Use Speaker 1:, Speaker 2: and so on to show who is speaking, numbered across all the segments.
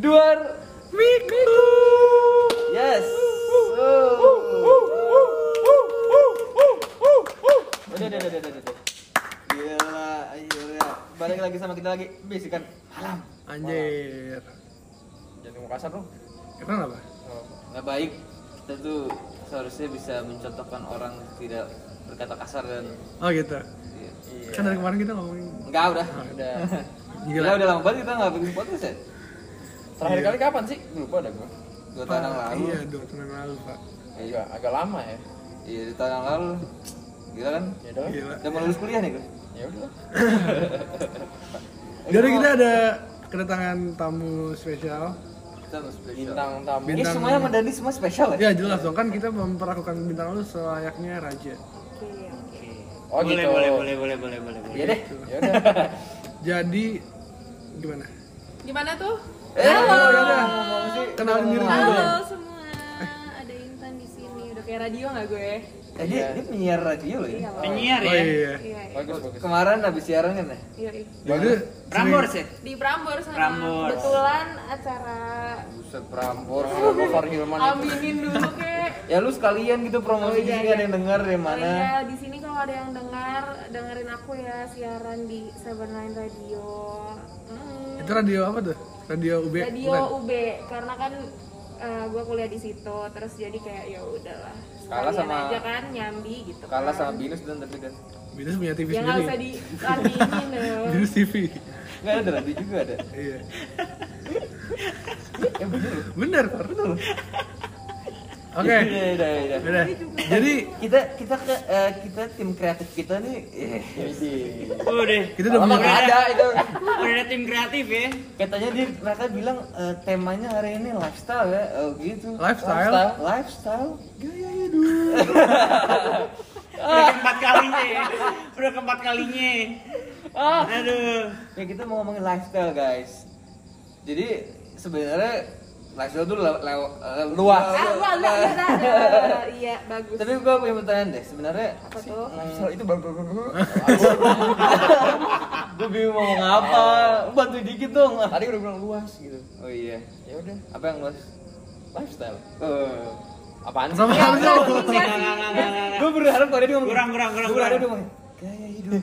Speaker 1: Duar Miku. Yes. Udah, udah, udah, udah, udah, udah. Gila, gila. Balik lagi sama kita lagi bisikan alam.
Speaker 2: Anjir.
Speaker 1: Jangan ngomong kasar dong.
Speaker 2: Kenapa? apa?
Speaker 3: nggak baik kita tuh seharusnya bisa mencontohkan orang tidak berkata kasar dan
Speaker 2: Oh gitu. Kan dari kemarin kita ngomongin
Speaker 3: enggak udah
Speaker 1: Udah.
Speaker 2: Gila.
Speaker 4: Iya,
Speaker 3: Gila, udah lama banget kita nggak bikin podcast ya
Speaker 1: Terakhir kali kapan sih? Lupa dah gua.
Speaker 3: dua tahun yang lalu
Speaker 2: Iya, dua tahun yang lalu, Pak.
Speaker 1: Iya, agak lama ya.
Speaker 3: iya dua tahun yang lalu gila kan
Speaker 1: Ya udah.
Speaker 2: Gila.
Speaker 3: udah mau lulus kuliah nih gue
Speaker 1: Ya udah.
Speaker 2: Jadi kita ada kedatangan tamu spesial.
Speaker 3: kita harus spesial
Speaker 1: Bintang tamu.
Speaker 3: ini
Speaker 2: Bintang-
Speaker 3: semuanya medani semua spesial ya
Speaker 2: Ya jelas dong kan kita memperlakukan bintang lu selayaknya raja.
Speaker 1: Oh
Speaker 5: boleh,
Speaker 1: gitu.
Speaker 5: boleh, boleh, boleh, boleh, boleh, boleh.
Speaker 3: iya deh
Speaker 1: Ya udah.
Speaker 2: Jadi gimana?
Speaker 6: Gimana tuh?
Speaker 3: Eh,
Speaker 2: Halo. Kenalin
Speaker 3: kenalin
Speaker 2: diri dulu.
Speaker 6: Halo semua, ada Intan di sini. Udah kayak radio nggak gue?
Speaker 3: eh dia dia penyiar radio loh ya
Speaker 6: Iya loh.
Speaker 5: Penyiar
Speaker 2: Oh
Speaker 5: ya.
Speaker 2: iya.
Speaker 6: Iya, iya.
Speaker 1: Bagus bagus.
Speaker 3: kemarin habis siaran kan ya
Speaker 6: Iya, iya.
Speaker 2: Jadi
Speaker 5: Prambors ya?
Speaker 6: Di Prambors sama
Speaker 5: Prambors.
Speaker 6: kebetulan acara
Speaker 3: buset prambor
Speaker 1: Orang Far Hilman itu.
Speaker 6: aminin dulu kek.
Speaker 3: ya lu sekalian gitu promosi
Speaker 6: Oh, iya,
Speaker 3: sini
Speaker 6: iya.
Speaker 3: ada yang denger dari
Speaker 6: Oh
Speaker 3: mana
Speaker 6: iya, di sini kalau ada yang dengar, dengerin aku ya siaran di Seven Line Radio. Hmm.
Speaker 2: itu radio apa tuh? Radio UB.
Speaker 6: Radio
Speaker 2: bukan?
Speaker 6: UB karena kan eh, gue kuliah di situ terus jadi kayak ya udahlah
Speaker 3: Kalah
Speaker 6: sekalian
Speaker 3: sama-
Speaker 6: aja kan nyambi gitu
Speaker 3: kalah
Speaker 6: kan.
Speaker 3: sama binus dan tapi dan
Speaker 2: Binus punya TV
Speaker 6: ya nggak
Speaker 2: sendiri.
Speaker 6: usah dilatinin dong
Speaker 2: Binus TV.
Speaker 3: nggak ada radio juga ada
Speaker 2: Iya.
Speaker 3: eh bener loh.
Speaker 2: Bener, Pak.
Speaker 3: betul
Speaker 2: Oke.
Speaker 3: Iya, iya, iya, iya.
Speaker 2: Udah. Jadi
Speaker 3: kita kita ke, eh, kita tim kreatif kita nih eh,
Speaker 5: Udah.
Speaker 2: kita udah
Speaker 3: lama
Speaker 2: punya
Speaker 3: nggak ada itu
Speaker 5: Udah ada tim kreatif ya.
Speaker 3: katanya dia mereka bilang eh, temanya hari ini lifestyle ya oh, gitu
Speaker 2: Lifestyle?
Speaker 3: lifestyle Iya,
Speaker 2: gaya ya dulu.
Speaker 5: Udah keempat kalinya ya. Udah keempat kalinya. Oh. Aduh.
Speaker 3: ya kita mau ngomongin lifestyle guys jadi sebenarnya lifestyle tuh le- lew- eh, luas
Speaker 6: ah lu lu lu, lu, lu. iya bagus
Speaker 3: tapi gua punya pertanyaan deh sebenarnya
Speaker 6: Apa tuh?
Speaker 3: lifestyle itu bagus gue bingung mau ngomong apa Lu bantu dikit dong
Speaker 1: Tadi udah bilang luas gitu.
Speaker 3: oh iya
Speaker 1: Ya udah.
Speaker 3: apa yang luas
Speaker 1: Lifestyle.
Speaker 3: Eh,
Speaker 1: Apaan sih?
Speaker 2: Sama
Speaker 6: Ya,
Speaker 2: sama.
Speaker 6: udah, sih,
Speaker 5: Enggak,
Speaker 6: ya,
Speaker 5: enggak, enggak, enggak, enggak, enggak.
Speaker 3: gue berharap kalau dia ngomong
Speaker 5: Kurang, kurang, kurang,
Speaker 3: Gua berharap
Speaker 5: kurang.
Speaker 3: dia ngomong gaya hidup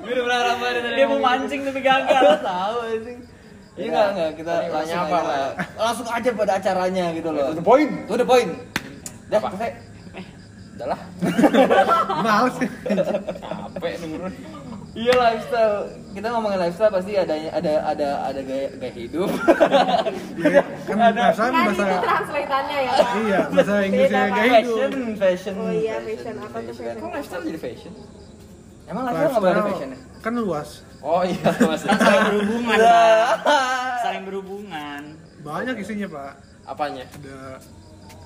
Speaker 3: gue udah berharap banget dari
Speaker 5: Dia mau
Speaker 3: ngomong
Speaker 5: mancing tapi
Speaker 3: gitu. Gua
Speaker 5: gagal.
Speaker 3: tahu anjing Iya
Speaker 1: Ya,
Speaker 3: enggak enggak kita
Speaker 1: tadi
Speaker 3: langsung
Speaker 1: nanya
Speaker 3: aja
Speaker 1: apa?
Speaker 3: lah. Langsung aja pada acaranya gitu loh.
Speaker 1: To the point.
Speaker 3: To the point. Dah,
Speaker 1: Apa?
Speaker 3: selesai.
Speaker 5: Eh.
Speaker 1: Udah lah.
Speaker 2: Males sih.
Speaker 1: Capek nurun.
Speaker 3: Iya lifestyle. Kita ngomongin lifestyle pasti ada ada ada ada gaya, gaya hidup.
Speaker 2: Iya, Kan bahasa
Speaker 6: kan itu
Speaker 2: bahasa
Speaker 6: translateannya ya Pak.
Speaker 2: Iya, bahasa Inggrisnya gitu.
Speaker 6: Beda, Pak.
Speaker 2: gaya hidup.
Speaker 3: fashion, fashion.
Speaker 6: Oh iya, fashion. Apa tuh
Speaker 1: Kok lifestyle jadi fashion?
Speaker 3: Emang lifestyle enggak boleh ada
Speaker 2: Lifestyle
Speaker 3: fashionnya?
Speaker 2: Kan luas.
Speaker 1: Oh iya
Speaker 5: Kan
Speaker 1: maksudnya.
Speaker 5: saling berhubungan, Pak. Saling berhubungan.
Speaker 2: Banyak isinya, Pak.
Speaker 1: Apanya?
Speaker 2: Ada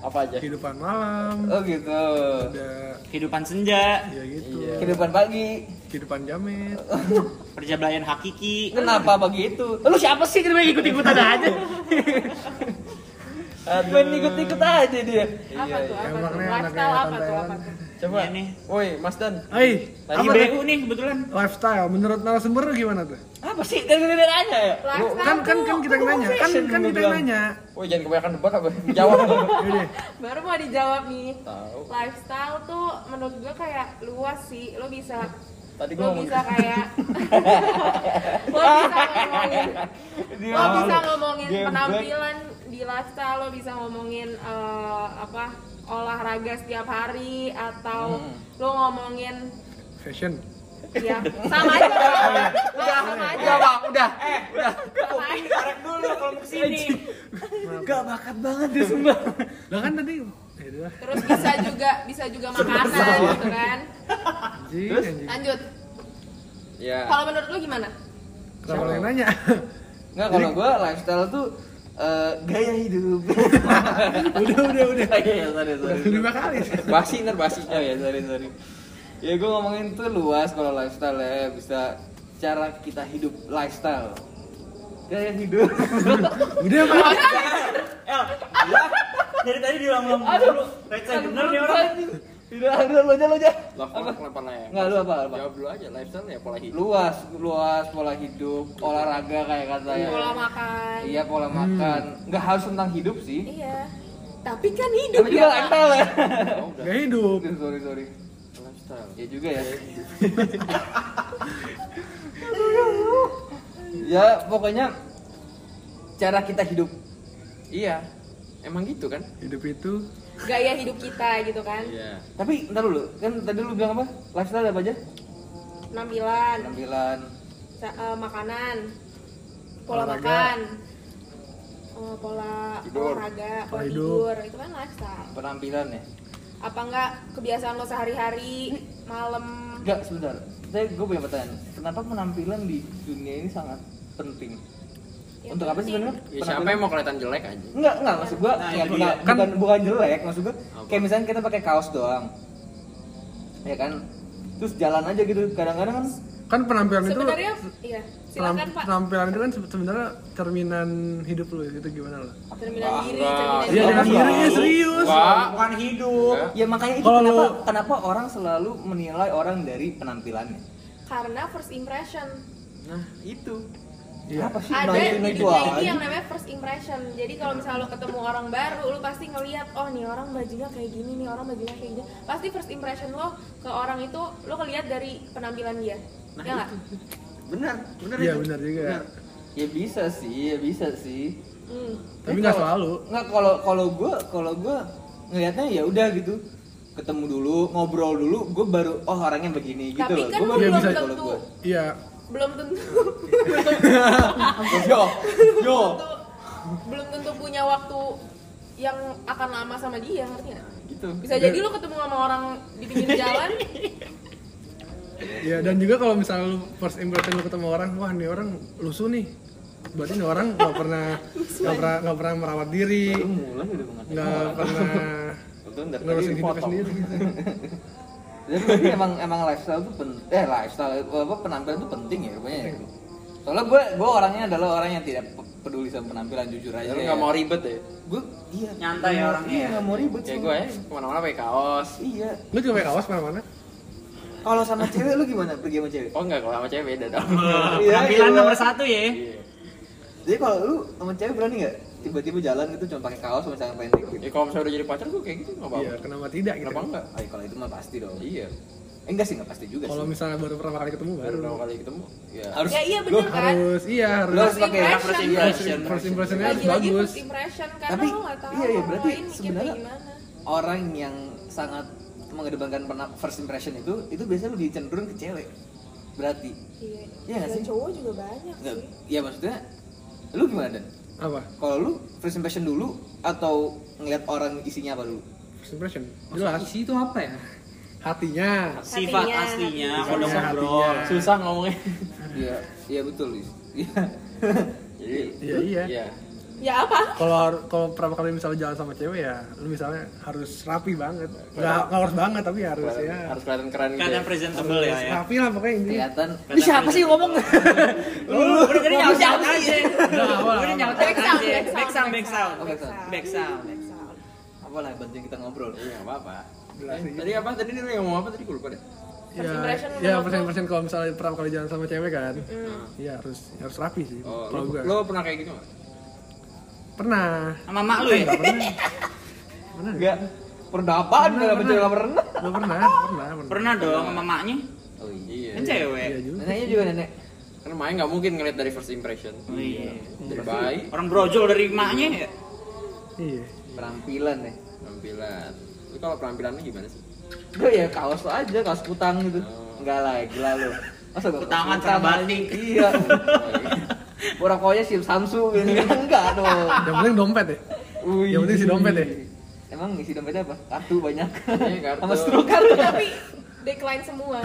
Speaker 1: Apa
Speaker 3: Ya.
Speaker 1: aja?
Speaker 2: kehidupan malam,
Speaker 3: Oh gitu.
Speaker 2: ada
Speaker 5: Kehidupan senja,
Speaker 2: ya gitu.
Speaker 1: Iya.
Speaker 3: Kehidupan pagi.
Speaker 2: Kehidupan jamet.
Speaker 5: perjablayan hakiki.
Speaker 3: Kenapa begitu?
Speaker 5: Lu siapa sih kenapa ikut-ikutan aja?
Speaker 3: Main ikut-ikut aja dia. iya.
Speaker 6: apa tuh apa
Speaker 2: Emang
Speaker 6: tuh
Speaker 2: nih anaknya
Speaker 6: lifestyle apa tuh apa
Speaker 2: Thailand.
Speaker 6: tuh
Speaker 1: Coba.
Speaker 5: Iya nih.
Speaker 1: Woi, Mas Dan.
Speaker 2: Hai,
Speaker 5: Lagi
Speaker 2: apa
Speaker 3: kan
Speaker 5: BU nih kebetulan.
Speaker 2: lifestyle menurut narasumber lu gimana tuh?
Speaker 3: Apa sih? Kan gini aja ya.
Speaker 6: lifestyle
Speaker 2: Kan kan kan
Speaker 6: tuh-
Speaker 2: kita yang nanya, kan
Speaker 3: fashion
Speaker 2: kan
Speaker 3: gua
Speaker 2: kita yang
Speaker 3: bilang.
Speaker 2: nanya.
Speaker 1: Woi, jangan kebanyakan debat apa? Jawab.
Speaker 2: Yaudah.
Speaker 6: baru mau dijawab nih
Speaker 1: Tahu.
Speaker 6: Oh, lifestyle tuh menurut gue kayak luas sih lo bisa
Speaker 1: Tadi gua
Speaker 6: lo
Speaker 1: ngomong
Speaker 6: bisa
Speaker 1: gitu.
Speaker 6: kayak lo bisa ngomongin lo bisa ngomongin
Speaker 1: Dia
Speaker 6: penampilan di lifestyle lo bisa ngomongin eh, apa olahraga setiap hari atau
Speaker 1: Hmm.
Speaker 6: lo ngomongin
Speaker 2: Fashion.
Speaker 6: ya sama aja
Speaker 1: Iya.
Speaker 6: udah sama aja
Speaker 3: Udah, udah.
Speaker 6: sama aja
Speaker 5: Dulu kalau mau kesini.
Speaker 3: Gak bakat banget dia sumpah.
Speaker 2: Lah kan tadi ya udah.
Speaker 6: terus bisa juga bisa juga makanan gitu kan
Speaker 2: Anjing, anjing.
Speaker 6: lanjut
Speaker 1: Ya.
Speaker 6: kalau menurut lo gimana
Speaker 2: Kenapa lu yang nanya?
Speaker 3: Enggak kalau gua lifestyle tuh eh, gaya hidup.
Speaker 2: udah, udah, udah.
Speaker 3: Iya, iya, sorry,
Speaker 2: Udah
Speaker 3: sorry.
Speaker 2: lima kali.
Speaker 1: Basi ntar basi.
Speaker 3: Oh ya, sorry, sorry. Ya gua ngomongin tuh luas kalau lifestyle ya bisa cara kita hidup lifestyle. Gaya hidup.
Speaker 2: Udah, Pak.
Speaker 5: Iya. El, dari tadi diulang-ulang dulu. Right side bener nih orang.
Speaker 3: Udah, udah, lu aja, lu aja.
Speaker 4: Love
Speaker 3: Apa?
Speaker 4: work kenapa lah ya?
Speaker 3: Enggak, lu apa? apa?
Speaker 4: Jawab dulu aja, lifestyle ya pola hidup.
Speaker 3: Luas, luas pola hidup, olahraga kayak katanya.
Speaker 6: pola makan
Speaker 3: Iya, pola makan. Enggak harus tentang hidup sih.
Speaker 6: Iya. tapi kan hidup
Speaker 3: Tapi
Speaker 4: Iya,
Speaker 3: juga
Speaker 6: Pak.
Speaker 3: lifestyle ya.
Speaker 4: Oh, udah.
Speaker 2: Gak hidup.
Speaker 3: Aduh, sorry, sorry.
Speaker 4: Lifestyle.
Speaker 3: Ya juga ya. ya, pokoknya cara kita hidup.
Speaker 4: Iya. Emang gitu kan?
Speaker 2: Hidup itu
Speaker 6: gaya hidup kita gitu kan
Speaker 4: Iya.
Speaker 3: Nah, Tapi ntar dulu, kan tadi lu bilang apa? Lifestyle apa aja?
Speaker 6: penampilan
Speaker 3: Penampilan,
Speaker 6: sa- eh, makanan pola
Speaker 2: Olahraga.
Speaker 6: makan eh, pola
Speaker 4: Tidur.
Speaker 6: olahraga pola
Speaker 2: Pola hidup.
Speaker 6: tidur itu kan lifestyle
Speaker 3: penampilan ya.
Speaker 6: apa enggak kebiasaan lo sehari-hari malam
Speaker 3: Enggak, sebentar. Saya gue punya pertanyaan. Kenapa penampilan di dunia ini sangat penting?
Speaker 6: Ya,
Speaker 3: Untuk apa sih
Speaker 6: penting.
Speaker 3: sebenarnya?
Speaker 4: Ya, siapa
Speaker 3: Penampilan?
Speaker 4: yang mau kelihatan jelek aja?
Speaker 3: Enggak, enggak maksud gua
Speaker 5: Nah,
Speaker 3: ya,
Speaker 5: itu
Speaker 3: bukan,
Speaker 5: dia.
Speaker 3: bukan, bukan jelek, maksud gua
Speaker 4: Apa?
Speaker 3: kayak misalnya kita pakai kaos doang. Ya kan? Terus jalan aja gitu. Kadang-kadang kan
Speaker 2: kan penampilan itu
Speaker 6: sebenarnya iya silakan
Speaker 2: penam-
Speaker 6: pak
Speaker 2: penampilan itu kan se- sebenarnya cerminan hidup lu itu gimana lo?
Speaker 6: cerminan
Speaker 4: Ah,
Speaker 6: diri
Speaker 4: enggak.
Speaker 6: cerminan
Speaker 2: Iya,
Speaker 6: diri
Speaker 2: jangan
Speaker 3: enggak.
Speaker 2: diri serius.
Speaker 4: Enggak.
Speaker 5: bukan hidup
Speaker 3: ya makanya itu
Speaker 2: Kalau
Speaker 3: kenapa
Speaker 2: lu-
Speaker 3: kenapa orang selalu menilai orang dari penampilannya.
Speaker 6: karena first impression
Speaker 4: Nah, itu.
Speaker 2: Iya.
Speaker 3: Apa sih
Speaker 6: ada gitu.
Speaker 3: nanya
Speaker 6: di
Speaker 3: itu
Speaker 6: dunia
Speaker 3: aja?
Speaker 6: ini yang namanya first impression jadi kalau misalnya lo ketemu orang baru lo pasti ngelihat oh nih orang bajunya kayak gini nih orang bajunya kayak gini pasti first impression lo ke orang itu lo ngelihat dari penampilan dia
Speaker 4: Nah,
Speaker 6: ya nggak
Speaker 4: Benar, benar
Speaker 2: Iya
Speaker 4: itu.
Speaker 2: benar juga.
Speaker 4: Benar.
Speaker 3: Ya bisa sih, ya bisa sih.
Speaker 6: Hmm.
Speaker 2: Tapi nggak selalu.
Speaker 3: Nggak kalau kalau gue kalau gue ngelihatnya ya udah gitu ketemu dulu ngobrol dulu gue baru oh orangnya begini gitu
Speaker 6: tapi
Speaker 3: loh
Speaker 6: kan
Speaker 3: Gua
Speaker 6: lo
Speaker 3: baru
Speaker 2: Iya,
Speaker 6: belum
Speaker 2: bisa.
Speaker 3: kalau
Speaker 6: tentu
Speaker 3: gue
Speaker 2: Iya.
Speaker 6: belum tentu
Speaker 3: yo yo
Speaker 6: belum tentu belum tentu punya waktu yang akan lama sama dia ngerti nggak
Speaker 4: Gitu.
Speaker 6: bisa jadi lo ketemu sama orang di pinggir jalan
Speaker 2: Iya dan juga kalau misalnya lu first impression lu ketemu orang, wah nih orang lusuh nih. Berarti nih orang nggak pernah nggak pernah nggak pernah merawat diri,
Speaker 3: Lu mulai udah mengerti
Speaker 2: nggak pernah
Speaker 3: Betul, dari tadi
Speaker 2: ngurusin hidupnya
Speaker 3: dipotong.
Speaker 2: sendiri. gitu.
Speaker 3: Jadi berarti emang emang lifestyle tuh penting, eh lifestyle apa penampilan tuh penting ya rupanya.
Speaker 6: Iya.
Speaker 3: Ya? Soalnya gue gue orangnya adalah orang yang tidak pe- peduli sama penampilan jujur aja.
Speaker 4: Ya, lu nggak mau ribet ya?
Speaker 3: Gue iya.
Speaker 5: Nyantai ya orangnya
Speaker 3: Iya
Speaker 5: ya?
Speaker 3: nggak mau ribet.
Speaker 4: Kayak
Speaker 3: sama-
Speaker 4: gue ya, kemana-mana pakai kaos.
Speaker 3: Iya.
Speaker 2: Lu juga pakai kaos mana-mana?
Speaker 3: Kalau sama cewek lu gimana pergi sama cewek?
Speaker 4: Oh enggak, kalau sama cewek beda dong.
Speaker 5: Wah,
Speaker 3: Iya,
Speaker 5: penampilan
Speaker 3: iya.
Speaker 5: nomor satu ya
Speaker 4: Iya.
Speaker 3: Jadi kalau lu sama cewek berani nggak tiba-tiba jalan gitu cuma pakai kaos sama celana pendek gitu?
Speaker 4: Ya kalau misalnya udah jadi pacar gue kayak gitu enggak
Speaker 2: Iya,
Speaker 4: apa-apa.
Speaker 2: kenapa tidak gitu.
Speaker 4: Kenapa enggak?
Speaker 3: Ay, kalau itu mah pasti dong.
Speaker 4: Iya.
Speaker 3: Eh, enggak sih nggak pasti juga
Speaker 2: Kalau
Speaker 3: sih.
Speaker 2: misalnya baru pertama kali ketemu
Speaker 4: Baru
Speaker 2: baru
Speaker 4: pertama kali ketemu. Iya.
Speaker 3: Harus
Speaker 6: ya iya
Speaker 3: lu
Speaker 6: bener kan
Speaker 2: harus iya
Speaker 3: lu
Speaker 2: harus
Speaker 3: harus pakai
Speaker 6: First
Speaker 3: harus
Speaker 6: impression. Iya,
Speaker 3: impression.
Speaker 2: first impressionnya harus
Speaker 6: lagi-lagi
Speaker 2: bagus.
Speaker 6: first impression karena
Speaker 3: Tapi,
Speaker 6: lo nggak tahu
Speaker 3: iya, iya,
Speaker 6: orang
Speaker 3: berarti
Speaker 6: lain mikirnya
Speaker 3: sebenarnya-
Speaker 6: gimana
Speaker 3: Orang yang sangat mengedepankan pena- first impression itu itu biasanya lebih cenderung ke cewek. Berarti
Speaker 6: iya
Speaker 3: Iya nggak
Speaker 6: Dan
Speaker 3: sih?
Speaker 6: cowok juga banyak
Speaker 3: Nggak,
Speaker 6: sih
Speaker 3: ya maksudnya lu gimana dan?
Speaker 2: Apa?
Speaker 3: Kalau lu first impression dulu atau ngeliat orang isinya apa dulu?
Speaker 2: First impression. Jelas
Speaker 3: Isi itu apa ya?
Speaker 2: hatinya.
Speaker 5: sifat
Speaker 6: Hatinya.
Speaker 5: aslinya
Speaker 2: Sifatnya,
Speaker 5: kalau ngobrol
Speaker 2: hatinya.
Speaker 4: Susah ngomongnya.
Speaker 3: Iya, iya betul. Is. Iya.
Speaker 4: Jadi
Speaker 2: Iya iya.
Speaker 4: Iya.
Speaker 6: ya apa
Speaker 2: Kalau har- kalau pertama kali misalnya jalan sama cewek ya, lu misalnya harus rapi banget. Enggak harus banget tapi harus
Speaker 3: Iya.
Speaker 2: ya.
Speaker 4: Harus kelihatan keren gitu.
Speaker 5: kadang
Speaker 4: ya.
Speaker 5: presentable ya ya
Speaker 2: Rapi lah pokoknya
Speaker 6: Iya,
Speaker 2: ini.
Speaker 3: Kelihatan.
Speaker 5: Kelihatan
Speaker 3: Ini siapa sih yang ngomong?
Speaker 5: lu udah tadi nyaut nyaut aja
Speaker 2: awal,
Speaker 5: udah nyaut nyaut
Speaker 6: Back sound,
Speaker 5: aja
Speaker 6: back
Speaker 5: back sound
Speaker 6: sound,
Speaker 5: back sound
Speaker 3: back sound.
Speaker 5: back sound
Speaker 6: Back sound.
Speaker 3: Apalah bantuin kita ngobrol.
Speaker 4: Iya, nggak apa-apa.
Speaker 2: Jelasin.
Speaker 4: Eh, Tadi apa? Tadi lu yang ngomong apa tadi gue lupa deh.
Speaker 6: First impression
Speaker 2: ya
Speaker 6: menurut
Speaker 2: first
Speaker 6: lu?
Speaker 2: impression kalau misalnya pertama kali jalan sama cewek kan.
Speaker 6: Hmm.
Speaker 2: Iya harus harus rapi sih.
Speaker 4: Oh,
Speaker 2: kalau
Speaker 4: lu,
Speaker 2: gua
Speaker 4: lu pernah kayak gitu nggak?
Speaker 2: pernah.
Speaker 5: sama mak lu ya
Speaker 2: Enggak pernah. Pernah nggak?
Speaker 3: Enggak. Pernapaan
Speaker 2: Pernah,
Speaker 3: dalam
Speaker 2: pernah.
Speaker 3: berjalan pernah.
Speaker 2: Enggak pernah, pernah, pernah.
Speaker 5: pernah dong sama maknya
Speaker 3: Oh iya.
Speaker 4: Iya.
Speaker 5: kan cewek
Speaker 7: ya?
Speaker 2: Iya juga.
Speaker 3: Neneknya juga nenek.
Speaker 4: Karena Maya nggak mungkin ngeliat dari first impression.
Speaker 5: Oh, iya.
Speaker 4: Dari baik,
Speaker 5: orang brojol dari maknya ya
Speaker 2: Iya.
Speaker 3: Penampilan ya.
Speaker 4: penampilan. Lu kalau penampilannya gimana sih?
Speaker 3: Gue ya kaos lo aja, kaos kutang gitu.
Speaker 4: Oh.
Speaker 3: Enggak lah, gila lu. Masa gua kaos
Speaker 5: Kutangan
Speaker 3: kutang?
Speaker 5: cara batik.
Speaker 3: Iya. Orang koynya sih Samsung gitu. Enggak dong.
Speaker 2: Yang penting dompet ya.
Speaker 3: Wih.
Speaker 2: Yang penting isi dompet ya?
Speaker 3: Emang isi dompetnya apa? Kartu banyak.
Speaker 4: Iya, kartu.
Speaker 3: Sama struk.
Speaker 6: Kartu tapi decline semua.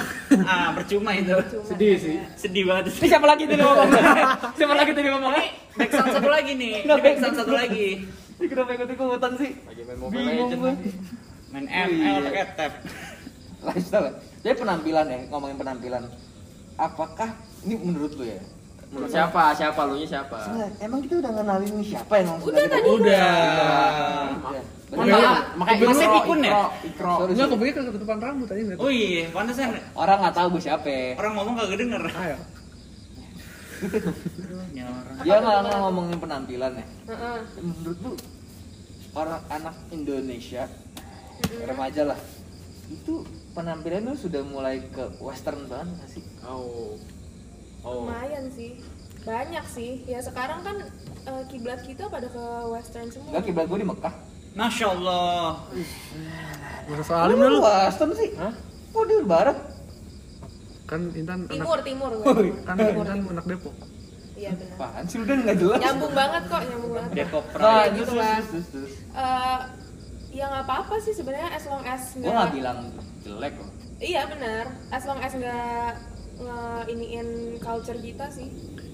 Speaker 5: ah percuma itu
Speaker 6: Sedih Iya sih.
Speaker 5: sedih banget
Speaker 3: Ini siapa lagi tadi ngomong? siapa lagi tadi ngomongnya?
Speaker 5: back sound satu lagi nih ini back sound satu lagi
Speaker 3: Ini kenapa ikut ikutan sih?
Speaker 4: Lagi main Mobile
Speaker 3: Bingung
Speaker 4: Legends
Speaker 3: gua.
Speaker 4: lagi.
Speaker 5: main
Speaker 3: Iya.
Speaker 5: ML pakai tap
Speaker 3: Lifestyle. ya? Jadi penampilan ya, ngomongin penampilan. Apakah ini menurut lu ya?
Speaker 4: Menurut siapa? Siapa lu nya siapa?
Speaker 3: Sebenarnya, Emang kita udah kenalin ini siapa yang ngomong
Speaker 6: Udah tadi
Speaker 2: Udah.
Speaker 3: Ah.
Speaker 4: Makanya- Makanya
Speaker 5: Gua sih
Speaker 4: ikro,
Speaker 5: pikun ya?
Speaker 4: ikro, ikro.
Speaker 3: Sorry,
Speaker 2: Enggak
Speaker 3: sorry.
Speaker 2: kepikir ketutupan rambut aja enggak.
Speaker 5: Oh iya, pantesan
Speaker 3: Orang nggak tahu gue siapa.
Speaker 5: orang ngomong kagak denger.
Speaker 2: Ayo.
Speaker 5: Ya orang.
Speaker 3: Dia nggak nggak ngomongin penampilan ya.
Speaker 6: Heeh.
Speaker 3: Menurut lu orang anak Indonesia remaja lah itu penampilan lu sudah mulai ke western banget nggak sih?
Speaker 4: Oh. Oh.
Speaker 6: lumayan sih banyak sih ya sekarang kan eh, kiblat kita pada ke western semua
Speaker 3: Enggak kiblat gue di Mekah.
Speaker 5: Masya Allah.
Speaker 2: Masa soalin
Speaker 3: lu
Speaker 2: lu.
Speaker 3: western sih?
Speaker 4: Hah?
Speaker 3: Oh dia barat.
Speaker 2: Kan Intan
Speaker 6: timur
Speaker 2: anak
Speaker 6: timur
Speaker 2: kan Intan anak Depok.
Speaker 6: iya benar
Speaker 3: Apaan sih lu udah nggak jelas.
Speaker 6: nyambung banget kok nyambung banget
Speaker 5: Depok
Speaker 3: Nah,
Speaker 5: Pride.
Speaker 3: terus, terus, terus, terus.
Speaker 6: Eh, ya nggak apa-apa sih sebenarnya as long as
Speaker 3: Gue Oh, nggak
Speaker 6: nggak
Speaker 3: bilang jelek loh.
Speaker 6: iya benar as long as nggak ngeiniin culture kita sih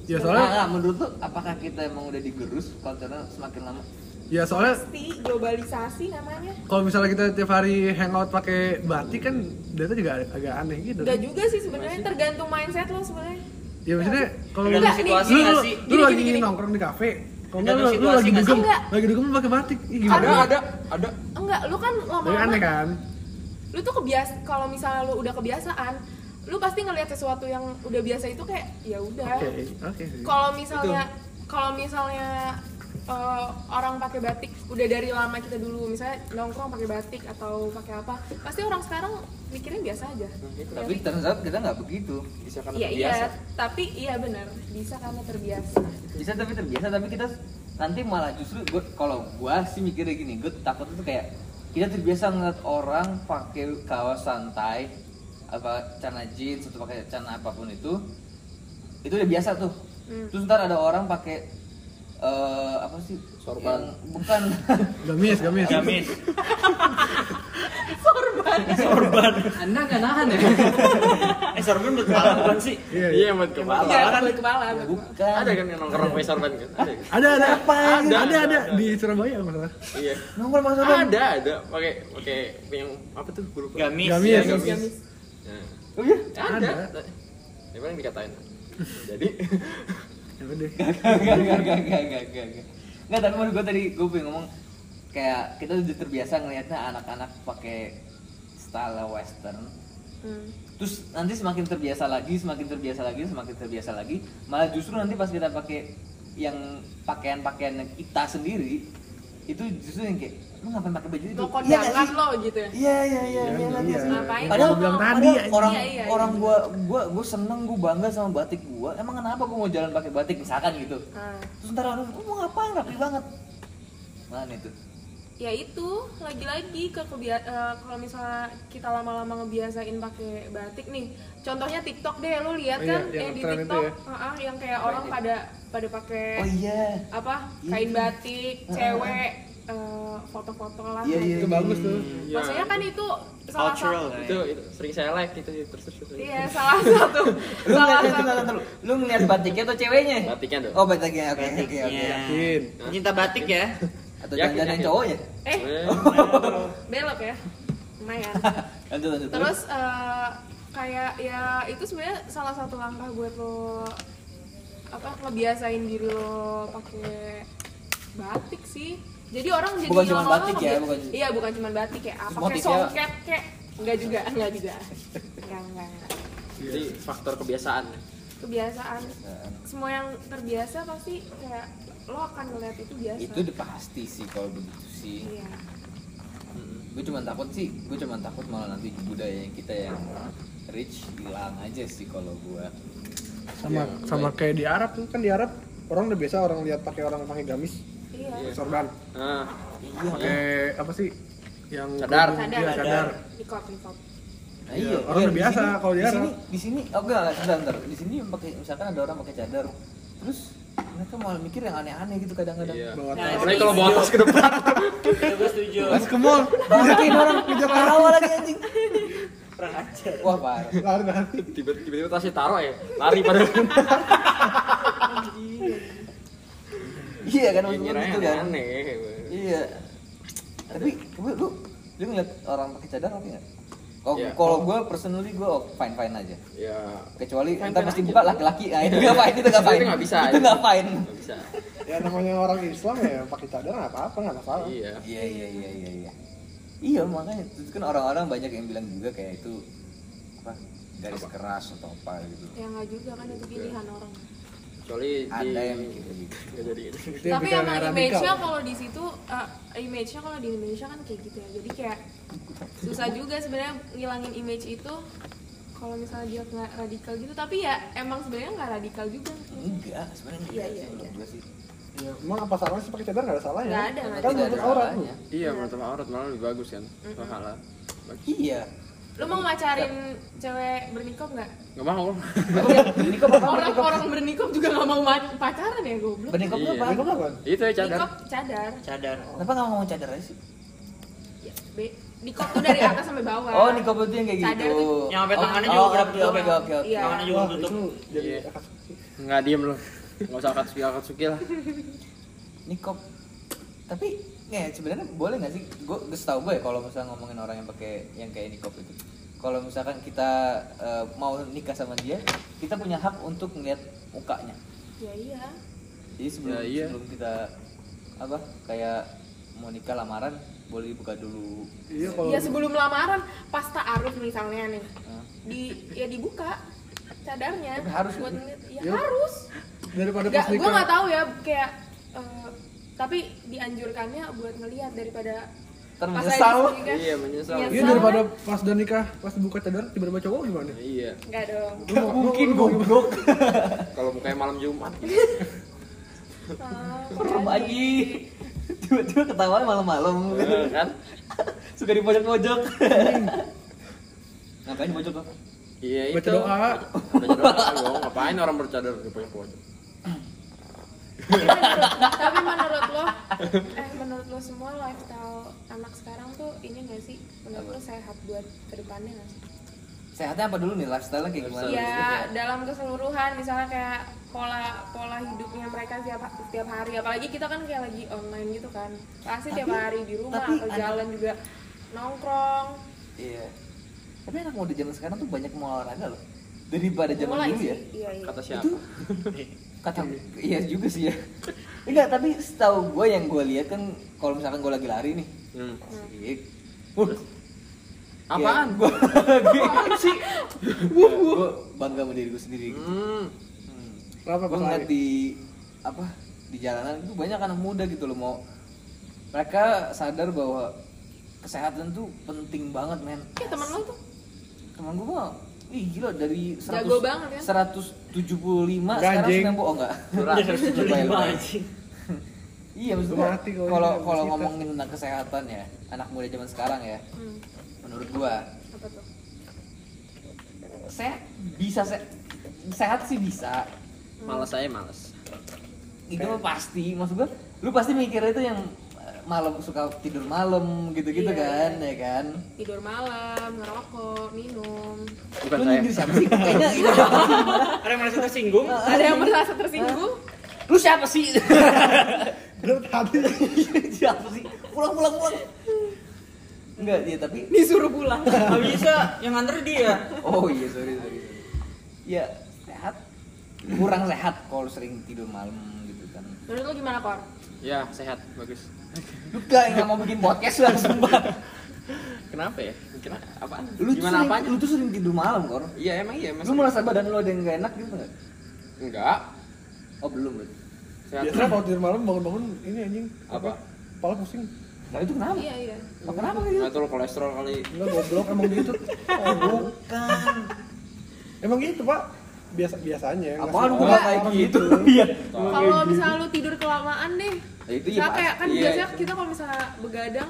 Speaker 2: Ya
Speaker 3: Nah,
Speaker 2: soalnya
Speaker 3: nah, menurut lu apakah kita emang udah digerus culture semakin lama?
Speaker 2: ya soalnya
Speaker 6: pasti globalisasi namanya
Speaker 2: kalau misalnya kita tiap hari hangout pakai batik kan data juga ag- agak aneh gitu.
Speaker 6: Enggak juga sih sebenarnya tergantung mindset lo sebenarnya
Speaker 2: Ya maksudnya kalau lu,
Speaker 5: Tergantung
Speaker 6: situasi
Speaker 2: lu,
Speaker 5: nggak
Speaker 2: lu,
Speaker 5: sih?
Speaker 2: lu
Speaker 6: Gini,
Speaker 2: lagi
Speaker 6: gini, gini.
Speaker 2: nongkrong di kafe, kalau nggak lu,
Speaker 5: Tergantung
Speaker 2: lu
Speaker 5: situasi
Speaker 2: lagi
Speaker 5: nggak sih?
Speaker 2: dugem,
Speaker 6: Enggak.
Speaker 2: lagi dugem lu pakai batik, Ih, gimana?
Speaker 6: Ada,
Speaker 2: Tapi
Speaker 4: Ada, ada.
Speaker 6: enggak lu kan
Speaker 2: aneh
Speaker 6: lama-lama
Speaker 2: kan?
Speaker 6: lu tuh kebiasa kalau misalnya lu udah kebiasaan lu pasti ngelihat sesuatu yang udah biasa itu kayak ya udah
Speaker 2: Oke, oke. sih.
Speaker 6: kalau misalnya kalau misalnya eh, orang pakai batik udah dari lama kita dulu misalnya nongkrong pakai batik atau pakai apa pasti orang sekarang mikirnya biasa aja
Speaker 3: Tapi turns out kita nggak begitu.
Speaker 4: Bisa karena
Speaker 6: Iya iya
Speaker 4: terbiasa.
Speaker 6: tapi iya benar bisa karena terbiasa
Speaker 3: bisa tapi terbiasa tapi kita nanti malah justru gua kalau gua sih mikirnya gini gue takut itu kayak kita terbiasa ngeliat orang pakai kaos santai apa celana jeans atau pakai celana apapun itu itu udah biasa tuh
Speaker 6: Hmm.
Speaker 3: terus ntar ada orang pakai eh, apa sih
Speaker 4: Sorban.
Speaker 3: yang- bukan
Speaker 2: Gamis, gamis.
Speaker 5: Jamin.
Speaker 4: Anda nggak nahan ya?
Speaker 5: Eh sorban buat kepala bukan sih?
Speaker 2: Iya, iya.
Speaker 4: Iya, buat kepala.
Speaker 6: Iya, balik kepala
Speaker 3: bukan
Speaker 4: Ada kan yang nongkrong pakai sorban kan? Ada. kan?
Speaker 2: Ada, ada. Apa? Ada,
Speaker 4: Ada,
Speaker 2: ada,
Speaker 4: ada,
Speaker 2: di Surabaya masalah.
Speaker 4: Iya.
Speaker 3: nongkrong pakai sorban
Speaker 4: Ada, ada. Pakai pakai yang apa tuh? Guru
Speaker 5: Gamis.
Speaker 2: Gamis.
Speaker 4: Iya, gamis. Nah.
Speaker 3: oh iya
Speaker 4: Ada.
Speaker 2: Ada.
Speaker 4: Ini paling dikatain. Jadi
Speaker 2: Ya udah.
Speaker 3: Gak, gak, gak, gak, gak, gak, gak. Nggak, tapi menurut gue tadi gue pengen ngomong kayak kita udah terbiasa ngelihatnya anak-anak pakai style western.
Speaker 6: Hmm.
Speaker 3: Terus nanti semakin terbiasa lagi, semakin terbiasa lagi, semakin terbiasa lagi, malah justru nanti pas kita pakai yang pakaian-pakaian kita sendiri itu justru yang kayak lu ngapain pakai baju itu?
Speaker 6: lo
Speaker 3: Iya nggak
Speaker 6: kondangan
Speaker 3: sih?
Speaker 6: lo gitu ya
Speaker 3: Iya iya iya
Speaker 2: Iya,
Speaker 3: iya nanti
Speaker 2: iya.
Speaker 3: sih.
Speaker 6: Ngapain
Speaker 3: Padahal
Speaker 6: lo?
Speaker 2: bilang
Speaker 6: Padahal
Speaker 2: tadi,
Speaker 3: Padahal orang
Speaker 6: Iya, iya,
Speaker 3: orang
Speaker 6: iya.
Speaker 3: gua gua gua seneng gua bangga sama batik gua. Emang kenapa gua mau jalan pakai batik misalkan gitu?
Speaker 6: Ah.
Speaker 3: Terus ntar orang, "Lu mau ngapain rapi banget? Mana itu?
Speaker 6: ya itu lagi-lagi ke kebia- eh, kalau misalnya kita lama-lama ngebiasain pakai batik nih contohnya TikTok deh lo lihat
Speaker 2: Oh
Speaker 6: kan
Speaker 2: iya, yang
Speaker 6: yang di
Speaker 2: tren itu
Speaker 6: TikTok
Speaker 2: ya.
Speaker 6: ah, ah, yang kayak orang pada pada pakai
Speaker 3: Iya. Oh iya.
Speaker 6: apa kain batik cewek eh, foto-foto lah
Speaker 3: Iya, iya.
Speaker 2: Itu bagus tuh.
Speaker 4: Iya.
Speaker 6: maksudnya kan itu salah
Speaker 5: Cultural
Speaker 6: satu
Speaker 5: lah
Speaker 4: itu
Speaker 5: ya.
Speaker 4: itu sering saya like gitu terus terus. terus.
Speaker 6: iya salah satu
Speaker 3: Lu
Speaker 6: salah
Speaker 3: ngeliat,
Speaker 6: satu
Speaker 3: lu ngeliat batiknya atau ceweknya?
Speaker 4: Batiknya dong.
Speaker 3: Oh batiknya, oke oke oke.
Speaker 5: Batiknya.
Speaker 2: Yakin.
Speaker 5: Iya. Cinta batik ya.
Speaker 3: Atau ya?
Speaker 4: Yakin,
Speaker 3: jangan-jangan yang
Speaker 4: yakin.
Speaker 3: cowoknya?
Speaker 6: eh
Speaker 4: Eh,
Speaker 6: belok ya lumayan
Speaker 3: Lanjut lanjut.
Speaker 6: terus eh, kayak ya itu sebenarnya salah satu langkah buat lo apa ngebiasain diri lo pakai batik sih jadi orang jadi
Speaker 3: Bukan cuma
Speaker 6: lama-lama
Speaker 3: batik ya,
Speaker 6: ngebi-
Speaker 3: bukan-
Speaker 6: iya bukan cuma batik ya apa kayak
Speaker 3: Motifnya-
Speaker 6: songket kayak enggak juga enggak juga enggak enggak enggak.
Speaker 4: Jadi faktor kebiasaan.
Speaker 6: kebiasaan
Speaker 3: Nah,
Speaker 6: semua yang terbiasa pasti kayak lo akan ngeliat itu biasa
Speaker 3: Itu udah pasti sih kalau begitu sih.
Speaker 6: iya
Speaker 3: Gue cuma takut sih, gue cuma takut malah nanti budaya yang kita yang rich hilang aja sih kalau gua.
Speaker 2: Sama
Speaker 4: Iya.
Speaker 2: sama kayak di Arab tuh kan di Arab orang udah biasa orang lihat pakai orang pakai gamis,
Speaker 6: iya
Speaker 2: sorban,
Speaker 4: Nah,
Speaker 2: pakai apa sih? Yang
Speaker 4: Cadar.
Speaker 2: kerudung,
Speaker 6: sadar
Speaker 2: iya, cadar.
Speaker 6: nikop nikop
Speaker 3: Nah,
Speaker 2: Iya, orang
Speaker 3: Iya,
Speaker 2: udah
Speaker 3: di
Speaker 2: biasa
Speaker 3: sini-
Speaker 2: kalau di
Speaker 3: di
Speaker 2: Arab.
Speaker 3: sini di sini oh enggak enggak, sebentar sebentar. Di sini yang pakai misalkan ada orang pakai cadar. Terus mereka malah mikir yang aneh-aneh gitu kadang-kadang.
Speaker 4: iya.
Speaker 2: Bawa
Speaker 5: Nah,
Speaker 4: Apalagi kalau bawa tas ke depan.
Speaker 5: Itu gue setuju.
Speaker 2: Mas ke mall.
Speaker 3: Bangkin orang ketawa lagi anjing.
Speaker 5: Kurang ajar.
Speaker 3: Wah, parah.
Speaker 2: Lari lari.
Speaker 4: Tiba- Tiba-tiba tasnya taruh ya. Lari pada
Speaker 3: Iya kan maksud
Speaker 4: Kira
Speaker 3: gua gitu
Speaker 4: aneh. ya.
Speaker 3: kan.
Speaker 4: aneh.
Speaker 3: Iya. Tapi gue lu lu ngeliat orang pakai cadar oke nggak? Kalau
Speaker 4: Iya.
Speaker 3: kalau gue personally gue fine fine aja.
Speaker 4: ya
Speaker 3: Kecuali
Speaker 4: Fine-fine
Speaker 3: entar mesti
Speaker 4: aja.
Speaker 3: buka laki-laki, ah itu nggak fine, itu nggak
Speaker 4: Itu
Speaker 3: fine.
Speaker 4: nggak bisa,
Speaker 3: Itu
Speaker 4: itu.
Speaker 3: nggak fine.
Speaker 4: nggak bisa
Speaker 2: ya namanya orang Islam ya pakai cadar nggak apa-apa nggak masalah
Speaker 4: iya
Speaker 3: Iya iya iya iya iya. Iya makanya terus kan orang-orang banyak yang bilang juga kayak itu apa garis keras atau apa gitu.
Speaker 6: ya nggak juga kan itu pilihan orang
Speaker 4: kecuali di
Speaker 3: Ada yang mikir gitu. begitu.
Speaker 4: nggak jadi
Speaker 2: Itu yang
Speaker 6: tapi
Speaker 2: pikiran
Speaker 6: emang
Speaker 2: radikal.
Speaker 6: image-nya kalau di situ eh, image-nya kalau di Indonesia kan kayak gitu ya jadi kayak susah juga sebenarnya ngilangin image itu kalau misalnya dia nggak radikal gitu tapi ya emang sebenarnya nggak radikal juga
Speaker 3: Enggak sebenarnya
Speaker 6: Iya,
Speaker 3: enggak
Speaker 6: iya,
Speaker 3: sih menurut
Speaker 6: iya.
Speaker 3: gue sih.
Speaker 2: Ya, emang apa salahnya sih pakai cadar nggak ada salahnya
Speaker 6: Nggak ada, nggak
Speaker 2: kan
Speaker 6: ada
Speaker 2: menurut orang
Speaker 3: salahnya.
Speaker 4: iya menurut sama aurat malah lebih bagus kan
Speaker 6: Mm-mm.
Speaker 4: halal
Speaker 3: Iya.
Speaker 6: lu mau ngacarin cewek bernikop nggak
Speaker 4: nggak mau
Speaker 3: Nikop apa?
Speaker 6: orang
Speaker 3: Nikop.
Speaker 6: orang bernikop juga nggak mau ma- pacaran ya goblok
Speaker 3: Bernikop
Speaker 4: Iya.
Speaker 3: apa?
Speaker 2: Nah, itu kan, apa
Speaker 4: itu ya cadar
Speaker 6: nikop cadar
Speaker 5: Cadar.
Speaker 3: Kenapa nggak ngomong cadar aja sih?
Speaker 6: ya, be- nikop tuh dari atas sampai bawah
Speaker 3: Oh, nikop itu yang kayak
Speaker 6: Cadar
Speaker 3: gitu.
Speaker 6: tuh-
Speaker 5: Yang sampai
Speaker 3: Oh,
Speaker 5: tangannya
Speaker 3: oh,
Speaker 5: juga berapa
Speaker 3: oke,
Speaker 5: juga.
Speaker 3: Oke, oke, oke.
Speaker 6: Iya.
Speaker 5: Tangannya juga
Speaker 2: wah itu
Speaker 5: tutup.
Speaker 2: jadi
Speaker 4: Iya. nggak diem loh nggak usah katsuki katsuki lah
Speaker 3: Nikop. Tapi ya sebenarnya boleh nggak sih? Gue setahu gue ya kalau misalnya ngomongin orang yang pakai yang kayak nikop itu. Kalau misalkan kita eh, mau nikah sama dia, kita punya hak untuk melihat mukanya.
Speaker 6: ya iya
Speaker 3: Jadi sebelum
Speaker 4: Ya, iya.
Speaker 3: sebelum kita apa kayak mau nikah lamaran boleh dibuka dulu.
Speaker 2: iya kalau
Speaker 6: ya sebelum lamaran pas ta'aruf misalnya nih
Speaker 3: Nah,
Speaker 6: di ya dibuka cadarnya
Speaker 3: Tapi harus
Speaker 6: buat
Speaker 3: ya?
Speaker 6: ngeliat. ya,
Speaker 2: Ya.
Speaker 6: harus
Speaker 2: daripada
Speaker 6: nggak
Speaker 2: pas
Speaker 6: gue
Speaker 2: nikah
Speaker 6: nggak tahu ya kayak eh, tapi dianjurkannya buat ngelihat daripada
Speaker 3: Ntar
Speaker 6: pas lagi
Speaker 3: menyesal.
Speaker 6: nikah.
Speaker 4: iya menyesal
Speaker 6: Iya.
Speaker 2: iya daripada pas udah nikah pas buka cadar tiba-tiba cowok gimana
Speaker 4: iya
Speaker 6: nggak dong Eh,
Speaker 2: Gak mungkin goblok
Speaker 4: kalau mukanya malam jumat
Speaker 6: Ah,
Speaker 3: Serem aja. Tiba-tiba ketawa malam-malam gitu.
Speaker 4: Eh, kan
Speaker 3: Suka di pojok-pojok. Ngapain di pojok apa?
Speaker 4: iya itu
Speaker 2: Baca doa.
Speaker 4: baca doa dong. ngapain orang bercadar di pojok pojok
Speaker 6: tapi menurut- tapi menurut lo eh menurut lo semua lifestyle anak sekarang tuh ini nggak sih menurut lo sehat buat kedepannya nggak sih
Speaker 3: Sehatnya apa dulu nih? Lifestyle-nya kayak gimana?
Speaker 6: ya dalam keseluruhan misalnya kayak pola pola hidupnya mereka tiap tiap hari apalagi kita kan kayak lagi online gitu kan pasti tiap
Speaker 3: Tapi-
Speaker 6: hari di rumah
Speaker 3: tapi
Speaker 6: atau
Speaker 3: ada-
Speaker 6: jalan juga nongkrong
Speaker 3: Iya. Tapi anak muda zaman sekarang tuh banyak mau olahraga loh. Daripada zaman
Speaker 6: mulai
Speaker 3: dulu
Speaker 6: sih
Speaker 3: ya.
Speaker 6: iya iya
Speaker 4: kata siapa
Speaker 3: Itu kata iya juga sih ya. Enggak, tapi setahu gue yang gue lihat kan kalau misalkan gue lagi lari nih.
Speaker 4: Hmm.
Speaker 3: Asik. Iya.
Speaker 4: apaan
Speaker 3: Gue lagi sih. Gue bangga sama diri gue sendiri. gitu.
Speaker 4: Hmm.
Speaker 2: Kenapa
Speaker 3: gue
Speaker 2: pas
Speaker 3: ngeliat
Speaker 2: lari?
Speaker 3: di apa di jalanan itu banyak anak muda gitu loh mau mereka sadar bahwa kesehatan tuh penting banget men
Speaker 6: Kayak Iya, temen lo tuh
Speaker 3: teman gue mah ih gila dari 100,
Speaker 6: Jago banget, kan?
Speaker 3: 175
Speaker 2: Enggak, anjing.
Speaker 3: sekarang 90 oh enggak
Speaker 4: curang
Speaker 3: Lebay,
Speaker 5: Lima
Speaker 3: lebay.
Speaker 5: Iya, anjing.
Speaker 3: iya maksud gue
Speaker 2: Mati kalau
Speaker 3: kalau
Speaker 2: ini,
Speaker 3: kalau
Speaker 2: kita.
Speaker 3: ngomongin tentang kesehatan ya anak muda zaman sekarang ya
Speaker 6: hmm,
Speaker 3: menurut gua
Speaker 6: apa tuh
Speaker 3: saya bisa se- sehat sih bisa
Speaker 4: malas saya malas
Speaker 3: itu mah pasti maksud gua lu pasti mikirnya itu yang eh, malam suka tidur malam gitu-gitu
Speaker 6: Iya,
Speaker 3: kan
Speaker 6: iya.
Speaker 3: ya kan
Speaker 6: tidur malam ngerokok minum
Speaker 4: bukan
Speaker 3: lu
Speaker 4: saya
Speaker 3: nyindir siapa sih kayaknya gitu. itu siapa sih?
Speaker 5: Ada yang merasa tersinggung?
Speaker 6: ada yang merasa tersinggung
Speaker 3: lu siapa sih
Speaker 2: Lu tadi
Speaker 3: siapa sih pulang pulang pulang enggak ya tapi
Speaker 6: disuruh pulang
Speaker 5: Gak bisa, yang nganter dia.
Speaker 3: oh iya sorry sorry sorry. ya sehat kurang sehat kalau sering tidur malam gitu kan
Speaker 6: menurut lo gimana kor
Speaker 4: ya sehat bagus
Speaker 3: lu kayak nggak mau bikin podcast lah sumpah
Speaker 4: kenapa ya kenapa apaan
Speaker 3: lu tuh
Speaker 4: gimana
Speaker 3: sering,
Speaker 4: apanya
Speaker 3: lu tuh sering tidur malam kor
Speaker 4: iya emang iya mas
Speaker 3: lu merasa badan lu ada yang gak enak gitu nggak
Speaker 4: enggak
Speaker 3: oh belum berarti
Speaker 4: sehat
Speaker 3: Iya.
Speaker 2: biasanya kalau tidur malam bangun-bangun ini anjing
Speaker 4: Apa?
Speaker 2: kepala pusing
Speaker 3: nah itu kenapa
Speaker 6: iya iya
Speaker 3: Nah, kenapa kayak gitu
Speaker 4: ngatur kolesterol kali
Speaker 2: Enggak goblok emang gitu. Goblok.
Speaker 3: Bukan.
Speaker 2: Emang gitu, Pak. Biasa biasanya.
Speaker 3: Apaan
Speaker 2: Ngasih
Speaker 3: gua
Speaker 2: orang-
Speaker 3: kayak
Speaker 2: orang
Speaker 3: gitu? Iya.
Speaker 6: kalau misalnya lu tidur kelamaan deh
Speaker 3: Ya, itu ya
Speaker 6: Nah, kayak kan
Speaker 4: pasti, iya.
Speaker 6: biasanya kita kalau misalnya begadang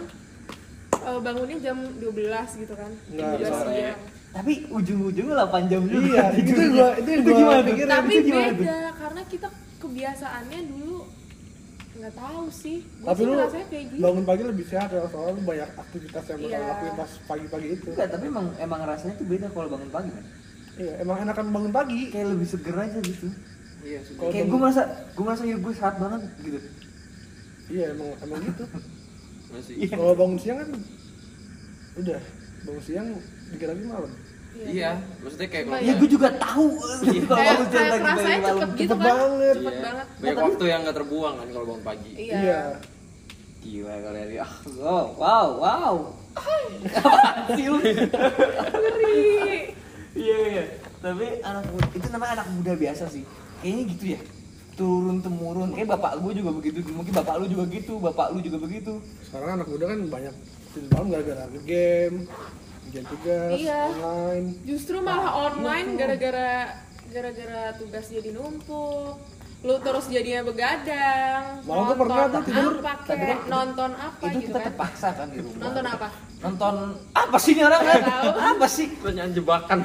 Speaker 6: eh, bangunnya jam 12 gitu kan.
Speaker 2: Nggak,
Speaker 6: 12
Speaker 4: sore.
Speaker 6: siang.
Speaker 3: Tapi ujung-ujungnya 8 jam juga.
Speaker 2: Iya, itu gua itu yang gua
Speaker 3: gimana tuh?
Speaker 2: pikirin.
Speaker 6: Tapi
Speaker 3: itu gimana tuh?
Speaker 6: beda karena kita kebiasaannya dulu nggak tahu sih. Gua
Speaker 2: Tapi
Speaker 6: sih
Speaker 2: lu
Speaker 6: ngerasanya kayak gitu.
Speaker 2: bangun pagi lebih sehat ya, soalnya lu banyak aktivitas yang bakal
Speaker 6: Iya.
Speaker 2: lakuin pas pagi-pagi itu.
Speaker 3: Enggak, tapi emang emang rasanya tuh beda kalau bangun pagi kan.
Speaker 2: Iya, emang enakan bangun pagi.
Speaker 3: Kayak lebih seger aja gitu.
Speaker 4: iya sudah
Speaker 2: Kalau
Speaker 3: Kayak
Speaker 2: bangun-
Speaker 3: gue merasa gue merasa ya gue sehat banget gitu.
Speaker 2: Iya, emang emang gitu.
Speaker 4: masih
Speaker 2: Kalau bangun siang kan udah bangun siang dikit lagi malam
Speaker 4: Iya, maksudnya kayak kalau
Speaker 6: Iya,
Speaker 1: ya gue juga tahu gitu kalau
Speaker 6: kayak
Speaker 1: bangun siang
Speaker 6: kayak
Speaker 1: lagi
Speaker 6: kerasanya
Speaker 1: dari malam.
Speaker 6: cepet gitu
Speaker 2: Cepet
Speaker 6: kan
Speaker 2: banget.
Speaker 6: cepet banget
Speaker 4: iya, banyak waktu yang nggak terbuang kan kalau bangun pagi.
Speaker 6: iya
Speaker 3: Gila kalian ini. Ah, wow, wow, wow. Apaan sih lu?
Speaker 6: ngeri
Speaker 1: Iya iya. Tapi anak muda itu namanya anak muda biasa sih. Kayaknya gitu ya. Turun temurun. Kayak bapak gue juga begitu. Mungkin bapak lu juga gitu. Bapak lu juga begitu.
Speaker 2: sekarang anak muda kan banyak tidur malam gara-gara game kerjaan tugas
Speaker 6: Iya.
Speaker 2: online
Speaker 6: justru
Speaker 2: Nah,
Speaker 6: malah
Speaker 2: gitu.
Speaker 6: online gara-gara gara-gara tugas jadi numpuk lu terus jadinya begadang
Speaker 2: Malah gua pernah
Speaker 6: nonton
Speaker 2: tuh tidur,
Speaker 6: apa
Speaker 1: tapi
Speaker 6: kayak
Speaker 1: kan-
Speaker 6: nonton apa
Speaker 1: itu
Speaker 6: gitu
Speaker 1: kita
Speaker 6: kan
Speaker 1: terpaksa kan di rumah.
Speaker 6: nonton apa
Speaker 1: Nonton apa sih ini orang kan?
Speaker 6: Nggak tahu.
Speaker 1: apa sih?
Speaker 4: Pertanyaan jebakan.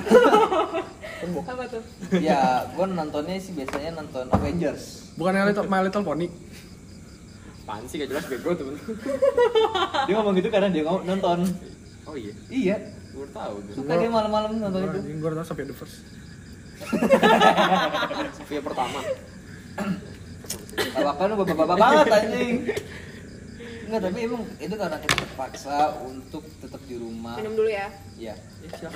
Speaker 6: apa tuh
Speaker 3: ya, gua nontonnya sih biasanya nonton Avengers.
Speaker 2: bukan My Little, My Little Pony
Speaker 4: Apaan sih gak jelas bego tuh.
Speaker 1: Dia ngomong gitu karena dia ngomong nonton.
Speaker 4: Oh iya,
Speaker 1: Iya.
Speaker 4: gue baru tahu. tuh.
Speaker 3: Suka dia malam-malam nonton itu.
Speaker 2: anjing gue tau sampai the first
Speaker 4: Sophia pertama.
Speaker 3: Bapak lu bapak-bapak banget anjing. Enggak, tapi emang itu karena kita terpaksa untuk tetap di rumah.
Speaker 6: minum dulu ya
Speaker 3: Ya,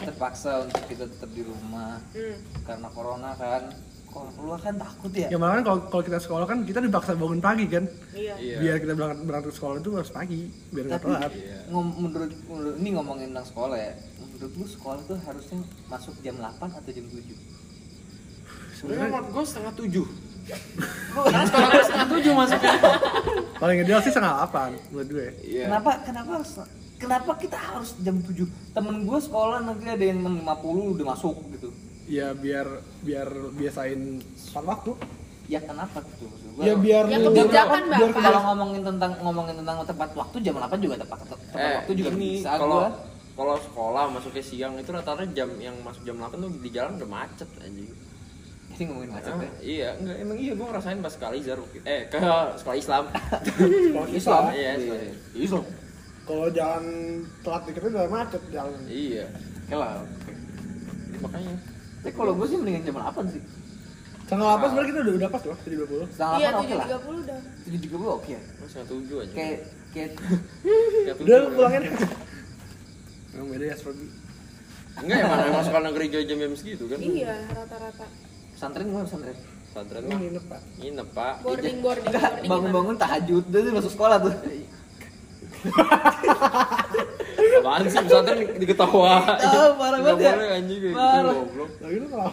Speaker 3: terpaksa untuk kita tetap di rumah
Speaker 6: hmm.
Speaker 3: karena corona kan. Kalau keluar kan takut ya.
Speaker 2: ya malah kan kalau- kalau kita sekolah kan kita dipaksa bangun pagi kan
Speaker 6: iya
Speaker 2: biar
Speaker 4: Iya.
Speaker 2: kita berangkat berangkat sekolah itu harus pagi biar nggak
Speaker 3: Tapi
Speaker 2: telat
Speaker 4: Iya.
Speaker 3: ngom- menurut, menurut- ini ngomongin tentang sekolah ya. Menurut lu sekolah tuh harusnya masuk jam 8 atau jam 7?
Speaker 2: Sebenarnya
Speaker 5: menurut gue setengah tujuh.
Speaker 2: paling ideal sih setengah delapan buat gue
Speaker 4: Iya.
Speaker 3: Kenapa kenapa harus kenapa kita harus jam 7? Temen gue sekolah nanti ada yang 6.50 udah masuk gitu.
Speaker 2: ya biar biar biasain tepat waktu
Speaker 3: Ya kenapa gitu maksud gua?
Speaker 2: ya biar
Speaker 6: Ya,
Speaker 2: lu-
Speaker 6: kebijakan,
Speaker 2: biar
Speaker 6: Bapak.
Speaker 2: kebijakan.
Speaker 3: kalau ngomongin tentang ngomongin tentang tepat waktu jam 8 juga tepat tepat
Speaker 4: Eh,
Speaker 3: waktu juga
Speaker 4: gini,
Speaker 3: bisa
Speaker 4: kalau
Speaker 3: gua.
Speaker 4: kalau sekolah masuknya siang itu rata-rata jam yang masuk jam 8 tuh di jalan udah macet anjing.
Speaker 3: Ini ngomongin macet
Speaker 4: Ah,
Speaker 3: ya.
Speaker 4: iya, enggak emang iya gua ngerasain pas sekali Izar eh ke sekolah Islam.
Speaker 3: Oh,
Speaker 2: Islam.
Speaker 4: Iya, sekolah Islam.
Speaker 2: kalau jalan telat dikit udah macet jalan
Speaker 4: Iya. Oke lah. oke. Makanya
Speaker 3: Tapi kalau gue sih mendingan jam 8 sih.
Speaker 2: setengah delapan sebenarnya kita udah udah pas loh tujuh dua puluh
Speaker 3: Setengah
Speaker 6: iya
Speaker 3: 8 oke
Speaker 6: tujuh
Speaker 3: lah.
Speaker 6: tiga puluh dah
Speaker 3: 7.30 oke ya.
Speaker 4: masih setuju aja.
Speaker 3: Kayak kayak
Speaker 4: Setengah tujuh.
Speaker 2: udah lu pulangin memang beda ya seperti
Speaker 4: Enggak emang emang sekolah negeri jauh jam jam segitu kan.
Speaker 6: iya rata-rata
Speaker 3: pesantren gua pesantren.
Speaker 4: Pesantren
Speaker 2: ini
Speaker 4: mah
Speaker 2: nginep pak
Speaker 4: nginep, Pak.
Speaker 6: boarding boarding
Speaker 3: Enggak,
Speaker 6: boarding gimana?
Speaker 3: bangun-bangun tahajud dulu masuk sekolah tuh.
Speaker 4: Apaan sih pesantren diketawa.
Speaker 3: Tahu parah
Speaker 4: Nggak
Speaker 3: banget ya.
Speaker 4: boleh anjing kayak gitu
Speaker 3: Parah.
Speaker 4: goblok.
Speaker 2: lagi lu kalau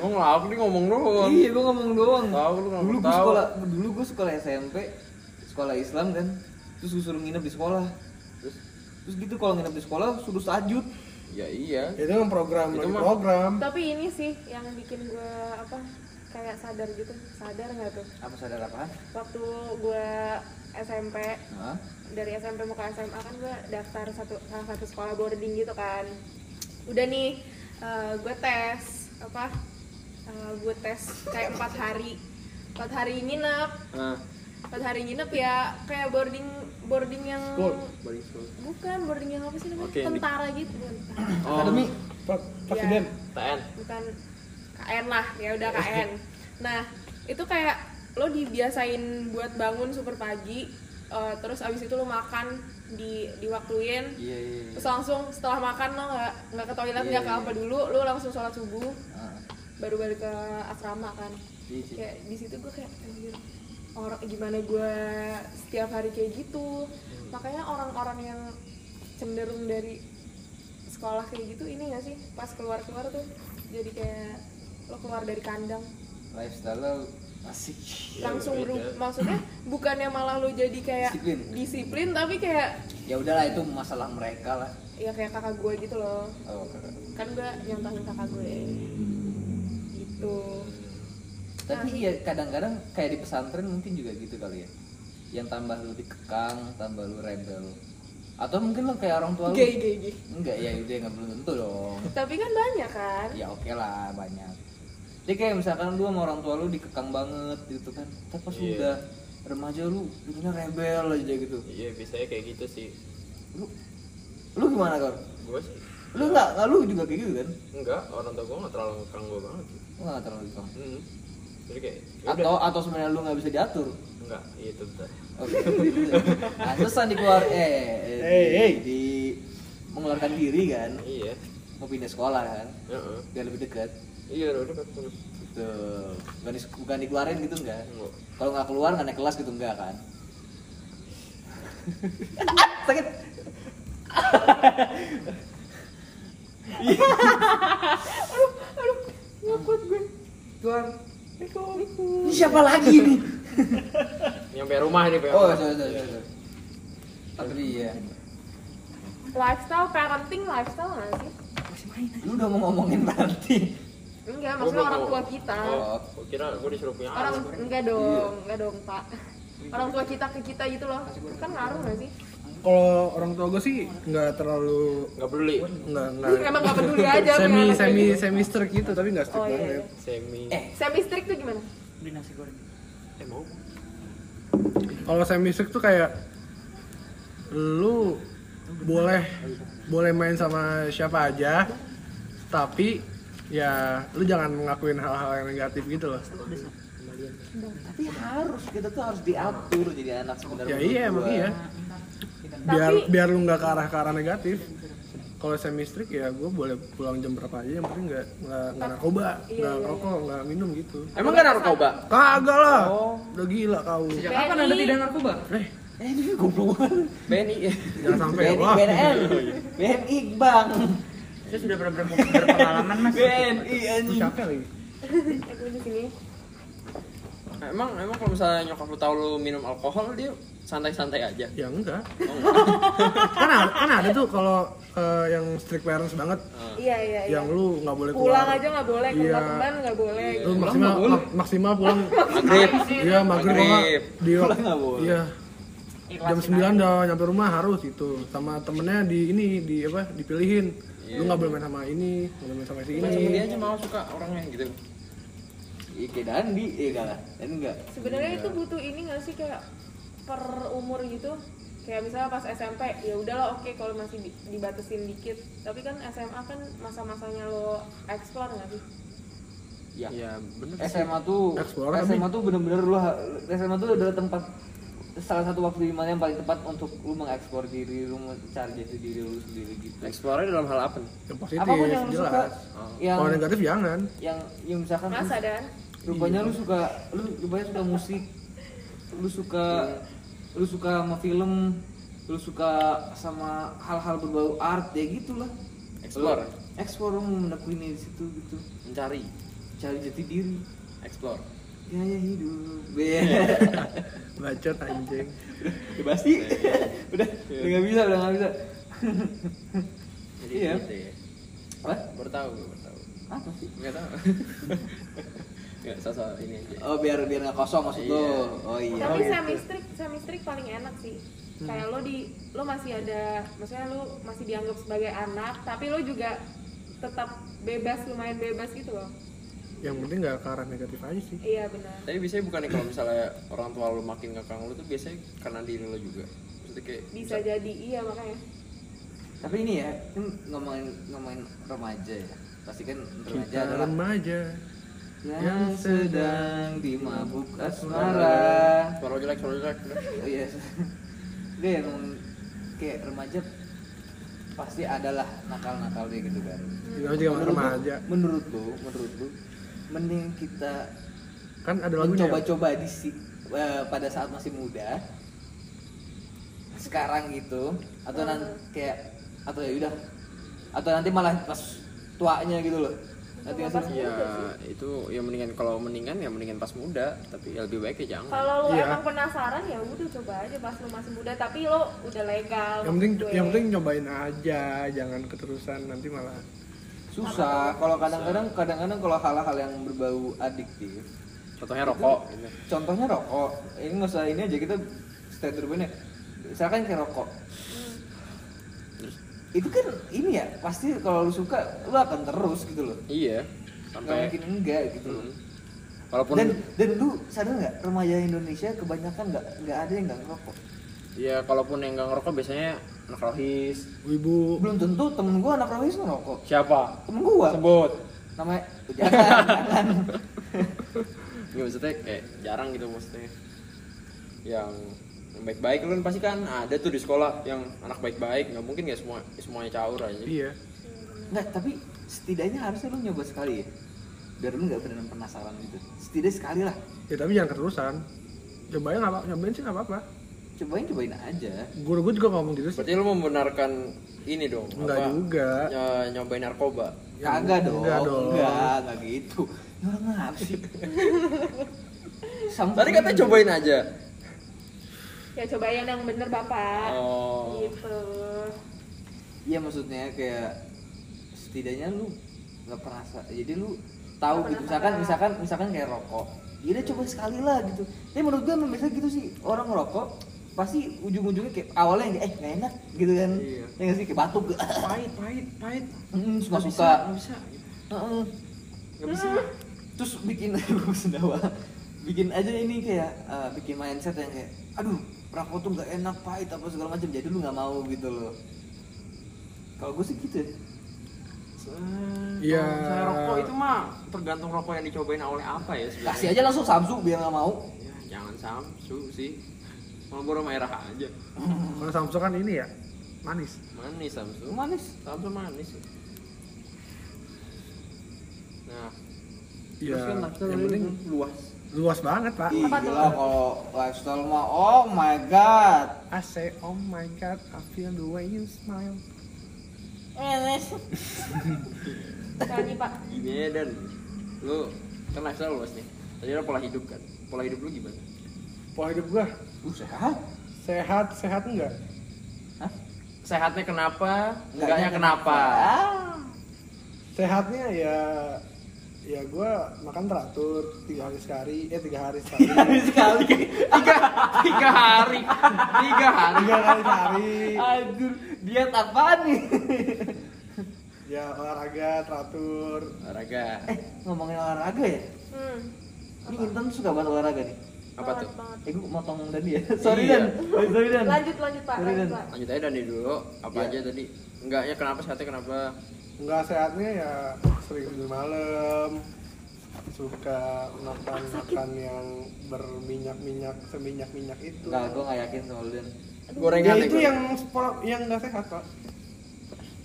Speaker 4: Emang ngelawak dia ngomong doang.
Speaker 3: Iya, gua ngomong doang.
Speaker 4: Tahu lu nggak
Speaker 3: Dulu gua
Speaker 4: tahu.
Speaker 3: sekolah dulu gua sekolah SMP, sekolah Islam kan. Terus gua suruh nginep di sekolah. Terus terus gitu kalau nginep di sekolah suruh tahajud.
Speaker 4: Ya iya.
Speaker 2: itu kan program
Speaker 4: Itu
Speaker 2: lagi
Speaker 4: mah-
Speaker 2: program
Speaker 6: tapi ini sih yang bikin gue apa kayak sadar gitu sadar nggak tuh
Speaker 3: Apa sadar apaan?
Speaker 6: waktu gue SMP
Speaker 3: Hah?
Speaker 6: dari SMP mau ke SMA kan gue daftar satu salah satu sekolah boarding gitu kan udah nih gue tes apa gue tes kayak empat hari empat hari nginep
Speaker 4: Nah,
Speaker 6: empat hari nginep ya kayak boarding boarding yang
Speaker 2: School,
Speaker 4: balik sekolah.
Speaker 6: bukan boarding yang apa sih namanya
Speaker 4: Oke, ini-
Speaker 6: tentara gitu bukan tentara.
Speaker 4: Oh,
Speaker 3: Akademi.
Speaker 2: Pak- presiden
Speaker 4: TN.
Speaker 6: bukan KN lah ya udah KN nah itu kayak lo dibiasain buat bangun super pagi eh, terus abis itu lo makan di
Speaker 3: Iya,
Speaker 6: diwaktuin
Speaker 3: iya. iya.
Speaker 6: terus langsung setelah makan lo nggak nggak ke toilet
Speaker 3: Iya,
Speaker 6: nggak ke
Speaker 3: iya.
Speaker 6: apa dulu lo langsung sholat subuh
Speaker 3: Ah,
Speaker 6: baru balik ke asrama kan
Speaker 3: iya, iya.
Speaker 6: kayak di situ gue kayak anjir orang gimana gue setiap hari kayak gitu
Speaker 3: Hmm.
Speaker 6: makanya orang-orang yang cenderung dari sekolah kayak gitu ini gak sih pas keluar keluar tuh jadi kayak lo keluar dari kandang
Speaker 3: Iya, Lifestyle lo masih
Speaker 6: langsung berubah maksudnya bukannya malah lo jadi kayak
Speaker 3: Disiplin.
Speaker 6: disiplin tapi kayak
Speaker 3: ya udahlah itu masalah mereka lah.
Speaker 6: ya kayak kakak gue gitu loh
Speaker 3: Oh, kakak.
Speaker 6: kan gue nyontohin kakak gue
Speaker 2: Hmm.
Speaker 6: gitu
Speaker 3: Tapi iya kadang-kadang kayak di pesantren mungkin juga gitu kali ya. Yang tambah lu dikekang, tambah lu rebel. Atau mungkin lo kayak orang tua lu.
Speaker 6: gay gay gay
Speaker 3: Enggak, ya itu yang belum tentu dong.
Speaker 6: tapi kan banyak kan
Speaker 3: Ya
Speaker 2: Iya.
Speaker 3: oke lah, banyak. Jadi kayak misalkan lu sama orang tua lu dikekang banget gitu kan. Tapi pas lu
Speaker 4: Iya.
Speaker 3: udah remaja lu jadinya rebel aja gitu.
Speaker 4: Iya, biasanya kayak gitu sih.
Speaker 3: Lu lu gimana kan?
Speaker 4: Gue sih
Speaker 3: Lu enggak, enggak lu juga kayak gitu kan?
Speaker 4: enggak, orang tua gue enggak terlalu ngekang gue banget. sih.
Speaker 3: Lu enggak terlalu gitu.
Speaker 4: Hmm. Jadi kayak ya udah.
Speaker 3: Atau atau sebenarnya lu nggak bisa diatur.
Speaker 4: enggak, iya itu betul.
Speaker 3: Oke. Pantesan dikeluar eh eh,
Speaker 2: Hey, hey.
Speaker 3: di mengeluarkan diri kan
Speaker 4: Iya.
Speaker 3: mau pindah sekolah kan
Speaker 4: Heeh.
Speaker 3: biar lebih dekat
Speaker 4: Iya, udah betul.
Speaker 3: gitu bukan, dis- bukan dikeluarin gitu enggak
Speaker 4: Enggak.
Speaker 3: kalau nggak keluar nggak naik kelas gitu enggak kan sakit
Speaker 1: Ini siapa lagi nih?
Speaker 4: Nyampe rumah nih, Pak.
Speaker 3: oh sorry sorry
Speaker 4: iya.
Speaker 3: sorry tapi iya
Speaker 6: lifestyle parenting lifestyle nggak sih
Speaker 3: lu udah mau ngomongin parenting
Speaker 4: Oh,
Speaker 6: enggak maksudnya
Speaker 4: belum,
Speaker 6: orang tua
Speaker 4: belum.
Speaker 6: kita
Speaker 3: Oh.
Speaker 4: Gua kira gua disuruh punya
Speaker 6: orang
Speaker 4: anak.
Speaker 6: enggak
Speaker 2: Iya.
Speaker 6: dong enggak dong pak orang tua kita ke kita gitu loh kan ngaruh nggak sih
Speaker 2: Kalau orang tua gue sih nggak terlalu
Speaker 4: Enggak peduli.
Speaker 2: nggak nggak
Speaker 6: emang nggak peduli aja punya
Speaker 2: semi
Speaker 6: anak kayak
Speaker 2: semi
Speaker 6: gitu.
Speaker 2: semi strict gitu tapi nggak strict
Speaker 6: Oh, iya,
Speaker 2: banget.
Speaker 6: iya.
Speaker 4: Semi.
Speaker 3: Eh.
Speaker 6: semi strict tuh gimana
Speaker 5: Beli nasi goreng.
Speaker 4: Eh, mau.
Speaker 2: Kalau semi strict tuh kayak lu boleh boleh main sama siapa aja tapi ya lu jangan ngelakuin hal-hal yang negatif gitu loh.
Speaker 3: tapi harus kita tuh harus diatur jadi anak sebenarnya
Speaker 2: Ya iya emang
Speaker 3: Gua-
Speaker 2: iya. Biar biar lu nggak ke arah ke arah negatif. Kalau semi strict ya gue boleh pulang jam berapa aja yang penting nggak nggak nggak narkoba,
Speaker 6: Iya,
Speaker 2: nggak
Speaker 6: iya,
Speaker 2: rokok, nggak minum gitu.
Speaker 4: Emang gak narkoba?
Speaker 2: Kagak lah. Udah gila kau.
Speaker 5: Sejak kapan anda tidak narkoba?
Speaker 2: Eh,
Speaker 3: eh ini goblok banget
Speaker 4: Benny.
Speaker 2: jangan sampai ya,
Speaker 3: BNI,
Speaker 2: wah. Oh, iya.
Speaker 3: BNN, BNI bang,
Speaker 5: Saya sudah ber- ber- berpengalaman mas.
Speaker 3: BNI
Speaker 2: Lu
Speaker 3: anjing.
Speaker 2: capek lagi.
Speaker 6: aku Eh, di sini
Speaker 4: Emang emang kalau misalnya nyokap lu tahu lu minum alkohol dia santai-santai aja.
Speaker 2: Ya enggak. kan ada, kan ada tuh kalau eh, yang strict parents banget
Speaker 6: iya iya
Speaker 2: Ah.
Speaker 6: iya
Speaker 2: yang lu nggak boleh keluar.
Speaker 6: pulang aja nggak boleh
Speaker 2: Iya.
Speaker 6: keluar teman nggak boleh
Speaker 2: Lu maksimal mak- maksimal pulang.
Speaker 4: Maghrib.
Speaker 2: Iya, maghrib apa enggak?
Speaker 4: Maghrib.
Speaker 2: Di
Speaker 3: Pulang nggak boleh.
Speaker 2: Iya. Jam 9 udah nyampe rumah harus itu sama temennya di ini di apa dipilihin.
Speaker 3: Iya.
Speaker 2: Lu nggak boleh main sama ini, nggak boleh main sama si
Speaker 4: Cuma dia
Speaker 2: ini.
Speaker 4: aja mau suka orangnya gitu.
Speaker 3: Iya kayak Dandi, iya enggak lah, Dandi enggak.
Speaker 6: sebenarnya
Speaker 3: Iya.
Speaker 6: itu butuh ini nggak sih kayak per umur gitu kayak misalnya pas SMP ya udahlah oke kalau masih di- dibatasin dikit tapi kan SMA kan masa-masanya lo explore nggak sih
Speaker 3: Iya.
Speaker 4: Ya bener.
Speaker 3: SMA tuh,
Speaker 2: Explore kan, tapi-
Speaker 3: SMA tuh bener-bener lu, ha- SMA tuh adalah tempat salah satu waktu di mana yang paling tepat untuk lu mengeksplor diri lu mencari jati diri lu sendiri gitu.
Speaker 4: Explore dalam hal apa nih?
Speaker 2: Yang positif
Speaker 3: Apapun yang lu suka,
Speaker 2: jelas.
Speaker 3: yang
Speaker 2: Kalau negatif jangan.
Speaker 3: yang yang misalkan lu-
Speaker 6: masa dan
Speaker 3: rupanya lu suka lu rupanya suka musik lu suka lu suka sama film lu suka sama hal-hal berbau art ya gitulah
Speaker 4: Explore.
Speaker 3: Lu- explore lu menekuini di situ gitu
Speaker 4: Mencari,
Speaker 3: cari jati diri
Speaker 4: explore.
Speaker 3: gaya hidup Iya.
Speaker 2: Bacot anjing.
Speaker 3: ya pasti Iya. udah udah nggak bisa udah nggak bisa
Speaker 4: Jadi
Speaker 3: Iya.
Speaker 4: gitu ya.
Speaker 3: apa
Speaker 4: Baru tahu, gue baru tahu.
Speaker 3: apa sih
Speaker 4: Enggak tahu. Enggak sosok ini aja.
Speaker 3: oh biar biar nggak kosong maksud lu
Speaker 4: Iya.
Speaker 3: oh iya Hmm.
Speaker 6: tapi semi strict semi strict paling enak sih kayak lo di lo masih ada maksudnya lo masih dianggap sebagai anak tapi lo juga tetap bebas lumayan bebas gitu loh
Speaker 2: Yang penting nggak ke arah negatif aja sih.
Speaker 6: iya benar
Speaker 4: Tapi biasanya bukan kalau misalnya orang tua lu makin ngekang lu tuh biasanya karena diri lu juga. Maksudnya kayak
Speaker 6: bisa jadi iya makanya
Speaker 3: tapi ini ya kan ngomongin ngomongin remaja ya pasti kan remaja
Speaker 2: Kita
Speaker 3: adalah
Speaker 2: remaja.
Speaker 3: yang sedang dimabuk asmara
Speaker 4: suara jelek, suara jelek.
Speaker 3: oh iya dia emang kayak remaja pasti adalah nakal-nakal dia gitu kan
Speaker 2: Kita juga
Speaker 3: Menurut lu-
Speaker 2: remaja.
Speaker 3: menurut lu menurut lu mending kita
Speaker 2: Kan ada lagunya. ya?
Speaker 3: mencoba-coba di si- eh, pada saat masih muda sekarang gitu atau nanti kayak atau ya udah atau nanti malah pas tuanya gitu loh nanti ngasih
Speaker 4: Ya itu ya mendingan kalau mendingan ya mendingan pas muda, tapi ya lebih baik ya jangan.
Speaker 6: kalau lo
Speaker 2: Iya.
Speaker 6: emang penasaran ya udah coba aja pas lo masih muda tapi lo udah legal
Speaker 2: yang penting
Speaker 6: menurut gue.
Speaker 2: yang penting nyobain aja jangan keterusan nanti malah
Speaker 3: susah kalau kadang-kadang kadang-kadang kalau hal-hal yang berbau adiktif
Speaker 4: Contohnya rokok gitu.
Speaker 3: Iya. contohnya rokok ini nggak usah ini aja kita stay turbunya misalkan kayak rokok
Speaker 4: Hmm.
Speaker 3: itu kan ini ya pasti kalau lu suka lu akan terus gitu loh
Speaker 4: Iya.
Speaker 3: nggak
Speaker 4: Sampai
Speaker 3: mungkin enggak gitu loh
Speaker 4: Mm. Walaupun
Speaker 3: dan dan lu sadar nggak remaja Indonesia kebanyakan nggak nggak ada yang nggak ngerokok
Speaker 4: ya kalaupun yang nggak ngerokok biasanya anak rohis.
Speaker 2: wibu
Speaker 3: belum tentu temen gua anak rohis ngerokok
Speaker 4: Siapa?
Speaker 3: temen gua
Speaker 4: Sebut.
Speaker 3: namanya jangan jangan
Speaker 4: Nggak maksudnya kayak jarang gitu maksudnya. Yang Yang baik-baik lu pasti kan ada tuh di sekolah yang anak baik-baik nggak mungkin nggak semua semuanya caur aja
Speaker 2: Iya.
Speaker 3: Nggak, tapi setidaknya harusnya lu nyoba sekali ya. Biar lu nggak beneran penasaran gitu. Setidaknya sekali lah.
Speaker 2: Ya tapi jangan keterusan. Cobain nggak apa, nyobain sih nggak apa-apa.
Speaker 3: Cobain cobain aja.
Speaker 2: Guru gue juga ngomong gitu sih.
Speaker 4: berarti lu membenarkan ini dong
Speaker 2: Enggak
Speaker 4: apa,
Speaker 2: juga.
Speaker 4: ny- nyobain narkoba
Speaker 2: Ya,
Speaker 3: Kagak dong.
Speaker 2: enggak dong.
Speaker 3: Enggak, enggak gitu. Ini orang ngap sih. Sampai
Speaker 4: tadi katanya cobain aja
Speaker 6: Ya cobain yang bener bapak.
Speaker 4: oh
Speaker 6: Gitu.
Speaker 3: Iya maksudnya kayak setidaknya lu nggak perasa. Jadi lu tahu gitu. Misalkan misalkan misalkan kayak rokok. Ya udah coba sekali lah gitu. Tapi menurut gua emang biasanya gitu sih orang ngerokok pasti ujung-ujungnya kayak awalnya kayak, eh nggak enak gitu kan.
Speaker 4: Iya.
Speaker 3: Ya nggak sih kayak batuk.
Speaker 8: Pahit, pahit, pahit.
Speaker 3: Hmm, suka
Speaker 8: Nggak bisa,
Speaker 3: suka.
Speaker 8: nggak bisa.
Speaker 3: Heeh.
Speaker 4: nggak bisa
Speaker 3: terus bikin aku sendawa bikin aja ini kayak eh, bikin mindset yang kayak aduh rokok tuh nggak enak pahit apa segala macam jadi lu nggak mau gitu loh kalau gue sih gitu ya.
Speaker 2: Iya.
Speaker 4: Kalau misalnya rokok itu mah tergantung rokok yang dicobain oleh apa ya sebenarnya
Speaker 3: kasih aja langsung samsu biar nggak mau
Speaker 4: ya, jangan samsu sih Marlboro merah aja
Speaker 2: Kalau Samsung kan ini ya manis.
Speaker 4: manis samsu
Speaker 3: manis
Speaker 4: samsu manis ya. nah
Speaker 2: Ya,
Speaker 4: terus kan lifestyle
Speaker 2: yang
Speaker 4: lu
Speaker 2: penting
Speaker 4: luas
Speaker 2: luas banget pak.
Speaker 3: Ih, gila kalau lifestyle mah oh my god
Speaker 2: I say oh my god, I feel the way you smile.
Speaker 6: Tadi pak.
Speaker 4: gini ya dan lu kan lifestyle luas nih tadi ada pola hidup kan pola hidup lu gimana
Speaker 2: Pola hidup gua
Speaker 3: lu Uh, sehat
Speaker 2: sehat sehat enggak?
Speaker 4: sehatnya kenapa
Speaker 3: Enggaknya
Speaker 4: enggaknya kenapa
Speaker 3: Ah.
Speaker 2: Sehatnya ya ya gua makan teratur tiga hari sekali eh tiga hari sekali
Speaker 3: sekali
Speaker 4: tiga tiga hari tiga hari
Speaker 2: tiga kali sehari
Speaker 3: aduh diet apaan nih
Speaker 2: ya olahraga teratur
Speaker 4: olahraga
Speaker 3: eh ngomongin olahraga ya
Speaker 6: Hmm.
Speaker 3: ini Intan suka banget olahraga nih
Speaker 4: apa tuh
Speaker 6: banget, banget.
Speaker 3: eh gue motong tadi ya sorry
Speaker 4: Iya.
Speaker 3: dan sorry dan
Speaker 6: Lanjut lanjut pak.
Speaker 3: Sorry,
Speaker 6: Lanjut,
Speaker 3: Dan.
Speaker 6: pak.
Speaker 4: lanjut aja Dani dulu apa
Speaker 3: Iya.
Speaker 4: aja tadi enggaknya kenapa sehatnya kenapa
Speaker 2: nggak sehatnya ya sering tidur malam suka makan makan yang berminyak minyak seminyak minyak itu
Speaker 3: Enggak, gue gak yakin sama lu, Dan.
Speaker 2: ya
Speaker 4: gorengan ya,
Speaker 2: itu
Speaker 4: goreng.
Speaker 2: yang spor- yang nggak sehat pak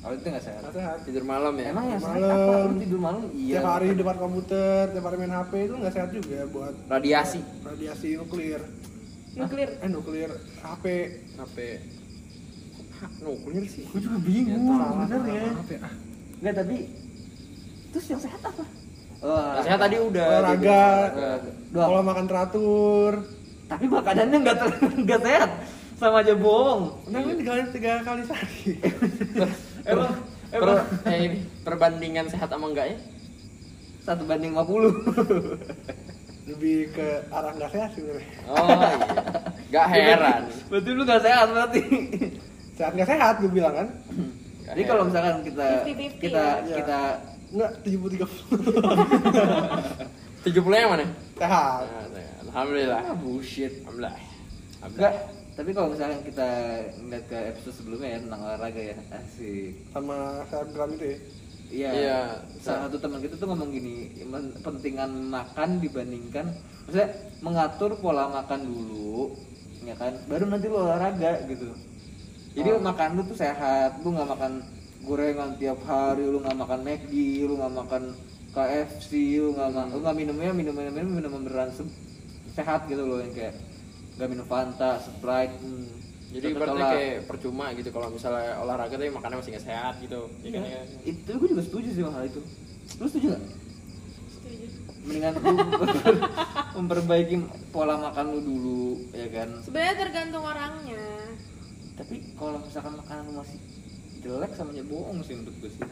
Speaker 3: Kalau itu gak sehat.
Speaker 2: nggak sehat
Speaker 4: tidur malam ya
Speaker 3: Emang ya sehat
Speaker 2: Malam.
Speaker 3: apa? Lu tidur malam? Iya.
Speaker 2: tiap hari di depan komputer tiap hari main hp itu nggak sehat juga buat
Speaker 4: radiasi
Speaker 2: radiasi nuklir
Speaker 6: Nuklir.
Speaker 2: eh nuklir hp
Speaker 4: HP nuklir sih
Speaker 3: Gue juga bingung,
Speaker 2: Ya, salah,
Speaker 3: bener ya.
Speaker 2: salah, maaf ya.
Speaker 3: Enggak, tapi... Terus yang sehat apa?
Speaker 2: Oh,
Speaker 3: Wah,
Speaker 4: saya tadi udah gitu.
Speaker 2: olahraga
Speaker 3: Ah. Olahraga. Doang.
Speaker 2: pola makan teratur
Speaker 3: Tapi makanannya gak, ter... nggak sehat. Sama aja bohong.
Speaker 2: udah kan tiga kali tiga kali sehari
Speaker 3: Emang,
Speaker 4: Per-
Speaker 3: emang
Speaker 4: eh, ini, perbandingan sehat sama ya? enggaknya
Speaker 3: satu banding 50.
Speaker 2: lebih ke arah nggak sehat sebenarnya
Speaker 4: oh iya nggak heran
Speaker 3: berarti lu gak sehat berarti.
Speaker 2: sehat nggak sehat gue bilang kan
Speaker 4: Nggak
Speaker 3: Jadi
Speaker 4: heran.
Speaker 3: kalau misalkan kita
Speaker 6: 50-50
Speaker 3: kita
Speaker 2: ya.
Speaker 3: kita
Speaker 2: nggak tujuh puluh tiga
Speaker 4: tujuh puluh yang mana
Speaker 2: sehat
Speaker 4: Nah, sehat. alhamdulillah
Speaker 3: ah, bullshit.
Speaker 4: alhamdulillah
Speaker 3: Enggak,
Speaker 4: alhamdulillah
Speaker 3: tapi kalau misalkan kita ngeliat ke episode sebelumnya ya tentang olahraga ya, asik.
Speaker 2: sama selebgram itu ya
Speaker 3: Iya.
Speaker 4: Iya.
Speaker 3: Salah satu teman kita tuh ngomong gini, men- pentingan makan dibandingkan maksudnya mengatur pola makan dulu, ya kan? Baru nanti lu olahraga gitu. Jadi
Speaker 4: Oh.
Speaker 3: makan lu tuh sehat, lu nggak makan gorengan tiap hari, lu nggak makan McD, lu nggak makan KFC, lu nggak ma- lu nggak minumnya minum minum minum minum beneran se- sehat gitu loh yang kayak nggak minum Fanta, Sprite, hmm.
Speaker 4: jadi berarti
Speaker 3: Coca-Cola.
Speaker 4: kayak percuma gitu kalau misalnya olahraga tapi makannya masih nggak sehat gitu ya kan, ya kan?
Speaker 3: itu gue juga setuju sih sama hal itu. Lu setuju nggak?
Speaker 6: Setuju.
Speaker 3: mendingan lu memper- memperbaiki pola makan lu dulu ya kan
Speaker 6: Sebenarnya tergantung orangnya.
Speaker 3: tapi kalau misalkan makanan lu masih jelek sama aja bohong sih menurut gue sih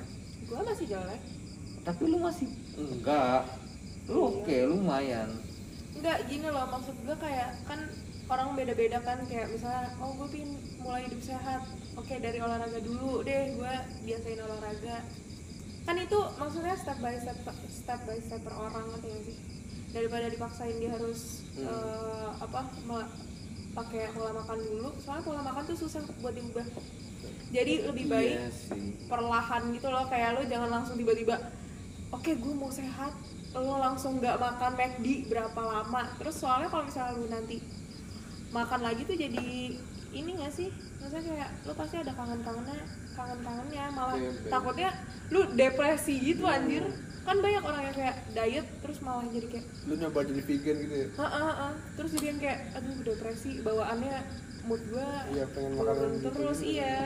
Speaker 6: Gua masih jelek.
Speaker 3: tapi lu masih enggak lu oke lumayan
Speaker 6: Enggak gini loh maksud gue kayak kan orang beda-beda kan kayak misalnya oh gue pin mulai hidup sehat oke dari olahraga dulu deh gue biasain olahraga kan itu maksudnya step by step step by step per orang ngerti gak sih daripada dipaksain dia harus eh, apa me- pakai pola makan dulu soalnya pola makan tuh susah buat diubah jadi lebih baik
Speaker 3: iya sih
Speaker 6: perlahan gitu loh kayak lo jangan langsung tiba-tiba oke gue mau sehat lo langsung nggak makan McD berapa lama terus soalnya kalau misalnya lo nanti makan lagi tuh jadi ini gak sih? Maksudnya kayak lu pasti ada kangen-kangennya, kangen-kangennya malah
Speaker 4: Iya, bener.
Speaker 6: takutnya lu depresi gitu anjir. Kan banyak orang yang kayak diet terus malah jadi kayak
Speaker 4: Lu nyoba jadi vegan gitu ya?
Speaker 6: Heeh, heeh. Terus jadi yang kayak aduh depresi bawaannya mood gua
Speaker 4: Iya, pengen
Speaker 6: turun
Speaker 4: makanan gitu
Speaker 6: terus
Speaker 4: gitu.
Speaker 6: iya.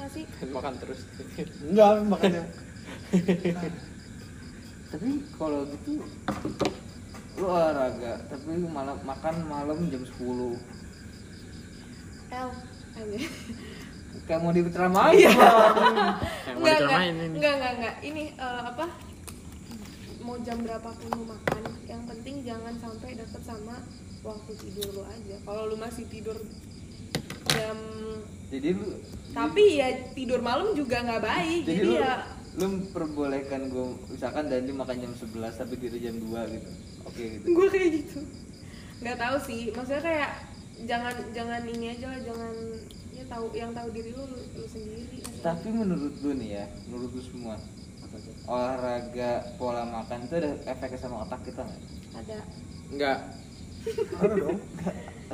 Speaker 6: Nah sih
Speaker 4: Makan terus.
Speaker 1: Enggak, makanya.
Speaker 3: tapi kalau gitu lu olahraga tapi lu malam makan malam jam 10
Speaker 6: L aja.
Speaker 3: kayak mau diceramain
Speaker 4: Yang mau
Speaker 6: Enggak, enggak,
Speaker 4: diceramain ini.
Speaker 6: enggak, enggak, enggak. Ini eh, apa? Mau jam berapa pun lu makan, yang penting jangan sampai deket sama waktu tidur lu aja. Kalau lu masih tidur jam
Speaker 3: jadi lu
Speaker 6: tapi ya tidur malam juga nggak baik.
Speaker 3: jadi
Speaker 6: Jadi,
Speaker 3: lu
Speaker 6: ya
Speaker 3: lu memperbolehkan gue misalkan Dandi makan jam 11 tapi tidur jam 2 gitu oke gitu
Speaker 6: gue kayak gitu. Nggak tahu sih, maksudnya kayak jangan jangan ini aja lah, jangan ya tahu yang tahu diri lu lu, lu sendiri.
Speaker 3: tapi menurut lu nih ya menurut lu semua olahraga pola makan itu ada efeknya sama otak kita nggak
Speaker 6: Ada
Speaker 4: Enggak.
Speaker 1: Ada dong.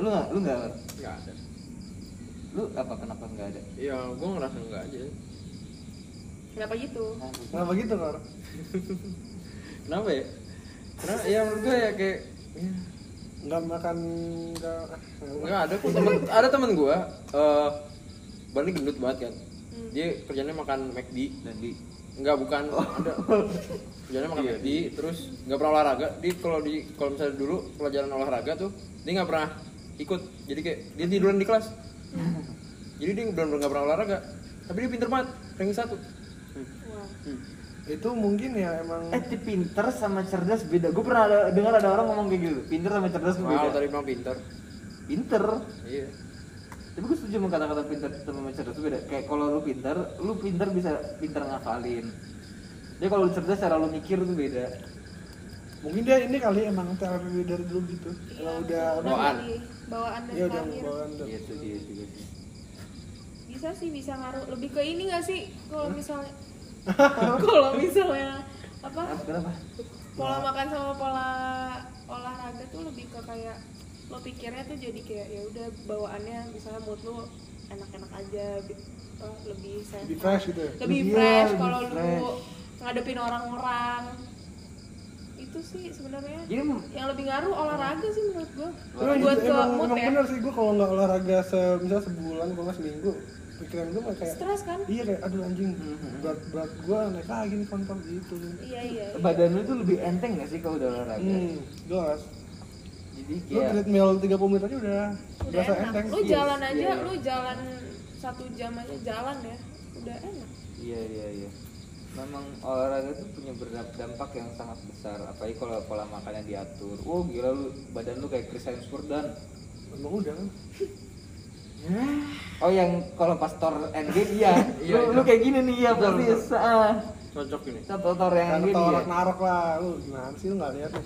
Speaker 3: lu nggak lu nggak
Speaker 4: Enggak ada.
Speaker 3: lu apa kenapa nggak ada
Speaker 4: Ya, gua ngerasa enggak aja.
Speaker 6: kenapa gitu?
Speaker 3: Nah,
Speaker 1: Kenapa gitu, Kor?
Speaker 4: Kenapa ya? Karena ya menurut gua ya kayak ya,
Speaker 1: Enggak makan enggak
Speaker 4: enggak ada kok temen ada temen gua eh badannya gendut banget kan.
Speaker 6: Hmm.
Speaker 4: Dia kerjanya makan McD.
Speaker 3: Dandi
Speaker 4: Enggak, bukan. Ada. Kerjanya makan McD, terus enggak pernah olahraga. Dia kalau di kalau misalnya dulu pelajaran olahraga tuh dia enggak pernah ikut. Jadi kayak dia tiduran di kelas. Jadi dia benar-benar enggak pernah olahraga. Tapi dia pinter banget, ranking satu.
Speaker 6: Wah.
Speaker 1: Itu mungkin ya emang
Speaker 3: eh ti- pinter sama cerdas beda gue pernah ada, dengar ada orang ngomong kayak gitu pinter sama cerdas tuh
Speaker 4: Wow,
Speaker 3: beda
Speaker 4: tadi bilang pinter.
Speaker 3: pinter
Speaker 4: Iya.
Speaker 3: tapi gue setuju sama kata-kata pinter sama cerdas tuh beda kayak kalau lu pinter lu pinter bisa pinter ngafalin dia kalau lu cerdas cara lu mikir tuh beda
Speaker 1: mungkin dia ini kali emang terapi dari dulu gitu. Kalau udah
Speaker 4: bawaan.
Speaker 6: dari Iya, Bawaan dan
Speaker 1: ya udah
Speaker 6: lahir.
Speaker 1: bawaan dan-
Speaker 3: iya tuh dia juga sih.
Speaker 6: bisa sih bisa ngaruh lebih ke ini nggak sih kalau misalnya kalau misalnya
Speaker 3: Kenapa,
Speaker 6: apa
Speaker 3: kenapa
Speaker 6: pola makan sama pola olahraga tuh lebih ke kayak lo pikirnya tuh jadi kayak ya udah bawaannya misalnya mood lo enak-enak aja bi- apa, lebih sehat
Speaker 1: Lebih fresh gitu ya?
Speaker 6: lebih
Speaker 1: Iya,
Speaker 6: fresh
Speaker 1: lebih
Speaker 6: kalau lu
Speaker 1: fresh.
Speaker 6: ngadepin orang-orang itu sih sebenarnya
Speaker 1: Iya.
Speaker 3: jadi
Speaker 6: yang lebih ngaruh olahraga sih menurut gua
Speaker 1: Emang,
Speaker 6: buat
Speaker 1: gitu,
Speaker 6: ke
Speaker 1: emang,
Speaker 6: mood
Speaker 1: emang
Speaker 6: ya
Speaker 1: bener sih gue kalau nggak olahraga se misalnya sebulan kalau nggak seminggu pikiran gue mah kayak
Speaker 6: stres kan
Speaker 1: iya kayak aduh anjing
Speaker 3: Mm-hmm.
Speaker 1: berat berat gue naik lagi nih kontol gitu
Speaker 6: iya iya
Speaker 3: badan lu tuh lebih enteng gak sih kalau udah olahraga
Speaker 1: hmm jelas
Speaker 3: jadi
Speaker 1: lu
Speaker 3: kayak
Speaker 1: treadmill 30 menit aja udah
Speaker 6: udah
Speaker 1: berasa
Speaker 6: enak
Speaker 1: enteng
Speaker 6: lu jalan
Speaker 3: Yes,
Speaker 6: aja
Speaker 3: iya.
Speaker 6: lu jalan satu jam aja jalan ya udah enak
Speaker 3: Iya iya iya. Memang olahraga tuh punya berdampak dampak yang sangat besar. Apalagi kalau pola makannya diatur. Oh gila lu badan lu kayak Chris Hemsworth dan
Speaker 1: emang udah kan
Speaker 3: oh yang kalau pas Thor Endgame iya.
Speaker 4: Iya,
Speaker 3: lu,
Speaker 4: iya.
Speaker 3: lu kayak gini nih ya berarti
Speaker 4: benar.
Speaker 3: ah.
Speaker 4: Cocok ini.
Speaker 3: Thor Thor yang
Speaker 1: kan
Speaker 3: Endgame ya.
Speaker 1: torak narok lah lu gimana sih lu nggak lihat nih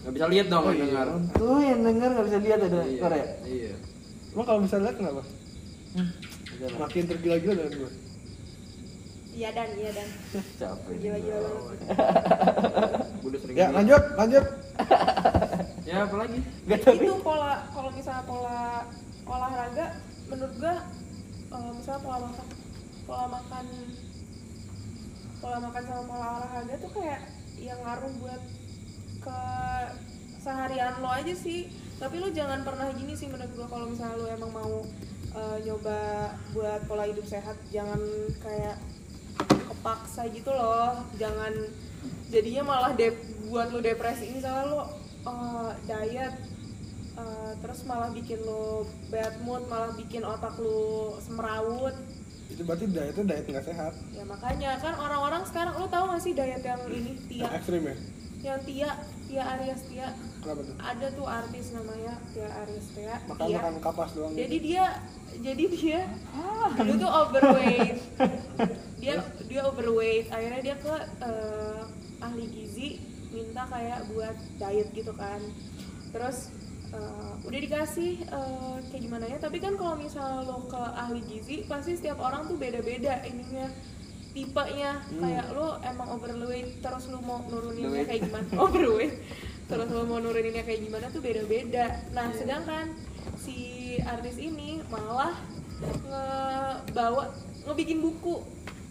Speaker 4: Gak bisa lihat dong, yang dengar.
Speaker 3: Tuh yang denger nggak bisa lihat ada
Speaker 4: Iya,
Speaker 3: Thor ya.
Speaker 4: Iya.
Speaker 1: emang kalau bisa lihat kenapa
Speaker 3: Udah lah,
Speaker 1: makin tergila-gila dalam gue
Speaker 6: iya dan iya dan
Speaker 3: Capek.
Speaker 6: gila gila
Speaker 4: Gua udah sering
Speaker 1: ya
Speaker 4: bilang.
Speaker 1: lanjut lanjut
Speaker 4: Ya, apa lagi?
Speaker 3: Gak tapi
Speaker 6: itu pola kalau misalnya pola olahraga menurut gua eh, misalnya pola makan pola makan pola makan sama pola olahraga tuh kayak yang ngaruh buat ke seharian lo aja sih tapi lo jangan pernah gini sih menurut gua kalau misalnya lo emang mau eh, nyoba buat pola hidup sehat jangan kayak kepaksa gitu loh jangan jadinya malah dep- buat lo depresi misalnya lo eh, diet eh, terus malah bikin lo bad mood malah bikin otak lo semrawut
Speaker 1: itu berarti dietnya diet nggak sehat
Speaker 6: ya makanya kan orang-orang sekarang lo tau gak sih diet yang ini
Speaker 1: yang
Speaker 6: Tia
Speaker 1: ekstrim ya
Speaker 6: yang Tia Tia Aries Tia
Speaker 1: kenapa tuh
Speaker 6: ada tuh artis namanya Tia Aries Tia
Speaker 1: makan
Speaker 6: Tia.
Speaker 1: makan kapas doang
Speaker 6: Iya.
Speaker 1: gitu.
Speaker 6: jadi dia jadi dia dulu tuh overweight dia dia overweight akhirnya dia ke eh, ahli gizi minta kayak buat diet gitu kan terus eh, udah dikasih eh, kayak gimana ya tapi kan kalau misal lo ke ahli gizi pasti setiap orang tuh beda-beda ininya tipenya kayak lo emang overweight terus lo mau nuruninnya kayak gimana overweight terus lo mau nuruninnya kayak gimana tuh beda-beda nah sedangkan si artis ini malah ngebawa ngebikin buku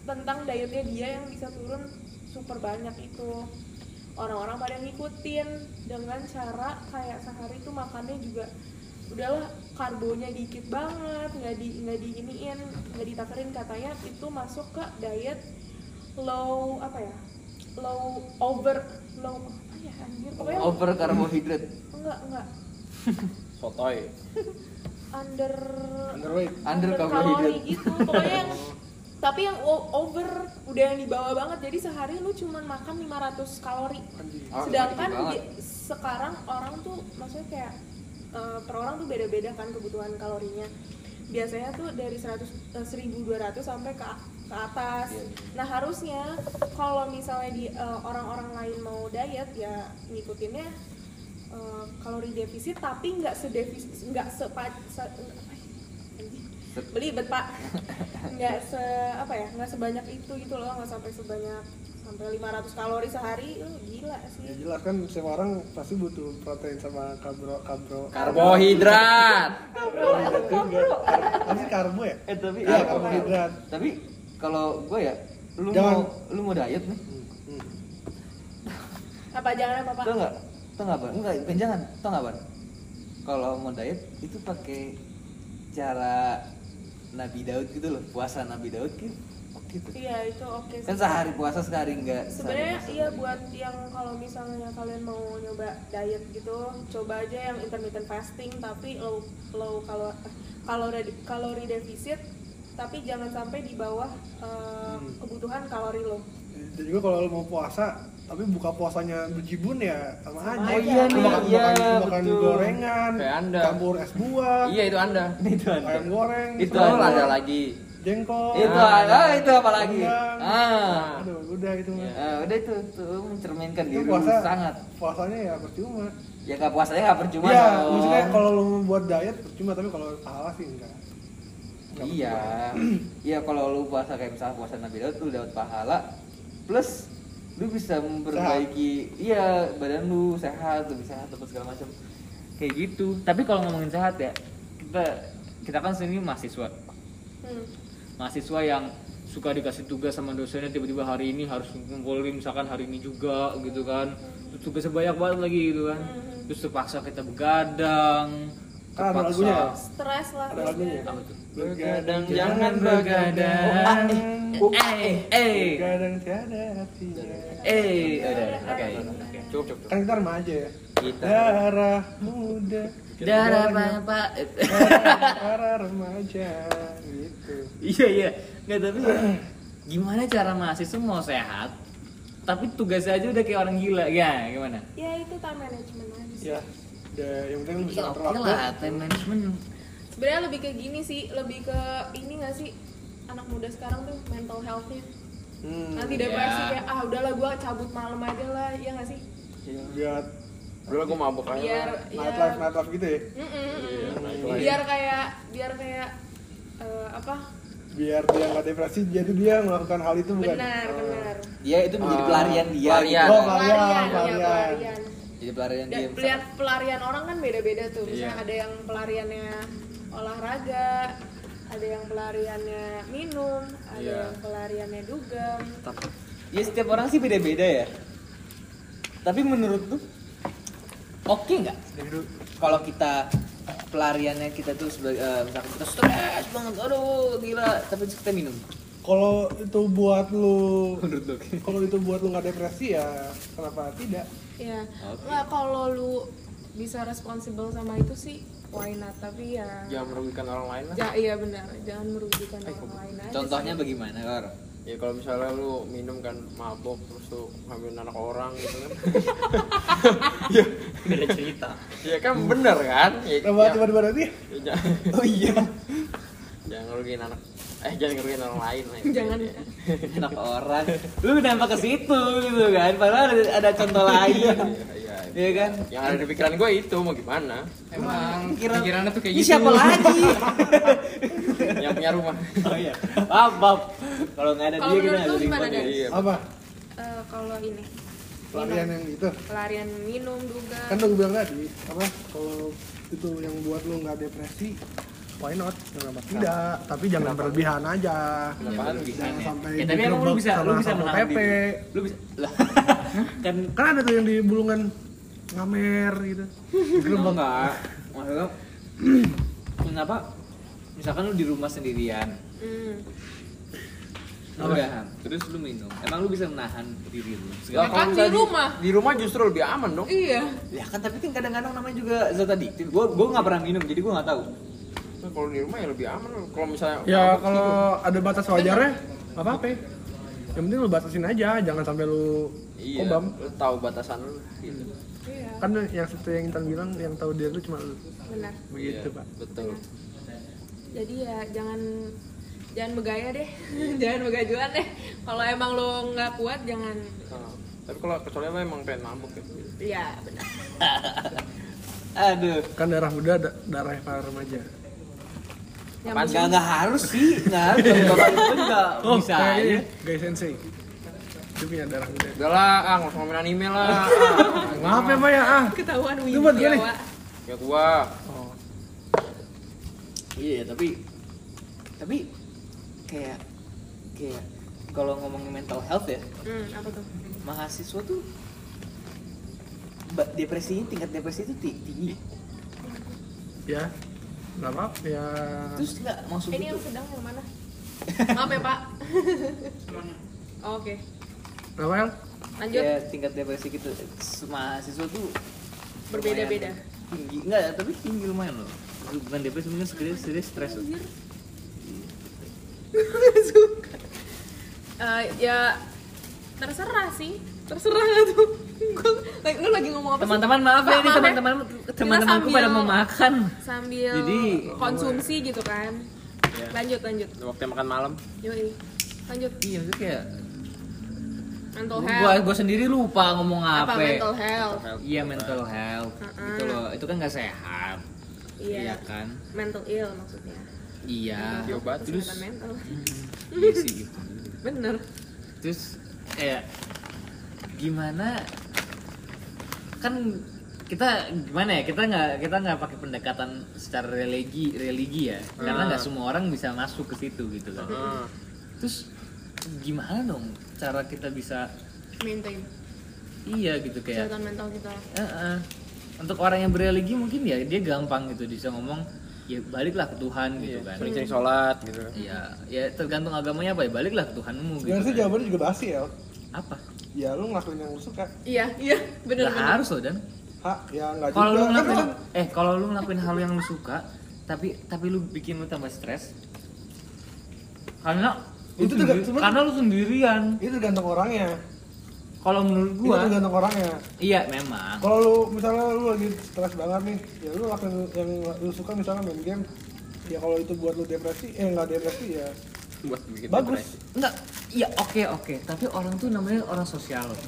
Speaker 6: tentang dietnya dia yang bisa turun super banyak itu orang-orang pada ngikutin dengan cara kayak sehari tuh makannya juga udahlah karbonya dikit banget nggak di nggak diiniin nggak ditakerin katanya itu masuk ke diet low apa ya low over low apa ya anjir pokoknya
Speaker 3: Over karbohidrat.
Speaker 6: enggak enggak
Speaker 4: Sotoy.
Speaker 6: under
Speaker 2: Underweight.
Speaker 3: Under
Speaker 6: kalori
Speaker 3: carbohydrate.
Speaker 6: gitu pokoknya yang tapi yang o- over udah yang dibawa banget jadi sehari lu cuman makan 500 kalori
Speaker 3: Ah,
Speaker 6: sedangkan
Speaker 3: dikit banget.
Speaker 6: di- sekarang orang tuh maksudnya kayak eh, per orang tuh beda-beda kan kebutuhan kalorinya biasanya tuh dari 100 eh, 1200 sampai ke ke atas. Nah, harusnya kalau misalnya di eh, orang-orang lain mau diet ya ngikutinnya eh, kalori defisit tapi nggak sedefisit nggak sepa se- apa ya? belibet pak nggak se apa ya nggak sebanyak itu gitu loh nggak sampai sebanyak sampai 500 kalori sehari lu gila
Speaker 2: Ya
Speaker 6: sih
Speaker 2: jelas kan semua orang pasti butuh protein sama karbo karbo.
Speaker 4: Karbohidrat.
Speaker 2: Pasti karbo ya?
Speaker 3: Eh tapi
Speaker 2: Iya,
Speaker 3: ya,
Speaker 2: karbohidrat.
Speaker 3: tapi kalau gue ya lu
Speaker 2: Jangan.
Speaker 3: mau lu mau diet nih
Speaker 2: Hmm,
Speaker 6: apa jangan apa pak
Speaker 3: tau nggak tau nggak ban nggak bukan jangan tau nggak ban kalau mau diet itu pakai cara Nabi Daud gitu loh puasa Nabi Daud gitu gitu
Speaker 6: iya itu oke
Speaker 3: kan
Speaker 6: sih.
Speaker 3: sehari puasa sehari enggak
Speaker 6: sebenarnya iya buat yang kalau misalnya kalian mau nyoba diet gitu coba aja yang intermittent fasting tapi low low kalau kalori kalori defisit tapi jangan sampai di bawah eh,
Speaker 3: Hmm.
Speaker 6: kebutuhan kalori lo
Speaker 2: Dan juga kalau lo mau puasa tapi buka puasanya berjibun ya sama aja.
Speaker 6: Oh iya
Speaker 2: Lo
Speaker 6: nih,
Speaker 2: makan,
Speaker 3: iya,
Speaker 2: makan, lo makan
Speaker 3: betul.
Speaker 2: gorengan,
Speaker 4: Kayak Anda.
Speaker 2: campur es buah,
Speaker 4: Iya itu Anda.
Speaker 3: itu ada
Speaker 2: ayam goreng,
Speaker 4: Itu
Speaker 2: telur,
Speaker 4: ada lagi.
Speaker 2: jengkol.
Speaker 3: itu
Speaker 4: Ah.
Speaker 3: ada ah, itu apa lagi
Speaker 2: rendang.
Speaker 3: ah
Speaker 2: Aduh, udah gitu. mah.
Speaker 3: Ah, udah itu tuh mencerminkan
Speaker 2: Itu
Speaker 3: diri lu
Speaker 2: puasa
Speaker 3: sangat
Speaker 2: Puasanya ya percuma.
Speaker 3: ya nggak puasanya nggak percuma
Speaker 2: Iya,
Speaker 3: dong.
Speaker 2: maksudnya kalau lo membuat diet percuma tapi kalau salah sih enggak. Nggak
Speaker 3: iya iya kalau lu puasa kayak misalnya puasa Nabi Daud lu dapat pahala plus lu bisa memperbaiki iya badan lu sehat lebih sehat apa segala macam kayak gitu gitu
Speaker 5: Tapi kalau ngomongin sehat ya, kita kita kan sendiri mahasiswa.
Speaker 6: Hmm.
Speaker 5: mahasiswa yang suka dikasih tugas sama dosennya tiba-tiba hari ini harus ngumpulin misalkan hari ini juga gitu kan Terus tugasnya banyak banget lagi gitu kan terus terpaksa kita begadang
Speaker 2: Kan ada lagunya ya?
Speaker 6: stres lah
Speaker 2: Ada
Speaker 3: ya?
Speaker 2: lagunya. ya?
Speaker 6: biasanya.
Speaker 2: Begadang
Speaker 4: jangan begadang.
Speaker 3: oh, eh eh
Speaker 2: Begadang tiada hatinya.
Speaker 3: eh
Speaker 6: Iya,
Speaker 3: udah udah, oke
Speaker 4: Cukup cukup. cukup.
Speaker 2: kan kita remaja ya
Speaker 4: Kita.
Speaker 2: darah muda
Speaker 3: darah
Speaker 2: banyak
Speaker 3: apa
Speaker 2: darah remaja gitu
Speaker 5: iya iya nggak tapi gimana cara mahasiswa mau sehat tapi tugasnya aja udah kayak orang gila ya gimana
Speaker 6: ya itu time management aja sih.
Speaker 3: Iya.
Speaker 2: ya udah yang penting lu bisa
Speaker 3: Ya,
Speaker 2: atur
Speaker 3: oke
Speaker 2: waktu
Speaker 3: lah time management
Speaker 6: sebenarnya lebih ke gini sih lebih ke ini nggak sih anak muda sekarang tuh mental healthnya
Speaker 2: hmm,
Speaker 6: nanti
Speaker 5: ya.
Speaker 6: depresi Nah, kayak ah udahlah gua cabut malam aja lah ya nggak sih
Speaker 2: buat
Speaker 4: Udah gue mabok
Speaker 3: Iya.
Speaker 6: biar
Speaker 4: aja.
Speaker 2: nightlife nightlife gitu ya
Speaker 6: Mm-mm.
Speaker 4: nightlife.
Speaker 6: biar kayak biar kayak eh, apa
Speaker 2: biar dia nggak depresi jadi dia melakukan hal itu bukan
Speaker 6: benar
Speaker 2: Oh.
Speaker 6: benar
Speaker 3: dia iya, itu menjadi
Speaker 2: Ah,
Speaker 3: pelarian dia
Speaker 4: pelarian.
Speaker 3: gitu.
Speaker 2: Oh, pelarian,
Speaker 6: pelarian ya,
Speaker 2: pelarian.
Speaker 6: pelarian.
Speaker 3: jadi pelarian
Speaker 6: Dan
Speaker 3: dia
Speaker 6: pelarian, pelarian orang kan beda-beda tuh misalnya ada yang pelariannya olahraga ada yang pelariannya minum ada
Speaker 4: Iya.
Speaker 6: yang pelariannya dugem
Speaker 3: ya setiap orang sih beda-beda ya tapi menurut lu oke nggak
Speaker 2: Oh,
Speaker 3: kalau kita pelariannya kita tuh sebagai eh, misalkan kita stres banget aduh gila tapi kita minum
Speaker 2: kalau itu buat lu
Speaker 3: menurut lu
Speaker 2: kalau itu buat lu nggak depresi ya kenapa tidak
Speaker 6: ya nggak kalau lu bisa responsible sama itu sih why not tapi ya
Speaker 4: Jangan merugikan orang lain lah.
Speaker 6: ja- iya benar jangan merugikan orang lain aja
Speaker 3: contohnya bagaimana kor
Speaker 4: Ya kalau misalnya lu minum kan mabok terus lu ngambil anak orang gitu kan.
Speaker 5: beda cerita
Speaker 4: ya kan bener kan? Ya,
Speaker 2: coba
Speaker 4: ya-
Speaker 2: coba coba nanti
Speaker 4: ya jangan,
Speaker 3: oh iya
Speaker 4: jangan ngerugiin anak. Eh jangan ngerugiin orang lain lah.
Speaker 6: jangan
Speaker 3: enak orang lu kenapa ke situ gitu kan padahal ada, ada contoh lain
Speaker 4: Iya, iya.
Speaker 3: Iya kan?
Speaker 4: Yang ada di pikiran gue itu mau gimana?
Speaker 5: emang
Speaker 3: Pikiran-
Speaker 5: pikirannya tuh kayak
Speaker 3: ini
Speaker 5: gitu
Speaker 3: siapa lagi
Speaker 4: Yang punya rumah.
Speaker 3: oh
Speaker 9: Ya,
Speaker 3: iya maaf maaf kalau nggak ada
Speaker 6: Kalau
Speaker 3: dia kita
Speaker 6: menurut
Speaker 3: nggak
Speaker 6: lu
Speaker 3: bisa
Speaker 6: gimana,
Speaker 3: nikmatin.
Speaker 6: Dan?
Speaker 4: Iya.
Speaker 2: apa
Speaker 6: Eh, kalau ini
Speaker 2: pelarian yang itu
Speaker 6: pelarian minum juga
Speaker 2: kan udah gue bilang tadi apa kalau itu yang buat lo nggak depresi why not kenapa tidak tapi jangan berlebihan aja
Speaker 4: Kenapaan
Speaker 2: jangan
Speaker 4: begini?
Speaker 2: sampai
Speaker 3: Ya, tapi emang lu
Speaker 2: digerebek
Speaker 3: bisa, lu
Speaker 2: sama
Speaker 3: bisa
Speaker 2: Satpol
Speaker 3: menahan
Speaker 2: PP.
Speaker 3: diri. Lu bisa lah. kan
Speaker 2: kan ada tuh yang di bulungan ngamer gitu
Speaker 9: Gerbang enggak. Maksudnya kenapa misalkan lu di rumah sendirian,
Speaker 6: Hmm.
Speaker 9: lu udahan, terus lu minum. Emang lu bisa menahan diri lu?
Speaker 3: Iya. Kan
Speaker 4: Lah,
Speaker 6: Makan
Speaker 4: kalau
Speaker 6: di
Speaker 4: nggak
Speaker 6: rumah.
Speaker 4: Di rumah justru lebih aman dong.
Speaker 6: iya
Speaker 9: Ya kan tapi kan kadang-kadang namanya juga zat adiktif. Gua gua nggak pernah minum, jadi gua nggak tahu.
Speaker 4: Nah, Kalau di rumah ya lebih aman. loh. Kalau misalnya
Speaker 2: ya
Speaker 4: mabuk gitu.
Speaker 2: kalau ada batas wajarnya nggak apa-apa yang penting lu batasin aja jangan sampai lu
Speaker 4: gitu. iya,
Speaker 2: kobam
Speaker 4: lu tahu batasan lu gitu.
Speaker 6: iya
Speaker 2: kan yang satu yang Intan bilang yang tahu dia lu cuma lu
Speaker 6: benar
Speaker 2: begitu
Speaker 4: Iya,
Speaker 2: pak
Speaker 4: Betul.
Speaker 6: jadi ya jangan jangan begaya deh jangan begajuan deh kalau emang lo nggak kuat jangan
Speaker 4: Nah, tapi kalau kecuali lu emang pengen mabuk ya.
Speaker 6: ya benar
Speaker 9: Aduh.
Speaker 2: kan darah muda da- darah para remaja
Speaker 6: yang
Speaker 9: Apaan?
Speaker 6: penting
Speaker 9: Nggak nggak harus sih, nggak harus. Bapak itu juga
Speaker 3: Oh,
Speaker 2: Oh,
Speaker 9: bisa
Speaker 2: iya,
Speaker 9: aja.
Speaker 2: kayaknya guys sensei itu punya darah muda
Speaker 4: Udah lah, ah, nggak usah ngomongin anime lah. ah.
Speaker 2: maaf ya pak ya ah
Speaker 6: ketahuan
Speaker 2: Itu buat gue
Speaker 6: Widya
Speaker 2: nih.
Speaker 6: Wak.
Speaker 4: Ya gua.
Speaker 2: oh,
Speaker 9: Iya, tapi tapi kayak kayak kalau ngomongin mental health ya,
Speaker 6: hmm, apa tuh
Speaker 9: mahasiswa tuh ba- depresi tingkat depresi itu ti- tinggi.
Speaker 3: Hmm.
Speaker 2: ya nggak apa ya
Speaker 9: Terus nggak maksud
Speaker 6: ini
Speaker 9: itu
Speaker 6: yang sedang yang mana maaf ya pak oke
Speaker 2: apa ya
Speaker 6: lanjut
Speaker 9: ya tingkat depresi gitu s- mahasiswa tuh
Speaker 6: Berbeda-beda.
Speaker 9: lumayan Tinggi enggak, tapi tinggi lumayan loh. Bukan depresi mungkin serius serius stres. loh.
Speaker 6: Eh, ya terserah sih terserah nggak tuh Gua- lagi lu lagi ngomong apa sih?
Speaker 3: teman-teman maaf ya
Speaker 6: Pak,
Speaker 3: ini
Speaker 6: maaf
Speaker 3: teman-teman
Speaker 6: Kita
Speaker 3: teman-temanku pada
Speaker 6: sambil-
Speaker 3: mau makan.
Speaker 6: sambil
Speaker 9: Jadi-
Speaker 6: konsumsi gitu kan
Speaker 4: Iya.
Speaker 6: lanjut lanjut
Speaker 4: Udah waktunya makan malam.
Speaker 6: yoi lanjut
Speaker 3: Iya, itu kayak
Speaker 6: mental
Speaker 3: gua
Speaker 6: health
Speaker 3: gua sendiri lupa ngomong
Speaker 6: apa
Speaker 3: apa.
Speaker 6: mental health
Speaker 3: Iya, mental health.
Speaker 6: Mm-mm.
Speaker 3: Itu loh, itu kan nggak sehat.
Speaker 6: iya
Speaker 3: Iya kan?
Speaker 6: mental ill maksudnya
Speaker 3: Iya.
Speaker 4: Diobat.
Speaker 3: Terus
Speaker 6: Kesehatan mental
Speaker 3: iya sih gitu.
Speaker 6: bener
Speaker 3: Terus kayak gimana kan kita gimana ya kita nggak kita nggak pakai pendekatan secara religi religi ya karena
Speaker 6: Ah.
Speaker 3: nggak semua orang bisa masuk ke situ gitu kan
Speaker 4: Heeh.
Speaker 3: terus gimana dong cara kita bisa
Speaker 6: maintain
Speaker 3: iya gitu kayak
Speaker 6: kesehatan mental kita
Speaker 3: eh, eh. untuk orang yang bereligi mungkin ya dia gampang gitu bisa ngomong ya baliklah ke Tuhan
Speaker 6: Iya,
Speaker 3: gitu kan
Speaker 4: Sering-sering sholat gitu.
Speaker 3: ya ya tergantung agamanya apa ya baliklah ke Tuhanmu gitu
Speaker 2: sebenarnya sih
Speaker 3: kan.
Speaker 2: jawabannya juga basi ya
Speaker 3: apa
Speaker 2: ya lu ngelakuin yang lu suka
Speaker 6: iya iya bener
Speaker 3: Nggak
Speaker 6: bener
Speaker 3: harus loh dan
Speaker 2: hak ya nggak
Speaker 3: kalau
Speaker 2: juga
Speaker 3: lu
Speaker 2: Kan
Speaker 3: ngelakuin
Speaker 2: kan-
Speaker 3: eh kalau lu ngelakuin hal yang lu suka tapi tapi lu bikin lu tambah stres karena lu
Speaker 2: Itu tuh
Speaker 3: sendiri-
Speaker 2: cuman-
Speaker 3: karena lu sendirian
Speaker 2: itu tergantung orangnya
Speaker 3: kalau menurut
Speaker 2: itu
Speaker 3: gua
Speaker 2: tergantung orangnya
Speaker 3: iya memang
Speaker 2: kalau lu misalnya lu lagi stres banget nih ya lu lakuin yang lu suka misalnya main game ya kalau itu buat lu depresi eh nggak depresi ya
Speaker 4: Buat bikin
Speaker 2: bagus
Speaker 3: Enggak, iya oke oke, tapi orang tuh namanya orang sosial. loh.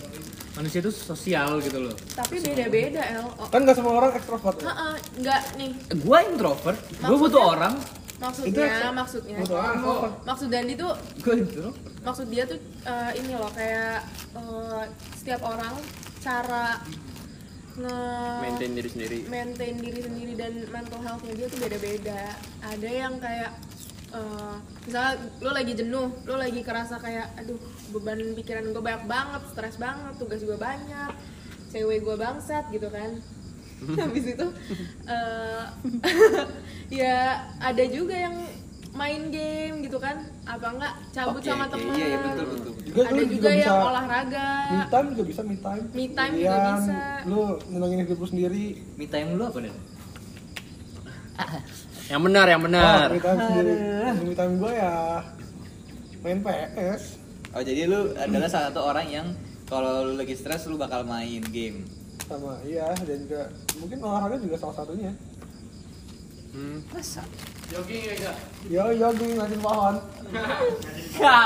Speaker 3: Manusia tuh sosial gitu loh.
Speaker 6: tapi beda beda l oh.
Speaker 2: kan nggak semua orang ekstrovert ya.
Speaker 6: Ha-ha, nggak nih
Speaker 3: Eh, Gua introvert, gua
Speaker 6: Maksudnya?
Speaker 3: butuh orang.
Speaker 2: Itu
Speaker 6: maksudnya
Speaker 2: ekstro-
Speaker 6: maksudnya
Speaker 2: butuh orang ekstrovert.
Speaker 6: maksud Dandi tuh
Speaker 3: Gua introvert.
Speaker 6: maksud dia tuh eh, ini loh kayak eh, setiap orang cara nge
Speaker 4: maintain diri sendiri.
Speaker 6: maintain diri sendiri dan mental healthnya dia tuh beda-beda ada yang kayak eh, misalnya lo lagi jenuh lo lagi kerasa kayak aduh beban pikiran gue banyak banget stres banget tugas gue banyak cewek gue bangsat gitu kan habis itu eh, ya ada juga yang main game gitu kan apa enggak cabut
Speaker 9: Oke,
Speaker 6: sama
Speaker 9: oke,
Speaker 6: teman
Speaker 9: Iya, iya betul betul.
Speaker 2: juga
Speaker 6: ada
Speaker 2: lu
Speaker 6: juga, yang olahraga
Speaker 2: me time juga bisa me time
Speaker 6: Me time juga
Speaker 2: Sendirian,
Speaker 6: bisa.
Speaker 2: lu nyenengin hidup lu sendiri
Speaker 9: Me time lu apa deh?
Speaker 4: Yang benar, yang benar.
Speaker 2: Ah, me time sendiri me time gue ya main PS
Speaker 9: Oh, jadi lu adalah salah satu orang yang kalau lu lagi stres lu bakal main game.
Speaker 2: sama iya dan juga mungkin olahraga juga salah satunya
Speaker 4: Hmm.
Speaker 2: yo yo gue ngajin iya, pohon
Speaker 9: Ya,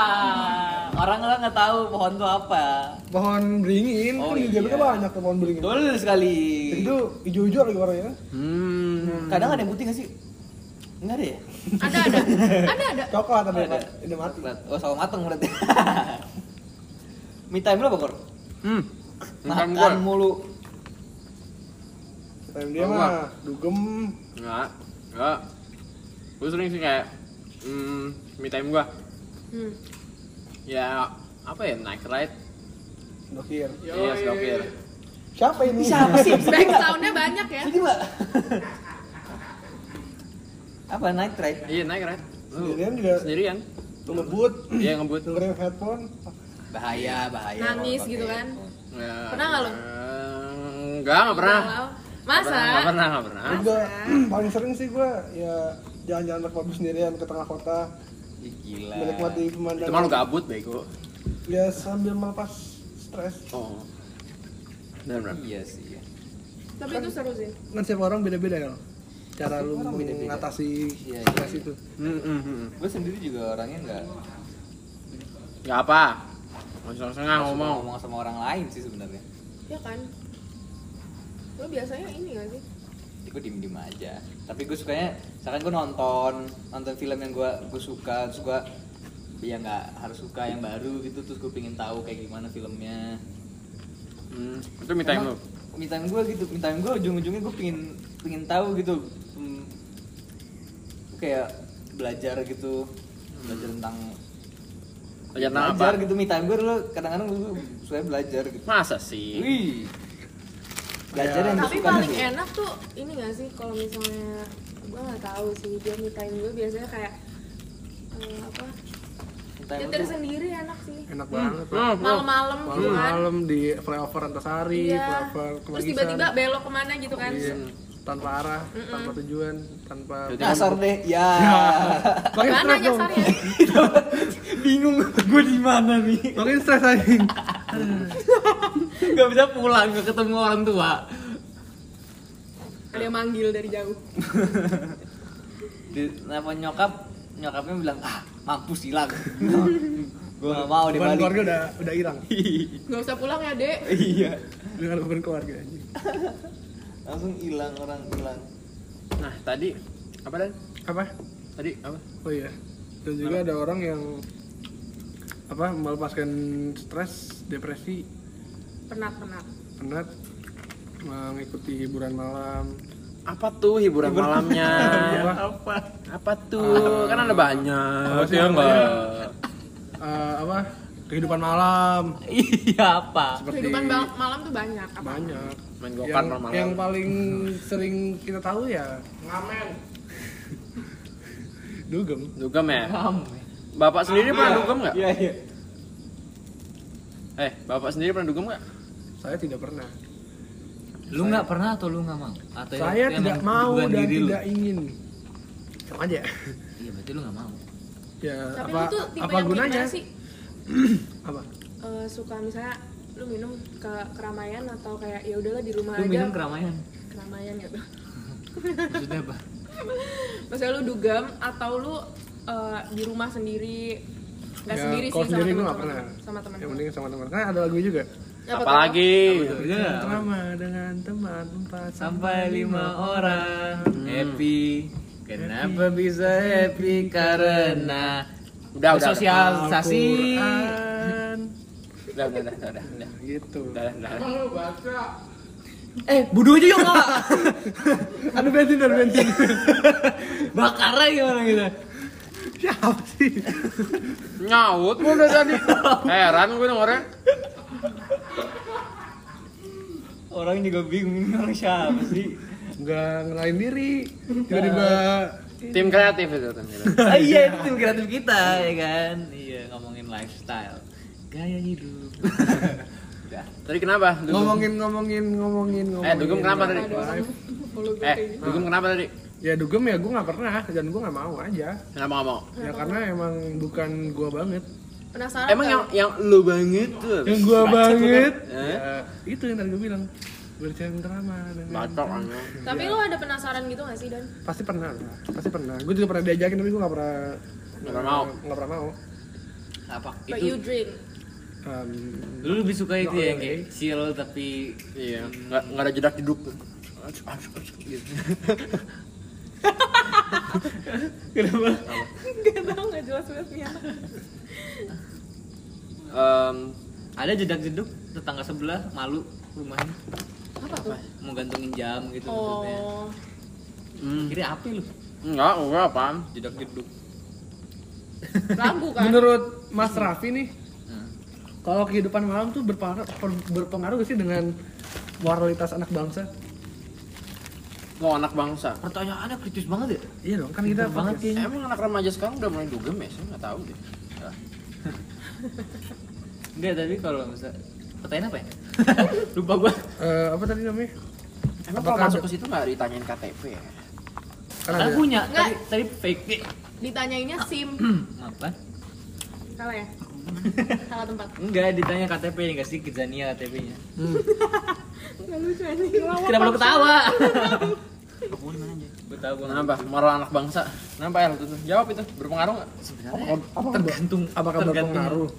Speaker 9: orang orang nggak tahu pohon tuh apa.
Speaker 2: pohon beringin
Speaker 9: Oh,
Speaker 2: kan di
Speaker 9: iya.
Speaker 2: Jakarta banyak tuh pohon beringin
Speaker 9: Betul sekali.
Speaker 2: itu hijau-hijau lagi warnanya kan?
Speaker 4: Hmm.
Speaker 9: Kadang ada yang putih nggak sih? Enggak ada ya?
Speaker 6: ada ada ada Ya. ada
Speaker 2: coklat tapi kan?
Speaker 9: Ada.
Speaker 2: udah mati
Speaker 9: Coklat. Oh, sama mateng berarti. Me time lu apa, Kor?
Speaker 4: Hmm. Bukan
Speaker 1: makan
Speaker 4: gua.
Speaker 1: mulu
Speaker 2: Time dia
Speaker 4: Gua.
Speaker 2: mah dugem.
Speaker 4: Enggak, enggak. Gue sering sih kayak hmm, me time gua.
Speaker 6: Hmm.
Speaker 4: Ya apa ya night ride?
Speaker 2: Dokir.
Speaker 4: Iya, sedokir.
Speaker 2: Siapa ini?
Speaker 6: Back soundnya banyak ya.
Speaker 1: Jadi mbak apa night ride?
Speaker 4: Iya, night ride. Lu
Speaker 2: Sendirian juga.
Speaker 4: sendirian.
Speaker 2: Ngebut.
Speaker 4: Iya, ngebut.
Speaker 2: Dengerin headphone.
Speaker 3: bahaya bahaya
Speaker 6: Iya. Nangis
Speaker 3: kalau
Speaker 6: gitu
Speaker 3: pakai
Speaker 6: kan.
Speaker 3: handphone.
Speaker 4: Ya,
Speaker 6: Pernah nggak lu?
Speaker 4: eh, Enggak, enggak pernah.
Speaker 6: Galau.
Speaker 4: Nggak
Speaker 6: Masa?
Speaker 4: pernah, Nggak pernah, nggak pernah.
Speaker 2: Terus Gua paling sering sih gua ya jalan-jalan naik mobil sendirian ke tengah kota
Speaker 3: Ih, gila
Speaker 2: menikmati
Speaker 4: Itu malu
Speaker 2: pemandangan.
Speaker 4: gabut bego.
Speaker 2: Ya sambil melepas stres.
Speaker 4: Oh. Benar, benar.
Speaker 3: iya sih
Speaker 6: Tapi itu seru sih.
Speaker 2: Kan setiap orang beda-beda ya. Cara lu
Speaker 3: orang beda-beda.
Speaker 2: mengatasi
Speaker 3: Iya,
Speaker 2: stres
Speaker 3: iya.
Speaker 2: itu.
Speaker 4: Hmm, hmm, hmm.
Speaker 3: gue sendiri juga orangnya nggak
Speaker 4: Enggak apa. Mau setengah
Speaker 3: nggak suka
Speaker 4: ngomong.
Speaker 3: ngomong sama orang lain sih sebenarnya
Speaker 6: Ya kan? Lu biasanya ini gak sih?
Speaker 3: Jadi gue diem diem Ya, aja tapi gue sukanya misalkan gue nonton nonton film yang gue gue suka terus gue ya nggak harus suka yang baru gitu terus gue pengen tahu kayak gimana filmnya
Speaker 4: Hmm, itu me time lu.
Speaker 3: minta gue gitu minta gue ujung ujungnya gue pengen pengen tahu gitu Hmm, kayak belajar gitu belajar tentang
Speaker 4: Belajar tentang apa?
Speaker 3: gitu me time gue dulu kadang-kadang gue suka belajar gitu
Speaker 4: Masa
Speaker 5: Iya.
Speaker 4: sih?
Speaker 3: wih
Speaker 2: Iya,
Speaker 3: belajar yang gue
Speaker 6: Tapi
Speaker 3: suka
Speaker 6: paling
Speaker 3: gitu.
Speaker 6: enak tuh ini gak sih kalau misalnya gue nggak tahu sih dia me time gue biasanya kayak eh, apa?
Speaker 3: Me time
Speaker 6: Nyetir
Speaker 3: gue tuh-
Speaker 6: sendiri enak sih.
Speaker 2: Enak banget. Pak.
Speaker 4: Hmm, hmm.
Speaker 6: Malam-malam gitu kan.
Speaker 2: Malam-malam di flyover Antasari,
Speaker 6: Iya.
Speaker 2: flyover
Speaker 6: Terus
Speaker 2: Kemangisan.
Speaker 6: tiba-tiba belok kemana gitu kan?
Speaker 2: Iya. tanpa arah, tanpa tujuan, tanpa
Speaker 5: kan-
Speaker 3: Nyasar deh, ya.
Speaker 2: Makin
Speaker 6: Mana
Speaker 2: stres dong.
Speaker 6: nyasarnya?
Speaker 3: Bingung, gue di mana nih?
Speaker 2: Makin stres anjing.
Speaker 5: Gak bisa pulang, gak ketemu orang tua.
Speaker 6: Ada yang manggil dari jauh.
Speaker 3: Di, apa nyokap? Nyokapnya bilang, ah, mampus hilang. gue gak mau
Speaker 2: Beban keluarga
Speaker 3: dibalik.
Speaker 2: udah udah hilang.
Speaker 6: Gak usah pulang ya, Dek.
Speaker 3: Iya,
Speaker 2: Dengan beban keluarga anjing.
Speaker 3: langsung hilang orang hilang.
Speaker 4: Nah, tadi apa dan?
Speaker 2: Apa?
Speaker 4: Tadi apa?
Speaker 2: Oh iya. Dan juga ada orang yang apa melepaskan stres, depresi,
Speaker 6: Penat-penat.
Speaker 2: penat mengikuti hiburan malam.
Speaker 4: Apa tuh hiburan malamnya? iya.
Speaker 2: Apa?
Speaker 4: Apa tuh? Kan ada banyak.
Speaker 2: Apa sih yang banyak? Eh, apa? Kehidupan malam
Speaker 5: Iya apa?
Speaker 2: seperti
Speaker 6: Kehidupan bal- malam tuh banyak. Apa?
Speaker 2: banyak.
Speaker 4: Main
Speaker 2: Yang,
Speaker 4: gokar malam.
Speaker 2: yang paling sering kita tahu ya ngamen. Dugem.
Speaker 4: dugem ya? Bapak sendiri pernah dugem nggak?
Speaker 3: Iya, iya.
Speaker 4: Eh, bapak sendiri pernah dugem nggak?
Speaker 2: Saya tidak pernah.
Speaker 5: Lu nggak pernah atau lu nggak mau? Atau
Speaker 2: Saya
Speaker 5: yang-
Speaker 2: tidak
Speaker 5: yang
Speaker 2: mau
Speaker 5: bukan
Speaker 2: dan
Speaker 5: diri lu?
Speaker 2: tidak ingin. Sama aja.
Speaker 5: Iya berarti lu nggak mau.
Speaker 2: Ya,
Speaker 6: Tapi
Speaker 2: apa
Speaker 6: lu tuh
Speaker 2: apa
Speaker 6: tipe yang kayak
Speaker 2: gunanya?
Speaker 6: gimana sih?
Speaker 2: Apa?
Speaker 6: Eh, suka misalnya lu minum ke keramaian atau kayak ya udahlah di rumah
Speaker 5: Lu
Speaker 6: aja
Speaker 5: minum keramaian.
Speaker 6: keramaian gitu.
Speaker 5: Maksudnya apa?
Speaker 6: Maksudnya lu dugem atau lu eh, di rumah sendiri nggak
Speaker 2: Ya,
Speaker 6: sendiri sih
Speaker 2: kalau sendiri gue
Speaker 6: sama
Speaker 2: nggak
Speaker 6: teman-teman. Ya,
Speaker 2: pernah.
Speaker 6: Sama teman.
Speaker 2: Yang penting sama teman. Kan ada lagu juga.
Speaker 4: Apalagi
Speaker 2: Iya. Lama dengan teman empat
Speaker 5: Iya. Sampai lima orang
Speaker 4: Hmm.
Speaker 5: happy. Kenapa bisa happy? Karena
Speaker 4: Udah, Ya, udah,
Speaker 5: sosialisasi.
Speaker 2: Al-Quran.
Speaker 4: udah, udah, udah, udah, udah, udah,
Speaker 2: Gitu.
Speaker 4: udah, udah, udah.
Speaker 5: Eh, bodoh aja yuk kak.
Speaker 2: Aduh bensin, aduh bensin.
Speaker 5: Bakar aja orang gitu.
Speaker 2: Siapa sih?
Speaker 4: Nyaut gua udah tadi. Heran gue dengernya.
Speaker 3: Orang juga bingung ini orang siapa sih?
Speaker 2: Enggak ngelain diri.
Speaker 5: Iya.
Speaker 2: Tiba-tiba
Speaker 4: Tim kreatif itu tim kreatif.
Speaker 5: Ah, iya, itu tim kreatif kita ya kan. Iya, ngomongin lifestyle. Gaya hidup.
Speaker 4: Tadi kenapa? Dugem?
Speaker 2: ngomongin ngomongin ngomongin ngomongin.
Speaker 4: Eh, dugem kenapa tadi?
Speaker 2: live.
Speaker 6: Kalau gue
Speaker 4: Eh,
Speaker 6: kayak gitu.
Speaker 4: dugem kenapa tadi?
Speaker 2: Ya dugem ya gue nggak pernah dan gue nggak mau aja.
Speaker 4: Kenapa nggak mau?
Speaker 2: Ya karena emang bukan gua banget.
Speaker 6: Penasaran
Speaker 4: Emang
Speaker 6: nggak
Speaker 4: yang yang lu banget tuh.
Speaker 2: Yang gua banget.
Speaker 4: Eh?
Speaker 2: Ya, itu yang tadi gua bilang. Bercengkrama dengan
Speaker 4: Bacok anjing.
Speaker 6: Tapi
Speaker 2: Iya.
Speaker 6: lu ada penasaran gitu gak sih Dan?
Speaker 2: Pasti pernah lah, pasti pernah. Gua juga pernah diajakin tapi gua nggak pernah
Speaker 4: Nggak pernah mau.
Speaker 2: Nggak pernah mau.
Speaker 5: Apa
Speaker 6: But you
Speaker 5: itu?
Speaker 6: drink.
Speaker 2: Um,
Speaker 5: Lu lebih suka itu
Speaker 2: No,
Speaker 5: ya,
Speaker 2: no,
Speaker 5: kayak
Speaker 2: no.
Speaker 5: chill tapi
Speaker 4: Iya, nggak nggak ada jedak jeduk. Gitu.
Speaker 6: Gak tau gak jelas banget nih anak.
Speaker 4: Em,
Speaker 5: ada jedak jeduk
Speaker 3: tetangga sebelah malu rumahnya
Speaker 6: apa tuh
Speaker 3: mau gantungin jam gitu maksudnya.
Speaker 6: oh
Speaker 4: hmm.
Speaker 3: Kira api lu.
Speaker 4: Enggak, enggak apaan? Jedak jeduk.
Speaker 6: lampu kan
Speaker 2: Menurut Mas
Speaker 4: Hmm.
Speaker 2: Raffi nih, kalau kehidupan malam tuh berpengaruh, per- berpengaruh gak sih dengan moralitas anak bangsa?
Speaker 4: Mau anak bangsa.
Speaker 3: Pertanyaannya kritis banget ya.
Speaker 2: Iya dong, kan kita
Speaker 3: Bener banget
Speaker 2: podcast.
Speaker 3: kayaknya.
Speaker 4: Emang anak remaja sekarang udah mulai dugem ya? Saya nggak tahu deh. Ah.
Speaker 3: Enggak, tapi kalau misal pertanyaan apa ya? Lupa gua.
Speaker 2: Eh, apa tadi namanya?
Speaker 4: Emang
Speaker 2: Apakah
Speaker 4: kalau masuk
Speaker 2: ada-
Speaker 4: ke situ nggak ditanyain KTP ya?
Speaker 2: Kan
Speaker 3: Kan
Speaker 2: ada-
Speaker 3: punya.
Speaker 6: Nggak.
Speaker 3: Tadi tadi fake. Eh,
Speaker 6: ditanyainnya sim
Speaker 3: Apa?
Speaker 6: salah ya salah tempat
Speaker 3: Enggak, ditanya KTP nih kasih Kizania KTP-nya.
Speaker 6: nggak lucu aja
Speaker 3: Kenapa lu ketawa? Gue tahu gua
Speaker 4: Kenapa? Moral anak bangsa. Kenapa ya? Tuh, tuh. Jawab itu. Berpengaruh nggak?
Speaker 3: sebenarnya
Speaker 2: Apa- apa-
Speaker 3: tergantung
Speaker 2: apakah
Speaker 3: tergantung
Speaker 2: berpengaruh?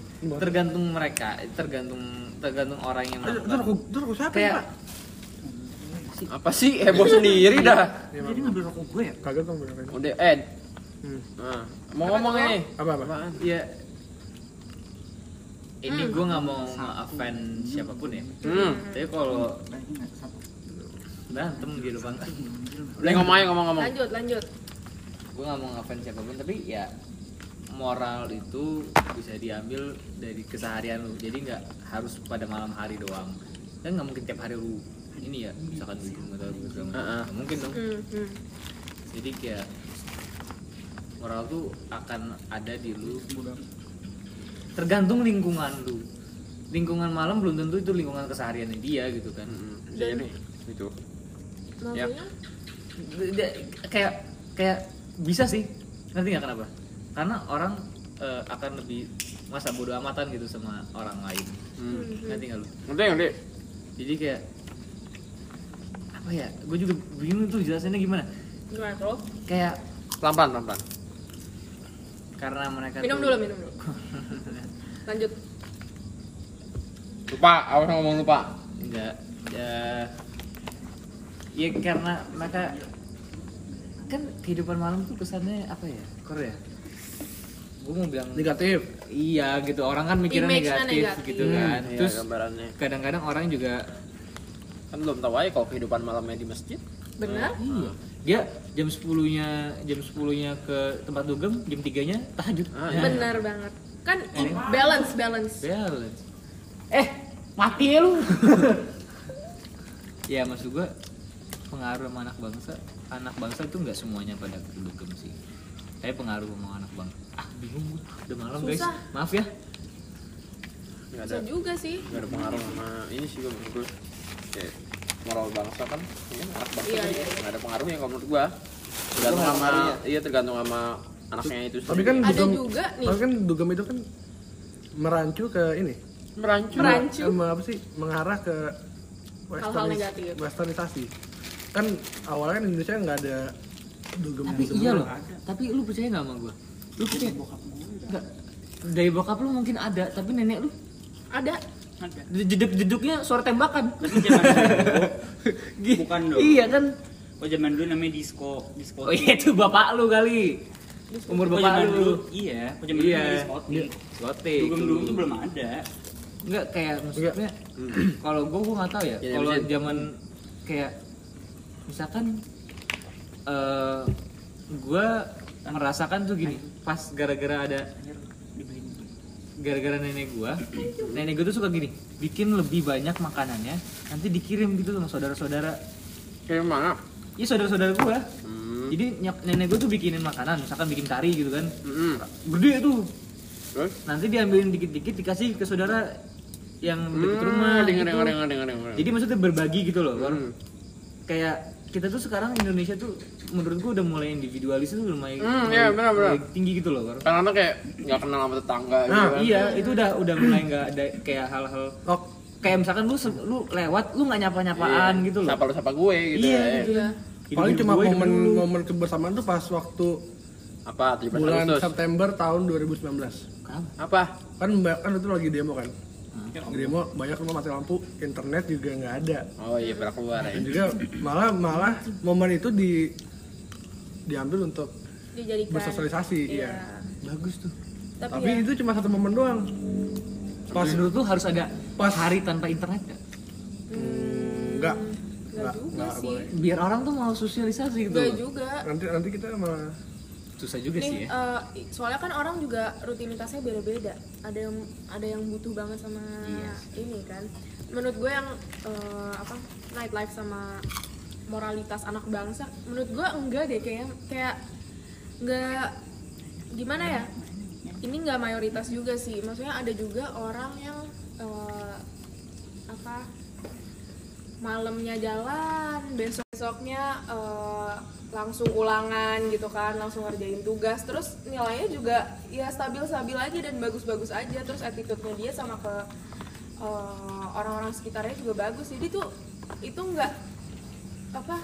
Speaker 3: tergantung mereka tergantung tergantung orang yang
Speaker 2: Aduh,
Speaker 3: melakukan.
Speaker 2: Ntar aku, ntar aku siapa
Speaker 3: kayak
Speaker 2: ya, Pak?
Speaker 4: Apa sih? Heboh sendiri dah.
Speaker 3: jadi ngambil rokok gue ya
Speaker 2: Kagak Iya, dong beneran.
Speaker 4: Udah, Ed.
Speaker 2: Hmm.
Speaker 4: Nah, mau ngomong nih.
Speaker 2: Apa-apa?
Speaker 4: Apaan?
Speaker 3: Iya. Ini gue nggak mau nge-offend siapapun ya.
Speaker 4: Hmm.
Speaker 3: Tapi kalau berantem gitu, di depan
Speaker 4: Udah ngomong aja ngomong-ngomong.
Speaker 6: lanjut lanjut
Speaker 3: gue nggak mau nge-offend siapapun tapi ya moral itu bisa diambil dari keseharian lu jadi nggak harus pada malam hari doang kan nggak mungkin tiap hari lu ini ya misalkan dulu atau gitu
Speaker 4: Heeh.
Speaker 3: nggak mungkin dong
Speaker 6: hmm, hmm.
Speaker 3: jadi kayak moral tuh akan ada di lu tergantung lingkungan lu lingkungan malam belum tentu itu lingkungan kesehariannya dia gitu kan
Speaker 4: Hmm, Jadi nih, itu.
Speaker 6: maksudnya
Speaker 3: Dia- kayak kayak bisa sih nanti nggak kenapa karena orang eh, akan lebih masa bodoh amatan gitu sama orang lain
Speaker 4: Hmm.
Speaker 3: nanti nggak lu
Speaker 4: Udah, udah.
Speaker 3: jadi kayak apa ya gue juga bingung tuh jelasinnya gimana
Speaker 6: gimana bro
Speaker 3: kayak
Speaker 4: Pelan-pelan, pelan-pelan.
Speaker 3: karena mereka
Speaker 6: minum
Speaker 3: tuh-
Speaker 6: dulu minum dulu lanjut
Speaker 4: Lupa, awas ngomong lupa. Hmm,
Speaker 3: enggak ya ya karena maka kan kehidupan malam tuh kesannya apa ya Korea gue mau bilang
Speaker 2: Negatif.
Speaker 3: iya gitu orang kan mikirnya
Speaker 6: Image-nya
Speaker 3: negatif,
Speaker 6: negatif.
Speaker 3: gitu kan
Speaker 4: Iya,
Speaker 3: terus
Speaker 4: gambarannya.
Speaker 3: kadang-kadang orang juga
Speaker 4: Kan belum tahu aja kalau kehidupan malamnya di masjid.
Speaker 6: benar
Speaker 3: iya dia jam 10-nya jam 10-nya ke tempat dugem jam 3-nya tahajud
Speaker 4: Ah,
Speaker 3: Nah,
Speaker 6: benar banget kan i- balance balance
Speaker 3: balance eh mati ya lu ya maksud gua pengaruh sama anak bangsa anak bangsa itu nggak semuanya pada ke dugem sih tapi pengaruh sama anak bangsa ah bingung gua udah malam guys
Speaker 6: Susah.
Speaker 3: maaf ya
Speaker 4: Nggak ada,
Speaker 6: bisa juga sih
Speaker 4: nggak ada pengaruh sama ini sih gue menurut gue. Kayak moral bangsa kan, ya, anak bangsa
Speaker 6: Iya,
Speaker 4: kan
Speaker 6: iya,
Speaker 4: nggak ada pengaruhnya kalau menurut gua. Tergantung
Speaker 10: Nggak ada
Speaker 4: sama,
Speaker 10: pengaruhnya.
Speaker 4: iya tergantung sama anaknya itu
Speaker 2: Tapi kan
Speaker 6: Ada
Speaker 2: dugem,
Speaker 6: juga nih.
Speaker 2: Tapi kan dugem itu kan merancu ke ini.
Speaker 4: merancu.
Speaker 6: Merancu.
Speaker 2: Em, apa sih? Mengarah ke
Speaker 6: Hal-hal negatif.
Speaker 2: westernisasi. Kan awalnya kan Indonesia nggak ada dugem
Speaker 3: tapi
Speaker 2: dugem
Speaker 3: iya
Speaker 2: yang
Speaker 3: loh
Speaker 2: ada.
Speaker 3: tapi lu percaya nggak sama gua lu percaya Nggak. dari bokap lu mungkin ada tapi nenek lu
Speaker 6: ada
Speaker 3: jeduk-jeduknya suara tembakan
Speaker 7: Tapi zaman dulu,
Speaker 3: Gi-
Speaker 7: Bukan dong.
Speaker 3: iya kan
Speaker 7: oh zaman dulu namanya disco, disco.
Speaker 3: oh iya itu bapak lu kali umur
Speaker 7: Oh,
Speaker 3: bapak
Speaker 7: zaman dulu,
Speaker 3: lu
Speaker 7: iya. Oh, zaman dulu
Speaker 3: iya
Speaker 7: namanya diskotik.
Speaker 3: diskotik
Speaker 7: Dugem dulu tuh belum ada.
Speaker 3: enggak kayak maksudnya kalau gua gua nggak tahu ya
Speaker 4: Iya,
Speaker 3: kalau
Speaker 4: iya.
Speaker 3: zaman kayak misalkan eh gua merasakan tuh gini pas gara-gara ada gara-gara nenek gua nenek gua tuh suka gini bikin lebih banyak makanannya nanti dikirim gitu sama saudara-saudara
Speaker 4: Kayak mana?
Speaker 3: Iya saudara-saudara gua.
Speaker 4: Hmm.
Speaker 3: Jadi nyok- nenek gua tuh bikinin makanan, misalkan bikin kari gitu kan.
Speaker 4: Mm-mm.
Speaker 3: Gede tuh.
Speaker 4: Terus?
Speaker 3: Nanti diambilin dikit-dikit dikasih ke saudara yang deket rumah.
Speaker 4: Hmm, dengar
Speaker 3: gitu.
Speaker 4: dengar dengar dengar dengar.
Speaker 3: Jadi maksudnya berbagi gitu loh. Bor.
Speaker 4: Hmm.
Speaker 3: Kayak kita tuh sekarang Indonesia tuh menurut gua udah mulai individualis itu lumayan,
Speaker 4: Hmm,
Speaker 3: mulai-
Speaker 4: iya, benar, benar.
Speaker 3: mulai tinggi gitu loh. Bor.
Speaker 4: Karena kayak nggak kenal sama tetangga gitu
Speaker 2: Nah,
Speaker 4: kan.
Speaker 3: Iya, itu udah udah mulai nggak ada kayak hal-hal
Speaker 2: Oh,
Speaker 3: kayak misalkan lu se- lu lewat lu nggak nyapa-nyapaan
Speaker 4: Iya.
Speaker 3: gitu loh.
Speaker 4: Siapa lu siapa gue gitu.
Speaker 3: Iya,
Speaker 4: ya.
Speaker 3: gitu. Hidup
Speaker 2: paling
Speaker 3: hidup
Speaker 2: cuma
Speaker 3: gua, hidup lu.
Speaker 2: momen-momen kebersamaan tuh pas waktu
Speaker 4: Apa 17
Speaker 2: bulan
Speaker 4: Agustus?
Speaker 2: September tahun 2019.
Speaker 3: Kenapa?
Speaker 4: Apa?
Speaker 2: Kan ba- kan itu lagi demo kan. Demo banyak rumah mati lampu, internet juga nggak ada.
Speaker 4: Oh iya, pernah keluar ya.
Speaker 2: Dan juga malah malah momen itu di diambil untuk
Speaker 6: dijadikan
Speaker 2: bersosialisasi
Speaker 6: Iya.
Speaker 2: iya.
Speaker 3: Bagus tuh.
Speaker 6: tapi,
Speaker 2: Tapi
Speaker 6: ya,
Speaker 2: itu cuma satu momen doang.
Speaker 3: Pas dulu tuh harus ada
Speaker 2: pas
Speaker 5: hari tanpa internet nggak?
Speaker 2: enggak
Speaker 6: Enggak hmm, juga
Speaker 2: enggak
Speaker 6: sih.
Speaker 2: boleh
Speaker 5: biar orang tuh mau sosialisasi gitu
Speaker 4: Iya
Speaker 6: Enggak
Speaker 5: loh.
Speaker 6: juga.
Speaker 2: nanti nanti kita malah
Speaker 5: susah juga
Speaker 6: Nih,
Speaker 5: sih ya
Speaker 6: eh, soalnya kan orang juga rutinitasnya beda-beda. Ada yang ada yang butuh banget sama
Speaker 5: Iya.
Speaker 6: ini kan. Menurut gue yang eh, apa nightlife sama moralitas anak bangsa, menurut gue enggak deh kayak kayak enggak gimana ya? Ini enggak mayoritas juga sih. Maksudnya ada juga orang yang eh, apa malamnya jalan besok besoknya langsung ulangan gitu kan langsung ngerjain tugas terus nilainya juga ya stabil stabil aja dan bagus bagus aja terus attitude-nya dia sama ke eh, orang-orang sekitarnya juga bagus jadi tuh itu nggak apa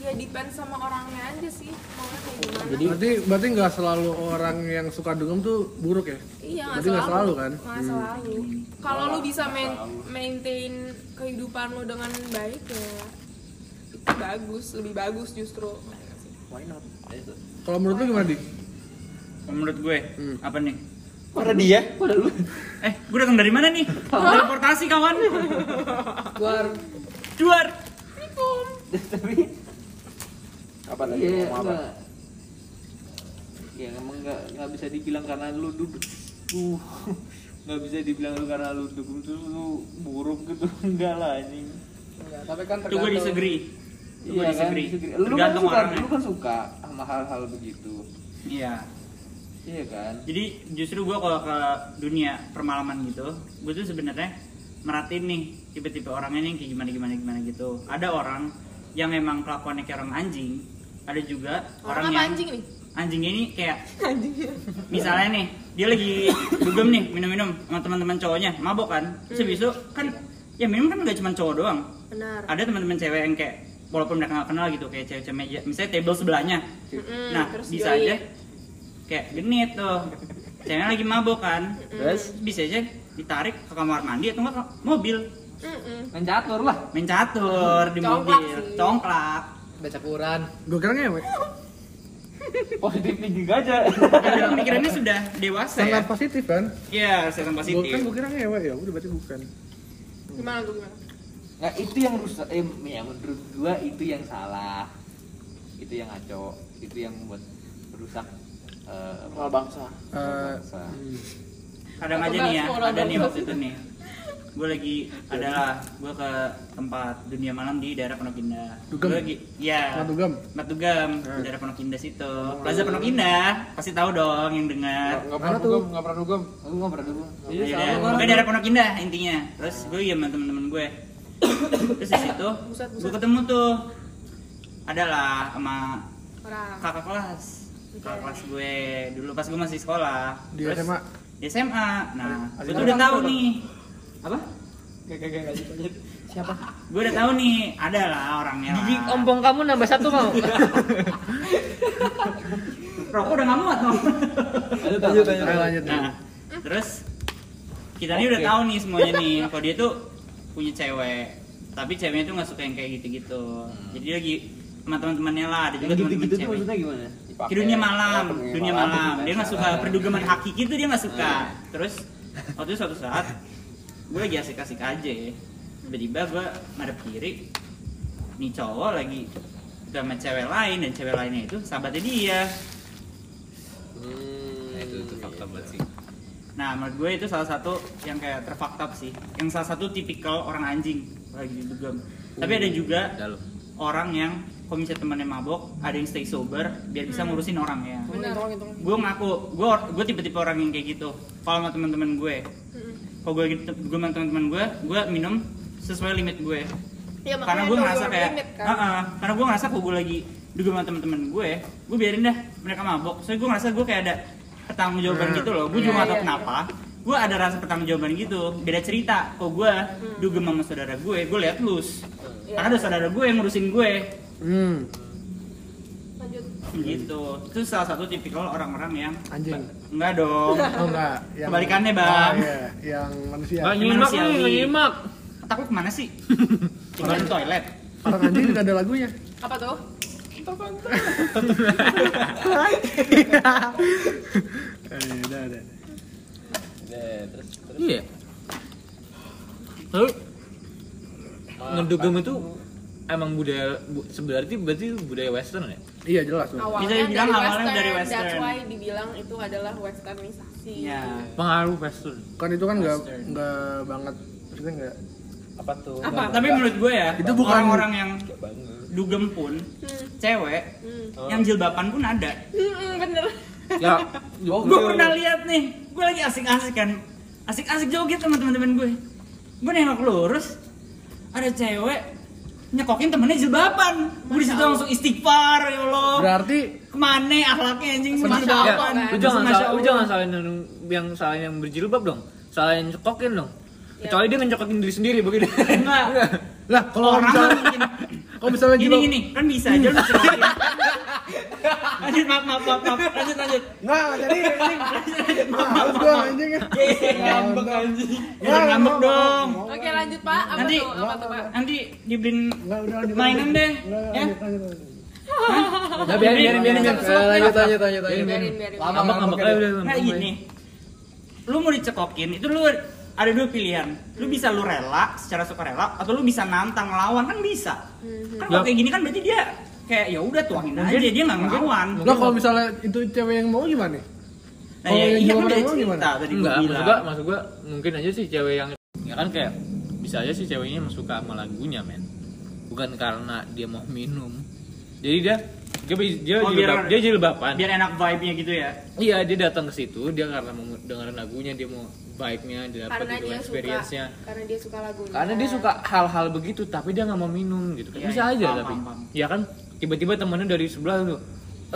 Speaker 6: ya depend sama orangnya aja sih maunya kayak gimana
Speaker 2: berarti berarti nggak selalu orang yang suka dugem tuh buruk ya
Speaker 6: Iya, nggak
Speaker 2: berarti nggak selalu kan
Speaker 6: Nggak selalu. Kalau lu bisa main, maintain kehidupan lu dengan baik ya itu bagus, lebih bagus justru.
Speaker 2: kalau menurut lu gimana di
Speaker 7: Kalau menurut gue,
Speaker 3: Hmm.
Speaker 7: apa nih?
Speaker 1: Pada dia, pada lu.
Speaker 7: Eh, gue datang dari mana nih? Teleportasi kawan.
Speaker 1: Luar.
Speaker 7: Duar.
Speaker 1: Tapi
Speaker 4: Apa tadi?
Speaker 1: iya,
Speaker 4: Ngomong apa?
Speaker 1: enggak. Ya emang enggak enggak bisa dibilang karena lu duduk. Uh, enggak bisa dibilang lu karena lu dugem tuh lu buruk gitu enggak lah anjing.
Speaker 3: Enggak, tapi kan
Speaker 7: Itu gue
Speaker 3: tergantung
Speaker 7: disagree. Itu gue
Speaker 1: Iya kan,
Speaker 7: disagree.
Speaker 1: disagree. Lu kan
Speaker 7: Tergantung
Speaker 1: suka,
Speaker 7: orangnya.
Speaker 1: lu kan suka sama hal-hal begitu.
Speaker 7: Iya.
Speaker 1: Iya kan?
Speaker 7: Jadi justru gue kalau ke dunia permalaman gitu, gue tuh sebenarnya meratin nih tipe-tipe orangnya nih kayak gimana gimana gimana gitu. Ada orang yang emang kelakuannya kayak orang anjing, ada juga orang,
Speaker 6: Orang apa
Speaker 7: yang
Speaker 6: anjing iya. nih?
Speaker 7: anjing ini kayak misalnya nih dia lagi dugem nih minum-minum sama teman-teman cowoknya mabok kan terus habis itu kan ya minum kan gak cuma cowok doang
Speaker 6: Benar.
Speaker 7: ada teman-teman cewek yang kayak walaupun mereka nggak kenal gitu kayak cewek-cewek meja misalnya table sebelahnya
Speaker 6: Mm-mm,
Speaker 7: nah
Speaker 6: terus
Speaker 7: bisa
Speaker 6: join.
Speaker 7: aja kayak genit tuh ceweknya lagi mabok kan terus bisa aja ditarik ke kamar mandi atau nggak ke mobil
Speaker 6: Mm-mm.
Speaker 3: main catur lah
Speaker 7: mencatur di
Speaker 6: Congklak
Speaker 7: mobil
Speaker 6: sih.
Speaker 7: congklak
Speaker 3: baca Quran
Speaker 2: gue kira ngewe
Speaker 6: ya?
Speaker 1: Positif tinggi aja.
Speaker 7: karena pemikirannya sudah dewasa ya
Speaker 2: sangat positif kan
Speaker 7: Iya, saya
Speaker 2: gue
Speaker 7: positif.
Speaker 2: kan gue kira ngewe ya udah berarti bukan
Speaker 6: Gimana tuh gimana?
Speaker 1: Nah itu yang rusak, eh, ya menurut gua itu yang salah, itu yang ngaco, itu yang buat rusak eh,
Speaker 3: Soal bangsa.
Speaker 2: Eh,
Speaker 1: bangsa.
Speaker 7: kadang aja nih ya ada nih waktu itu nih gue lagi adalah gue ke tempat dunia malam di daerah Pondok Indah
Speaker 2: Dugem?
Speaker 7: gue lagi ya
Speaker 2: Tempat dugem?
Speaker 7: tempat dugem di daerah Pondok Indah situ plaza Pondok Indah pasti tahu dong yang dengar
Speaker 4: Enggak pernah dugem, enggak pernah dugem.
Speaker 1: Aku nggak pernah dulu.
Speaker 7: Iya, pokoknya daerah Pondok Indah intinya. Terus gue iya sama temen-temen gue. Terus di situ
Speaker 6: Buset, buset.
Speaker 7: gue ketemu tuh adalah sama
Speaker 6: Orang.
Speaker 7: kakak kelas. Kakak kelas gue dulu pas gue masih sekolah.
Speaker 2: Di
Speaker 7: Terus-
Speaker 2: SMA?
Speaker 7: Di SMA. Nah,
Speaker 2: Ada-
Speaker 7: gue
Speaker 2: ada
Speaker 7: tuh udah
Speaker 2: orang
Speaker 7: tahu nih.
Speaker 3: Apa? Gak gak gak gak lanjut. Siapa?
Speaker 7: Gue udah tahu nih ada lah orangnya. lah.
Speaker 5: gigi ompong kamu nambah satu mau
Speaker 7: Rokok udah nggak muat dong.
Speaker 3: Lanjut
Speaker 2: ayo lanjut
Speaker 1: Hmm.
Speaker 7: Nah, terus kita nih udah tahu nih semuanya nih kalau dia tuh punya cewek, tapi ceweknya tuh nggak suka yang kayak gitu-gitu. Jadi dia lagi sama teman-temannya lah, ada
Speaker 1: Hmm. Yang
Speaker 7: juga teman-teman
Speaker 1: gitu-gitu tuh
Speaker 7: cewek.
Speaker 1: maksudnya gimana?
Speaker 4: Dipakai.
Speaker 7: Di dunia malam,
Speaker 4: Oh, dunia
Speaker 7: dunia
Speaker 4: malam,
Speaker 7: malam.
Speaker 4: dunia
Speaker 7: Dia nggak suka
Speaker 4: malam.
Speaker 7: perdugaman haki gitu dia nggak
Speaker 1: Hmm.
Speaker 7: suka. Terus waktu itu suatu saat gue lagi asik-asik aja, ya. tiba-tiba gue madep kiri, nih cowok lagi sama cewek lain dan cewek lainnya itu sahabatnya dia.
Speaker 4: Hmm,
Speaker 3: Itu itu fakta banget sih.
Speaker 7: Nah, menurut gue itu salah satu yang kayak terfucked up sih. Yang salah satu tipikal orang anjing lagi di dugem. Tapi ada juga
Speaker 3: Dalam.
Speaker 7: orang yang kalau misalnya temannya mabok, ada yang stay sober biar bisa ngurusin orangnya.
Speaker 6: Benar. gitu.
Speaker 7: Gue ngaku, gue or- gue tipe-tipe orang yang kayak gitu. Kalau sama teman-teman gue,
Speaker 6: Mm-mm.
Speaker 7: kalau gue gitu, gue sama teman-teman gue, gue minum sesuai limit gue.
Speaker 6: Ya,
Speaker 7: karena
Speaker 6: makanya
Speaker 7: gue
Speaker 6: no
Speaker 7: ngerasa
Speaker 6: your
Speaker 7: kayak,
Speaker 6: limit, kan?
Speaker 7: Heeh, karena gue ngerasa kalau gue lagi dugem sama teman-teman gue, gue biarin dah mereka mabok. Soalnya gue ngerasa gue kayak ada pertanggung
Speaker 2: Hmm.
Speaker 7: jawaban gitu loh. Gue juga
Speaker 6: Iya,
Speaker 7: nggak tahu
Speaker 6: iya,
Speaker 7: kenapa. Gue ada rasa pertanggung jawaban gitu. Beda cerita. Kalau gue dugem sama saudara gue, gue lihat lus.
Speaker 6: Iya.
Speaker 7: Karena ada saudara gue yang ngurusin ya. gue
Speaker 2: hmm
Speaker 6: Lanjut.
Speaker 7: gitu. Itu salah satu tipikal orang-orang yang
Speaker 2: anjing
Speaker 7: enggak dong.
Speaker 2: oh enggak yang-
Speaker 7: Kebalikannya, Bang.
Speaker 2: Oh, iya. yang manusia
Speaker 5: Nggak nyimak
Speaker 7: Manusiawi.
Speaker 5: nih, nggak nyimak
Speaker 7: Otak lu kemana sih? Tinggal di toilet.
Speaker 2: orang anjing juga ada lagunya
Speaker 6: Apa tuh?
Speaker 2: eh, udah, udah.
Speaker 3: Iya. Lalu ngedugem itu emang budaya bu, sebenarnya berarti budaya western ya?
Speaker 2: Iya jelas. Bang.
Speaker 6: awalnya
Speaker 7: Bisa dibilang
Speaker 6: dari
Speaker 7: awalnya
Speaker 6: western,
Speaker 7: dari
Speaker 6: that's
Speaker 7: western.
Speaker 6: why dibilang itu adalah westernisasi
Speaker 7: ya
Speaker 3: Pengaruh western.
Speaker 2: Kan itu kan nggak
Speaker 7: Western.
Speaker 2: nggak banget maksudnya nggak
Speaker 11: apa tuh
Speaker 6: Apa?
Speaker 7: tapi menurut gue ya
Speaker 2: Itu bukan-
Speaker 7: orang-orang yang dugem pun
Speaker 6: hmm.
Speaker 7: cewek
Speaker 6: Hmm.
Speaker 7: yang jilbaban pun ada
Speaker 6: Hmm, hmm, bener
Speaker 3: Ya,
Speaker 7: Oh, gue pernah lihat nih, gue lagi asik-asik kan, asik-asik joget sama teman-teman gue. Gue nengok lurus, ada cewek nyekokin temennya jilbaban. Gue disitu langsung istighfar, ya Allah.
Speaker 2: berarti
Speaker 7: Kemana akhlaknya anjing sama
Speaker 6: Masya Allah,
Speaker 7: jilbaban?
Speaker 6: kan?
Speaker 3: Ya, lu
Speaker 7: Terus
Speaker 3: jangan
Speaker 7: Masya
Speaker 3: salah, lu
Speaker 7: Allah.
Speaker 3: jangan salahin yang, yang salahin yang berjilbab dong. Salahin cekokin dong.
Speaker 6: Ya.
Speaker 3: Kecuali dia ngecokokin diri sendiri begitu.
Speaker 7: Enggak.
Speaker 2: lah kalau
Speaker 7: Orang
Speaker 2: misalnya
Speaker 7: mungkin
Speaker 2: kalau misalnya
Speaker 7: gini
Speaker 2: jilbab-
Speaker 7: gini kan bisa aja lu cekokin. Lanjut maaf maaf maaf maaf lanjut lanjut.
Speaker 2: nggak jadi anjing males gua anjing
Speaker 7: Iya,
Speaker 2: ya
Speaker 7: Ngambek anjing. Ya
Speaker 2: Wah,
Speaker 7: ngambek
Speaker 2: mau,
Speaker 7: dong.
Speaker 2: mau,
Speaker 6: oke lanjut pak apa
Speaker 7: Nanti-
Speaker 6: tuh apa tuh pak
Speaker 7: Nanti dibeliin
Speaker 2: nggak udah lanjut,
Speaker 7: mainan
Speaker 2: lanjut.
Speaker 7: deh,
Speaker 2: Nggak,
Speaker 7: ya.
Speaker 2: lanjut, lanjut, lanjut. Nah,
Speaker 3: Udah biarin biarin biarin. biarin.
Speaker 2: Eh, lanjut lanjut lanjut lanjut
Speaker 6: biarin biarin
Speaker 3: Lama ngambek aja udah.
Speaker 7: Nah
Speaker 3: ngambek aja.
Speaker 7: gini, lu mau dicekokin itu lu ada dua pilihan. Lu bisa lu rela secara sukarela atau lu bisa nantang lawan kan bisa. Kan kalau
Speaker 3: Ya.
Speaker 7: kayak gini kan berarti dia kayak ya udah tuangin aja dia nggak ngelawan.
Speaker 2: lah kalau misalnya itu cewek yang mau gimana nih
Speaker 7: Nah ya
Speaker 2: kalau yang
Speaker 7: iya kan
Speaker 2: gimana
Speaker 7: udah
Speaker 2: mau
Speaker 7: cerita
Speaker 2: gimana?
Speaker 7: tadi gue
Speaker 3: Enggak, maksud gua,
Speaker 7: bilang.
Speaker 3: maksud gua mungkin aja sih cewek yang ya kan kayak bisa aja sih ceweknya emang suka sama lagunya, men. Bukan karena dia mau minum. Jadi dia dia dia
Speaker 7: Oh,
Speaker 3: jilbab,
Speaker 7: biar-
Speaker 3: dia jilbaban.
Speaker 7: Biar enak vibe-nya gitu ya.
Speaker 3: Iya, dia datang ke situ, dia karena mau dengerin lagunya, dia mau vibe-nya, dia dapat
Speaker 6: karena
Speaker 3: gitu
Speaker 6: dia suka
Speaker 3: experience-nya.
Speaker 6: karena dia suka lagunya
Speaker 3: Karena dia suka hal-hal begitu, tapi dia nggak mau minum gitu. kan.
Speaker 7: Iya,
Speaker 3: Bisa
Speaker 7: iya,
Speaker 3: aja
Speaker 7: paham,
Speaker 3: tapi.
Speaker 7: paham, paham.
Speaker 3: Ya kan tiba-tiba temennya dari sebelah tuh.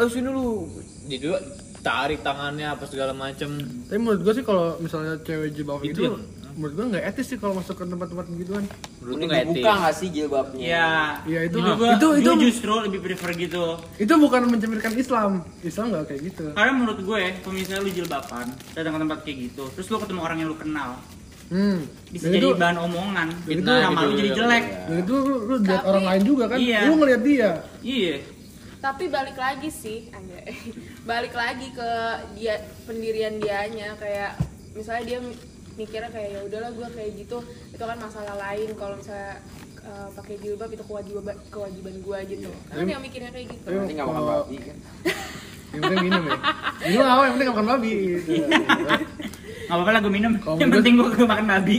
Speaker 3: Eh sini lu. Dia juga tarik tangannya apa segala macem
Speaker 2: tapi menurut gua sih kalau misalnya cewek jilbab
Speaker 3: Itu
Speaker 7: Gitu
Speaker 2: itu
Speaker 3: yang-
Speaker 2: menurut gua nggak etis sih kalau masuk ke tempat-tempat gitu kan. begituan
Speaker 3: Menurut lu
Speaker 12: Mending
Speaker 3: nggak
Speaker 12: dibuka
Speaker 3: etis.
Speaker 12: nggak sih jilbabnya?
Speaker 7: Iya.
Speaker 2: Iya, itu-
Speaker 7: Jadi gua-
Speaker 2: itu- itu-
Speaker 7: gua justru lebih prefer gitu.
Speaker 2: itu bukan mencemirkan Islam Islam nggak kayak gitu
Speaker 7: Karena menurut gue, kalau misalnya lu jilbaban, datang ke tempat kayak gitu, terus lu ketemu orang yang lu kenal,
Speaker 2: hmm
Speaker 7: bisa
Speaker 2: Dan
Speaker 7: jadi
Speaker 2: itu
Speaker 7: bahan omongan,
Speaker 2: itu-
Speaker 7: nama lu
Speaker 3: gitu,
Speaker 7: jadi
Speaker 3: iya,
Speaker 7: jelek.
Speaker 2: dan itu lu, lu lihat
Speaker 6: Tapi-
Speaker 2: orang lain juga kan
Speaker 7: Iya.
Speaker 2: lu ngeliat dia
Speaker 7: Iya.
Speaker 6: tapi balik lagi sih anjay. balik lagi ke dia pendirian dianya kayak misalnya dia mikirnya kayak ya udahlah gue kayak gitu itu kan masalah lain kalau misalnya eh, pakai jilbab itu kewajiban kewajiban gue gitu karena dia mikirnya kayak gitu
Speaker 2: Tapi
Speaker 4: Iya.
Speaker 12: Nanti nggak
Speaker 7: Oh.
Speaker 12: makan
Speaker 2: kalau-
Speaker 12: babi kan?
Speaker 2: yang penting minum ya minum apa yang penting nggak makan babi
Speaker 7: Gak apa-apa lah gue minum.
Speaker 2: Kalau
Speaker 7: Yang
Speaker 2: menurut-
Speaker 7: penting gue gue makan babi.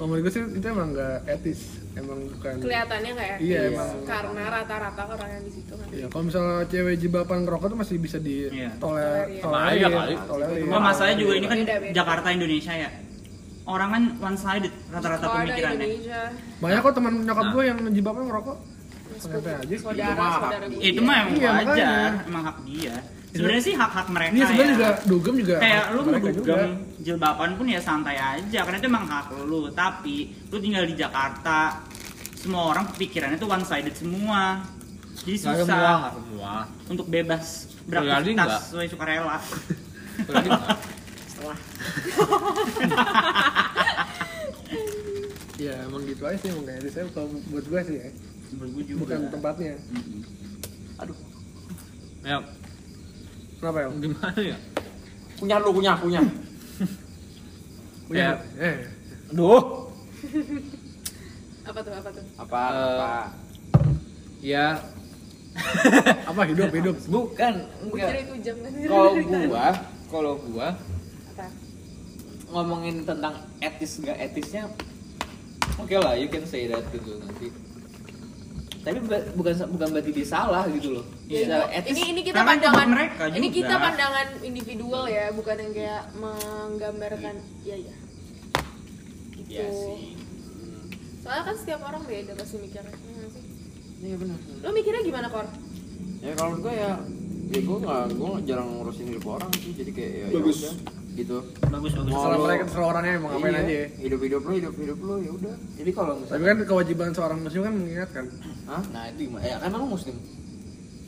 Speaker 2: kalau menurut gua sih itu emang nggak etis emang bukan
Speaker 6: kelihatannya kayak
Speaker 2: Iya, emang.
Speaker 6: karena rata-rata orang yang di situ kan
Speaker 2: Iya, kalau misalnya cewek jibaban ngerokok tuh masih bisa di
Speaker 7: Iya.
Speaker 2: toler,
Speaker 6: Tolerir.
Speaker 2: tolerir,
Speaker 3: Bahaya kali.
Speaker 2: tolerir.
Speaker 7: Cuma masalahnya juga ini kan
Speaker 6: Beda-beda.
Speaker 7: Jakarta Indonesia ya. Orang kan one sided rata-rata
Speaker 6: Kalau ada
Speaker 7: pemikirannya.
Speaker 6: Indonesia
Speaker 2: Banyak kok teman nyokap gue yang jibaban ngerokok. Santai aja.
Speaker 6: saudara saudara gue
Speaker 7: Ya, itu mah emang
Speaker 2: Iya,
Speaker 7: wajar,
Speaker 2: makanya.
Speaker 7: emang hak dia. Sebenarnya sih hak-hak mereka.
Speaker 2: Ini sebenarnya
Speaker 7: ya.
Speaker 2: juga dugem juga.
Speaker 7: kayak lu mau
Speaker 2: mereka juga.
Speaker 7: dugem jilbaban pun ya santai aja karena itu emang hak lu tapi lu tinggal di Jakarta semua orang pikirannya tuh one sided semua jadi
Speaker 3: Nggak
Speaker 7: susah
Speaker 3: semua, nggak semua.
Speaker 7: untuk bebas
Speaker 3: Terjadi nggak?
Speaker 7: beraktivitas sesuai sukarela
Speaker 3: Terjadi nggak?
Speaker 2: Iya, emang gitu aja sih emang kayak saya kalau buat gue sih ya.
Speaker 7: menurut gue juga
Speaker 2: Bukan tempatnya.
Speaker 7: Mm-mm.
Speaker 3: Ya,
Speaker 2: Kenapa ya?
Speaker 3: gimana ya?
Speaker 12: Kunyah lu kunyah kunyah.
Speaker 2: Punya.
Speaker 7: Iya.
Speaker 3: Ya.
Speaker 2: Eh.
Speaker 12: Duh.
Speaker 6: apa tuh apa tuh
Speaker 12: Apa
Speaker 3: Eh,
Speaker 12: apa?
Speaker 3: Ya,
Speaker 2: Eh, Apa hidup hidup.
Speaker 12: Bukan.
Speaker 6: gue
Speaker 12: Enggak.
Speaker 6: kira itu jam
Speaker 12: Kalau gua, kalau gua
Speaker 6: Apa?
Speaker 12: ngomongin tentang etis gak etisnya, oke lah, you can say that gitu nanti. Tapi bu- bukan bukan berarti dia salah gitu loh.
Speaker 6: Ya,
Speaker 12: Secara
Speaker 6: itu-
Speaker 12: etis
Speaker 6: ini ini kita
Speaker 7: Karena itu
Speaker 6: pandangan
Speaker 7: buat mereka
Speaker 6: ini
Speaker 7: juga.
Speaker 6: kita pandangan individual ya bukan yang kayak menggambarkan ya ya gitu
Speaker 7: Iya sih.
Speaker 6: soalnya kan setiap orang beda pasti mikirnya Iya nggak sih?
Speaker 12: Iya benar.
Speaker 6: lo mikirnya gimana kor
Speaker 4: ya kalau menurut gue ya ya gue nggak gue jarang ngurusin hidup orang sih jadi kayak ya, ya
Speaker 12: Bagus.
Speaker 4: udah, gitu
Speaker 7: bagus bagus
Speaker 4: Mau
Speaker 2: Terserah
Speaker 4: lu-
Speaker 2: mereka terserah orangnya mau ngapain
Speaker 4: Iya,
Speaker 2: aja ya.
Speaker 4: hidup hidup lo hidup hidup lo ya udah
Speaker 12: Jadi kalau
Speaker 2: Tapi
Speaker 12: misalnya
Speaker 2: kan kewajiban seorang muslim kan mengingatkan
Speaker 4: Hah?
Speaker 12: Nah, itu gimana? Ya, emang lu muslim?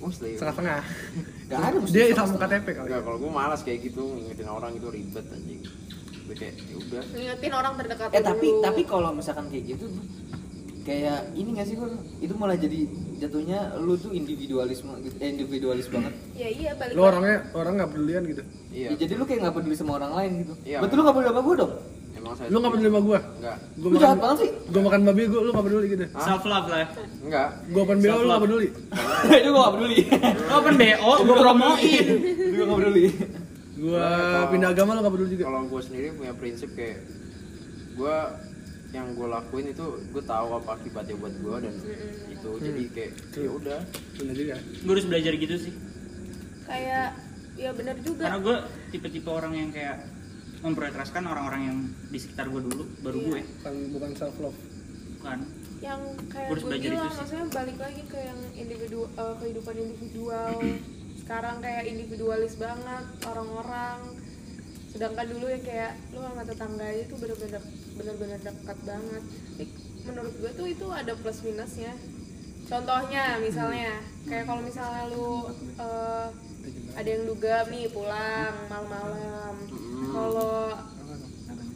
Speaker 4: muslim
Speaker 2: setengah-setengah.
Speaker 12: Gak ada muslim.
Speaker 2: Dia
Speaker 12: sama
Speaker 2: Islam
Speaker 12: sekali.
Speaker 2: KTP kali.
Speaker 4: Enggak, kalau gue malas kayak gitu ngingetin orang itu ribet anjing gue kayak ya udah
Speaker 6: ngingetin orang terdekat
Speaker 12: Eh
Speaker 6: lo
Speaker 12: tapi
Speaker 6: dulu.
Speaker 12: tapi kalau misalkan kayak gitu kayak ini gak sih Kur? itu mulai jadi jatuhnya lu tuh individualisme gitu, eh, individualis banget
Speaker 6: ya iya balik
Speaker 2: Lu orangnya orang nggak pedulian gitu.
Speaker 12: Ya,
Speaker 4: iya
Speaker 12: jadi lu kayak gak peduli sama orang lain gitu
Speaker 4: Iya.
Speaker 12: berarti lu gak peduli sama gue dong
Speaker 4: emang Emang saya
Speaker 2: Lu gak peduli sama gue?
Speaker 4: Enggak.
Speaker 2: Gue
Speaker 1: Lu jahat banget sih.
Speaker 2: Gue makan babi gue, lu gak peduli gitu
Speaker 7: Self love lah.
Speaker 4: Enggak.
Speaker 2: Gue open BO, lu gak peduli
Speaker 1: itu gua gak peduli
Speaker 7: Lo open BO, gue promoin.
Speaker 1: itu gua gak peduli
Speaker 2: Gue
Speaker 4: Kalau-
Speaker 2: pindah agama, lu gak peduli juga
Speaker 4: Kalau gue sendiri punya prinsip kayak gue yang gue lakuin itu gue tahu apa akibatnya buat gue dan itu
Speaker 2: Hmm.
Speaker 4: jadi kayak ya udah
Speaker 2: Bener juga
Speaker 7: Gue harus belajar gitu sih.
Speaker 6: kayak ya benar juga
Speaker 7: Karena gue tipe-tipe orang yang kayak memprioritaskan orang-orang yang di sekitar gue dulu, baru
Speaker 6: Iya.
Speaker 7: gue.
Speaker 2: Bukan, bukan self love
Speaker 7: Bukan.
Speaker 6: yang kayak
Speaker 7: Harus
Speaker 6: gue
Speaker 7: belajar itu
Speaker 6: bilang
Speaker 7: sih.
Speaker 6: maksudnya balik lagi ke yang individu eh, kehidupan individual sekarang kayak individualis banget orang-orang sedangkan dulu yang kayak lu sama tetangga aja tuh bener-bener bener-bener dekat banget Tapi menurut gue tuh itu ada plus minusnya contohnya misalnya
Speaker 7: Hmm.
Speaker 6: kayak kalau misalnya lu eh, ada yang duga nih pulang
Speaker 7: Hmm.
Speaker 6: malam-malam kalau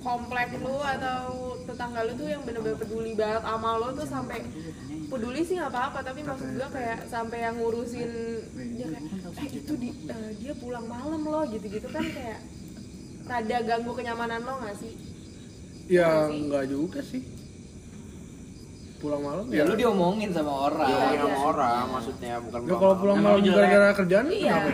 Speaker 6: komplek lu atau tetangga lu tuh yang bener-bener peduli banget sama lu tuh sampai peduli sih nggak apa-apa tapi maksud gua kayak sampai yang ngurusin dia kayak eh itu di- eh, dia pulang malam loh gitu-gitu kan kayak rada ganggu kenyamanan lo nggak sih
Speaker 2: Ya
Speaker 6: Apa sih?
Speaker 2: enggak juga sih Pulang malam
Speaker 3: ya
Speaker 2: ya
Speaker 3: lu diomongin sama orang
Speaker 4: dia
Speaker 6: Iya.
Speaker 4: sama orang maksudnya bukan
Speaker 2: Ya kalau pulang
Speaker 7: Emang
Speaker 2: malam
Speaker 7: lu jelek?
Speaker 2: gara-gara kerjaan
Speaker 6: iya
Speaker 2: kenapa?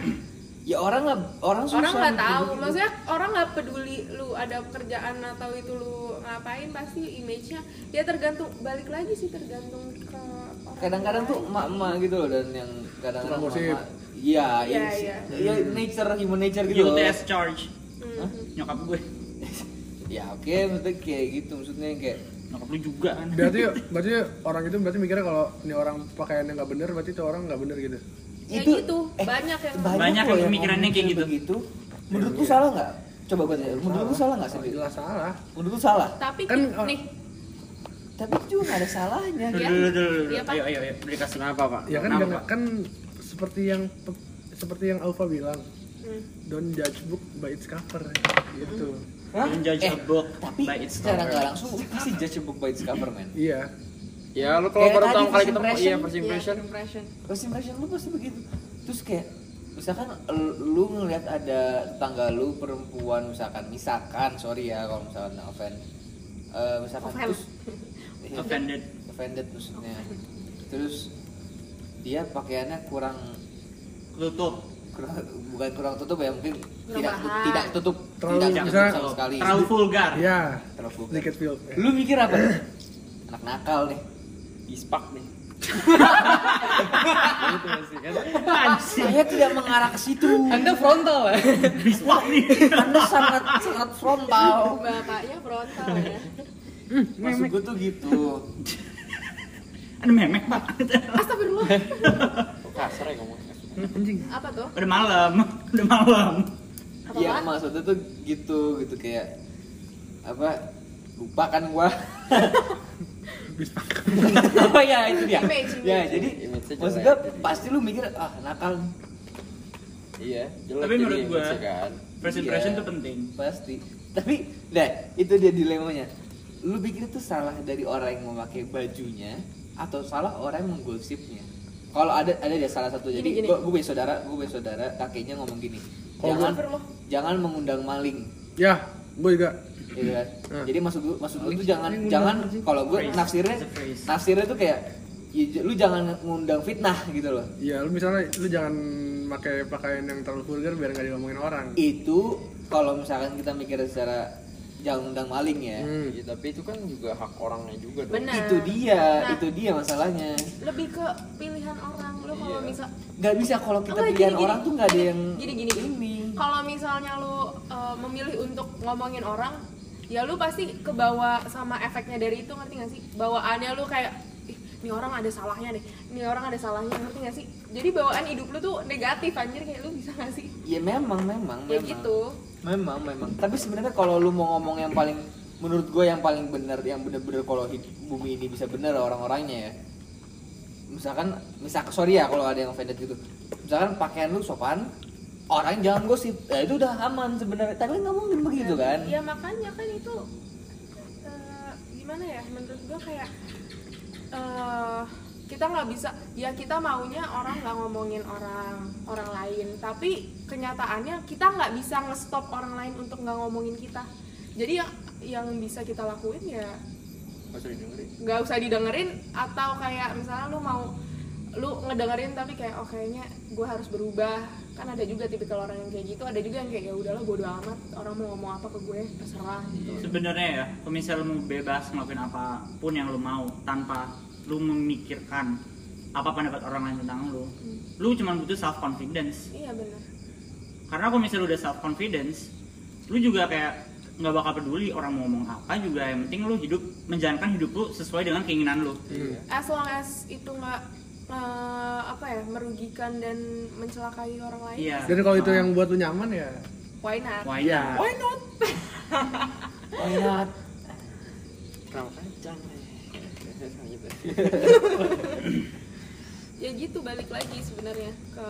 Speaker 3: ya orang nggak orang susah
Speaker 6: orang nggak tahu
Speaker 3: gitu.
Speaker 6: maksudnya orang nggak peduli lu ada kerjaan atau itu lu ngapain pasti image-nya ya tergantung balik lagi sih tergantung ke orang
Speaker 3: kadang-kadang tuh emak-emak gitu loh dan yang kadang-kadang
Speaker 2: Tukang gosip.
Speaker 3: emak-emak- iya
Speaker 6: Iya,
Speaker 3: iya
Speaker 6: iya.
Speaker 3: iya nature human nature gitu loh
Speaker 7: UTS charge.
Speaker 6: Mhm.
Speaker 7: Nyokap gue.
Speaker 3: ya oke maksudnya kayak gitu maksudnya kayak
Speaker 7: Nyokap lu juga kan.
Speaker 2: Berarti berarti orang itu berarti mikirnya kalau ini orang pakaiannya nggak bener berarti itu orang nggak bener gitu.
Speaker 6: Ya gitu, banyak yang-
Speaker 7: Banyak
Speaker 3: eh, loh
Speaker 7: yang pemikirannya
Speaker 3: ngomong
Speaker 7: kayak gitu.
Speaker 3: begitu. menurut lu salah nggak coba gue tanya menurut lu salah nggak sih
Speaker 2: Oh, jelas salah.
Speaker 3: menurut lu salah
Speaker 6: tapi
Speaker 2: Kan,
Speaker 6: ki-
Speaker 3: oh.
Speaker 2: eh,
Speaker 6: nih
Speaker 3: tapi itu juga nggak ada salahnya
Speaker 7: Dulu,
Speaker 6: Iya.
Speaker 7: dulu, dulu, dulu.
Speaker 6: Iya, Pak.
Speaker 7: Ayo, ayo, ayo. Udah dikasih.
Speaker 4: kenapa pak
Speaker 2: Ya kan
Speaker 7: Kenapa,
Speaker 2: jangan-
Speaker 7: Pak?
Speaker 2: kan seperti yang pe- seperti yang Alfa bilang,
Speaker 6: hmm.
Speaker 2: don't judge book by its cover gitu.
Speaker 3: Hah?
Speaker 7: Don't judge
Speaker 3: Eh,
Speaker 7: a book
Speaker 3: tapi
Speaker 7: by its
Speaker 3: secara
Speaker 7: cover.
Speaker 3: nggak langsung lu pasti judge a book by its cover man
Speaker 2: Iya.
Speaker 4: ya lu kalau
Speaker 3: Kayak
Speaker 4: baru
Speaker 3: tadi
Speaker 4: pertama kali
Speaker 3: first
Speaker 4: ketemu
Speaker 3: impression.
Speaker 4: iya first impression
Speaker 6: Iya, impression.
Speaker 3: first impression lu pasti begitu terus kayak misalkan l- lu ngelihat ada tetangga lu perempuan misalkan misalkan sorry ya kalau misalkan offend Eh, misalkan
Speaker 6: Offend.
Speaker 3: terus Iya,
Speaker 7: Offended.
Speaker 3: offended maksudnya terus dia pakaiannya kurang
Speaker 7: Tutup.
Speaker 3: kurang- bukan kurang tutup ya mungkin tidak
Speaker 6: Berbahan.
Speaker 3: tidak tutup
Speaker 2: Terlalu-
Speaker 3: tidak tutup
Speaker 2: misalnya-
Speaker 3: sama sekali
Speaker 7: Terlalu vulgar.
Speaker 2: Iya.
Speaker 3: Terlalu vulgar.
Speaker 2: Sedikit feel.
Speaker 3: lu mikir apa anak nakal nih
Speaker 4: ispak nih
Speaker 3: gitu pasti kan
Speaker 7: Anjing.
Speaker 3: saya tidak mengarah ke situ
Speaker 5: Anda frontal ya?
Speaker 7: Biswak nih.
Speaker 3: anda sangat sangat frontal
Speaker 6: Bapaknya frontal ya.
Speaker 3: maksud gue tuh gitu
Speaker 7: Ada memek, Pak.
Speaker 6: Astagfirullah.
Speaker 4: Kok kasar ya ngomongnya
Speaker 2: Anjing.
Speaker 6: Apa tuh?
Speaker 7: Udah malam. Udah malam.
Speaker 6: Apa
Speaker 3: Iya maksudnya tuh gitu gitu kayak apa lupa kan gua apa ya itu dia
Speaker 6: Image, image.
Speaker 3: ya jadi
Speaker 4: Image-nya
Speaker 3: maksud
Speaker 4: jelek.
Speaker 3: gua pasti lu mikir ah nakal nih."
Speaker 4: iya jelek
Speaker 7: Tapi
Speaker 4: jadi
Speaker 7: menurut gue,
Speaker 4: image-nya kan
Speaker 7: first
Speaker 3: Iya.
Speaker 7: impression tuh penting.
Speaker 3: pasti tapi nah itu dia dilemanya lu pikir itu salah dari orang yang memakai bajunya atau salah orang yang menggosipnya kalau ada ada dia salah satu jadi
Speaker 6: Gini, gini.
Speaker 3: gua gue punya saudara gue punya saudara kakeknya ngomong gini jangan
Speaker 6: Astagfirullah.
Speaker 3: jangan mengundang maling
Speaker 2: Ya, gue juga.
Speaker 3: Iya kan?
Speaker 2: Hmm.
Speaker 3: Jadi maksud gue, maksud gue tuh jangan jangan kalau gue
Speaker 7: Nah. Phrase.
Speaker 3: nafsirnya
Speaker 7: It's a phrase.
Speaker 3: nafsirnya tuh kayak ya, j- lu jangan ngundang fitnah gitu loh.
Speaker 2: Ya, lu misalnya lu jangan pakai pakaian yang terlalu vulgar biar nggak diomongin orang.
Speaker 3: Iya. Itu kalau misalkan kita mikir secara jangan undang maling ya.
Speaker 2: Hmm.
Speaker 4: Iya, tapi itu kan juga hak orangnya juga dong
Speaker 6: Benar.
Speaker 3: Itu dia,
Speaker 6: Nah.
Speaker 3: itu dia masalahnya.
Speaker 6: Lebih ke pilihan orang lu kalau
Speaker 4: Iya.
Speaker 6: misal
Speaker 3: Gak bisa kalau kita
Speaker 6: Enggak,
Speaker 3: pilihan
Speaker 6: gini,
Speaker 3: orang
Speaker 6: gini.
Speaker 3: tuh gak ada yang
Speaker 6: Gini, gini, gini.
Speaker 3: ini.
Speaker 6: kalau misalnya lu uh, memilih untuk ngomongin orang, ya lu pasti kebawa sama efeknya dari itu ngerti gak sih? Bawaannya lu kayak "Ih, ini orang ada salahnya deh, ini orang ada salahnya ngerti gak sih? Jadi bawaan hidup lu tuh negatif anjir kayak lu bisa gak sih?
Speaker 3: Ya memang, memang,
Speaker 6: Ya
Speaker 3: memang.
Speaker 6: gitu.
Speaker 3: Memang, memang. Tapi sebenarnya kalau lu mau ngomong yang paling menurut gue yang paling benar, yang bener-bener kalau hid- bumi ini bisa bener orang-orangnya ya. Misalkan, misal sorry ya kalau ada yang offended gitu. Misalkan pakaian lu sopan, orang jangan gosip. Ya itu udah aman sebenarnya. Tapi nggak mungkin begitu kan?
Speaker 6: ya makanya kan itu eh, gimana ya menurut gua kayak eh kita nggak bisa ya kita maunya orang nggak ngomongin orang orang lain tapi kenyataannya kita nggak bisa ngestop orang lain untuk nggak ngomongin kita jadi ya yang bisa kita lakuin ya
Speaker 4: Gak usah didengerin.
Speaker 6: nggak usah didengerin atau kayak misalnya lu mau lu ngedengerin tapi kayak oh kayaknya gue harus berubah kan ada juga tipikal orang yang kayak gitu ada juga yang kayak ya udahlah bodo amat orang mau ngomong apa ke gue terserah gitu
Speaker 7: sebenarnya ya kalau misalnya lu mau bebas ngelakuin apapun yang lu mau tanpa lu memikirkan apa pendapat orang lain tentang lu
Speaker 6: Hmm.
Speaker 7: lu cuma butuh self confidence
Speaker 6: iya benar
Speaker 7: karena kalau misalnya lu udah self confidence lu juga kayak nggak bakal peduli orang mau ngomong apa juga yang penting lu hidup menjalankan hidup lu sesuai dengan keinginan lu
Speaker 6: as long as itu nggak eh, apa ya merugikan dan mencelakai orang lain
Speaker 7: iya
Speaker 2: Dan kalau itu yang buat lu nyaman ya,
Speaker 6: why not
Speaker 7: why
Speaker 2: Iya.
Speaker 7: not?
Speaker 6: why not
Speaker 3: Oh, iya.
Speaker 4: Kenapa kacang? Gitu.
Speaker 6: ya gitu balik lagi sebenarnya ke